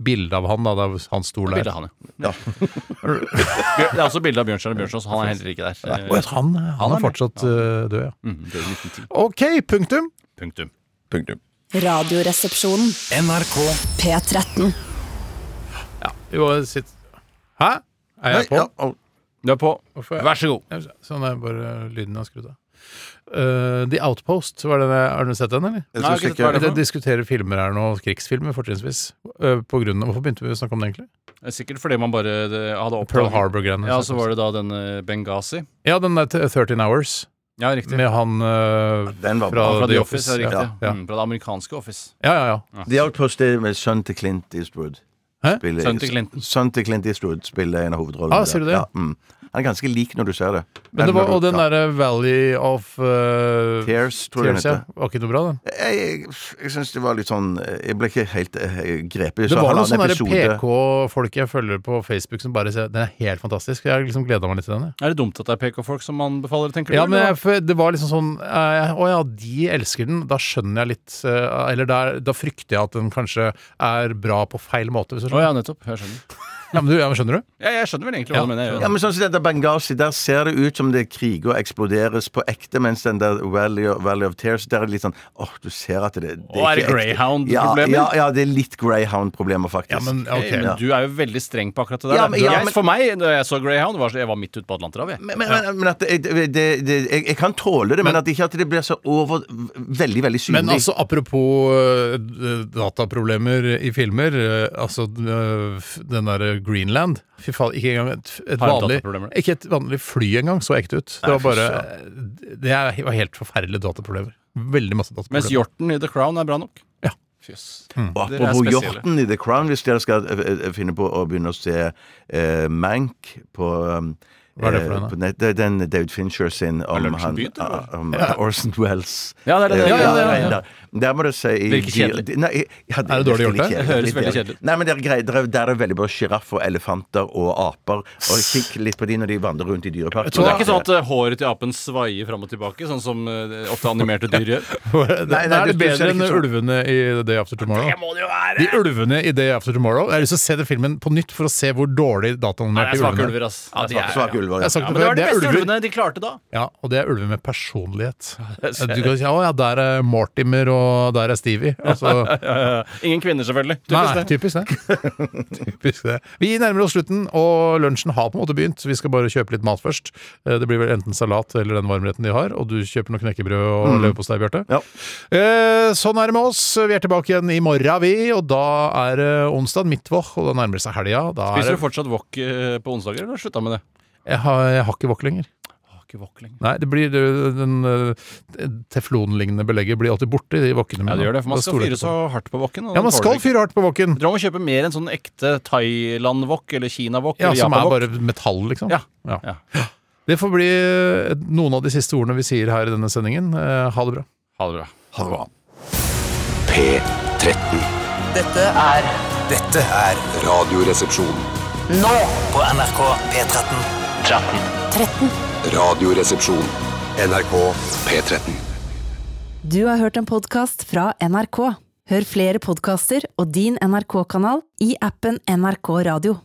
bilde av han da, der han sto
Bildet av
der.
han, ja. Bjør- (laughs) Det er også bilde av Bjørnstjerne Bjørnson, så han er heller ikke der. Eh,
Og jeg tror han, han
er
er
med.
fortsatt eh, død, ja.
Mm, det er 1910.
OK, punktum.
Punktum.
Radioresepsjonen.
NRK
P13.
Jo, sitt. Hæ? Er jeg på?
Ja, og-
Du er på.
Hvorfor er-
Vær så god.
Sånn er bare lyden av skrudd av. Eh, The Outpost, var det, har du sett den, eller?
jeg
Nei,
skal
ikke hva er
sjekke.
det
Vi
for noe? diskuterer
diskuterer filmer her nå, krigsfilmer fortrinnsvis. eh, på grunn av, hvorfor begynte vi å snakke om det, egentlig?
Sikkert fordi man bare det, hadde oppdaget
Pearl Harbor-greiene.
Ja, så var det da denne Benghazi.
ja, den der 13 Hours
Ja, riktig.
med han eh,
Den var
Fra-
bra.
Fra
The
The
Office,
Office, ja, riktig.
ja, ja.
Mm, fra det amerikanske Office.
Ja, ja, ja.
The Outpost er med sønnen til Clint Eastwood.
Hæ?
Spiller-
Sønnen til Clinton.
Sønnen til Clint Eastwood spiller en av hovedrollene.
Ah,
der.
sier du det?
Ja, mm. Han er ganske lik når du ser det.
Men det var,
når
og
du-
den
ja.
derre Valley of eh,
Tears, tror jeg
Tears,
den
ja.
heter.
Var ikke noe bra, den.
Jeg, jeg, jeg syns det var litt sånn Jeg ble ikke helt eh, grepet.
Det
Så
var noen
halvannen
sånne der
episode-
PK-folk jeg følger på Facebook som bare sier den er helt fantastisk. Jeg har liksom gleda meg litt til den. jeg.
Er det dumt at det er PK-folk som man befaler, tenker du?
Ja, men
eller?
jeg, for det var liksom sånn eh, Å ja, de elsker den. Da skjønner jeg litt eh, Eller da- da frykter jeg at den kanskje er bra på feil måte. Hvis du
Å
skjønner.
ja, nettopp. Jeg skjønner.
Ja, men du, ja, men skjønner du?
Ja, jeg skjønner vel egentlig hva du mener. jeg gjør
Ja,
det.
men sånn som den der Benghazi, der ser det ut som det er krig og eksploderes på ekte, mens den der Valley of, Valley of Tears, der er det litt sånn åh, du ser at det, det
Å, er det
ikke ekte.
Greyhound-problemer?
Ja, ja, ja, det er litt Greyhound-problemer, faktisk.
Ja, men
Ok,
ok.
men Du er jo veldig streng på akkurat det der.
Ja, men-
Du er-
ja, men-
For meg, da jeg så Greyhound, var så- jeg var midt ute på Atlanterhavet. jeg.
Men, men, men- men at det, det, det, det, jeg, jeg kan tåle det, men, at ikke at det blir så over Veldig, veldig synlig.
Men altså, apropos eh, d- dataproblemer i filmer, eh, altså eh, f- den derre Greenland Fy faen, ikke engang et, et
Har de
vanlig
dataproblemer?
Ikke et vanlig fly engang så ekte ut. Det var bare eh, Det er- var helt forferdelige dataproblemer. Veldig masse
Mens
(laughs) dataproblemer.
hjorten i The Crown er bra nok.
Ja.
Fys.
Og
Dere er
Apropos
spesielle.
hjorten i The Crown, hvis dere skal eh, eh, finne på å begynne å se eh, Mank på um,
Hva er det for
eh,
en, da?
på nett- det er den David Fincher sin om
Lunsjen
han
begynt, eller?
ah, om Orson Welles.
Ja, det er det,
Eh,
det er det,
ja,
det er det,
ja, ja. Der må du se i
Virker kjedelig.
de- Nei, jeg- ja,
Er det dårlig gjort,
virkelig
det?
Det høres
virkelig
veldig kjedelig ut.
Nei, men det er greit, der, er- der er veldig bra sjiraff og elefanter og aper. Og kikk litt på de når de vandrer rundt i dyreparken.
Så det er ikke sånn at eh, håret til apen svaier fram og tilbake, sånn som eh, ofte animerte dyr (laughs) gjør?
Det,
Nei, nei,
det er det
du- du ser
bedre
det
enn
ikke sånn.
ulvene i The Day After Tomorrow. Det må det jo være! De ulvene i Day After Tomorrow. Jeg har lyst til å se den filmen på nytt for å se hvor dårlig
Nei, det
dataanimerte
er svake
ulvene
ulver, ass.
Ja,
Det er
svake,
svake-
svake
Jeg
ulver, ja.
har sagt det
Ja, men
før.
det var de
Det er
beste
ulver
ulvene de klarte da.
Ja, og det er ulver med personlighet. Du kan si 'Å ja, der er Mortimer, og der er Stevie'. Altså,
Ingen kvinner, selvfølgelig.
nei, nei, typisk det. (laughs) typisk det. Vi nærmer oss slutten, og lunsjen har på en måte begynt. så Vi skal bare kjøpe litt mat først. Eh, Det blir vel enten salat eller den varmretten de har, og du kjøper noe knekkebrød og
Mm.
leverpostei, Bjarte.
Ja.
Eh, Sånn er det med oss. Vi er tilbake igjen i morgen, vi, og da er det onsdag, midtvåk, og da nærmer det seg helga. Da er
Spiser du
det,
fortsatt wok eh, på onsdager, eller har du slutta med det?
jeg, har, jeg har ikke wok lenger.
Har ikke wok lenger.
Nei, det blir det- den eh, teflonlignende belegget blir alltid borte i de wokene mine.
Ja, det gjør det,
Da
for man skal
stoler
fyre
jeg ikke
så
på
hardt på woken. og
det. Ja,
den
man
tåler
skal
ikke.
fyre hardt på woken.
Dere må kjøpe mer enn sånn ekte thailand-wok eller kina-wok
Ja,
eller
som er
japa-wok.
bare metall, liksom.
Ja.
Ja.
Ja.
Det får bli eh, noen av de siste ordene vi sier her i denne sendingen. Eh, Ha det bra.
Ha det bra.
P13.
Dette er Dette er
Radioresepsjon.
Nå på NRK P13 13
13.
Radioresepsjon. NRK P13.
Du har hørt en podkast fra NRK. Hør flere podkaster og din NRK-kanal i appen NRK Radio.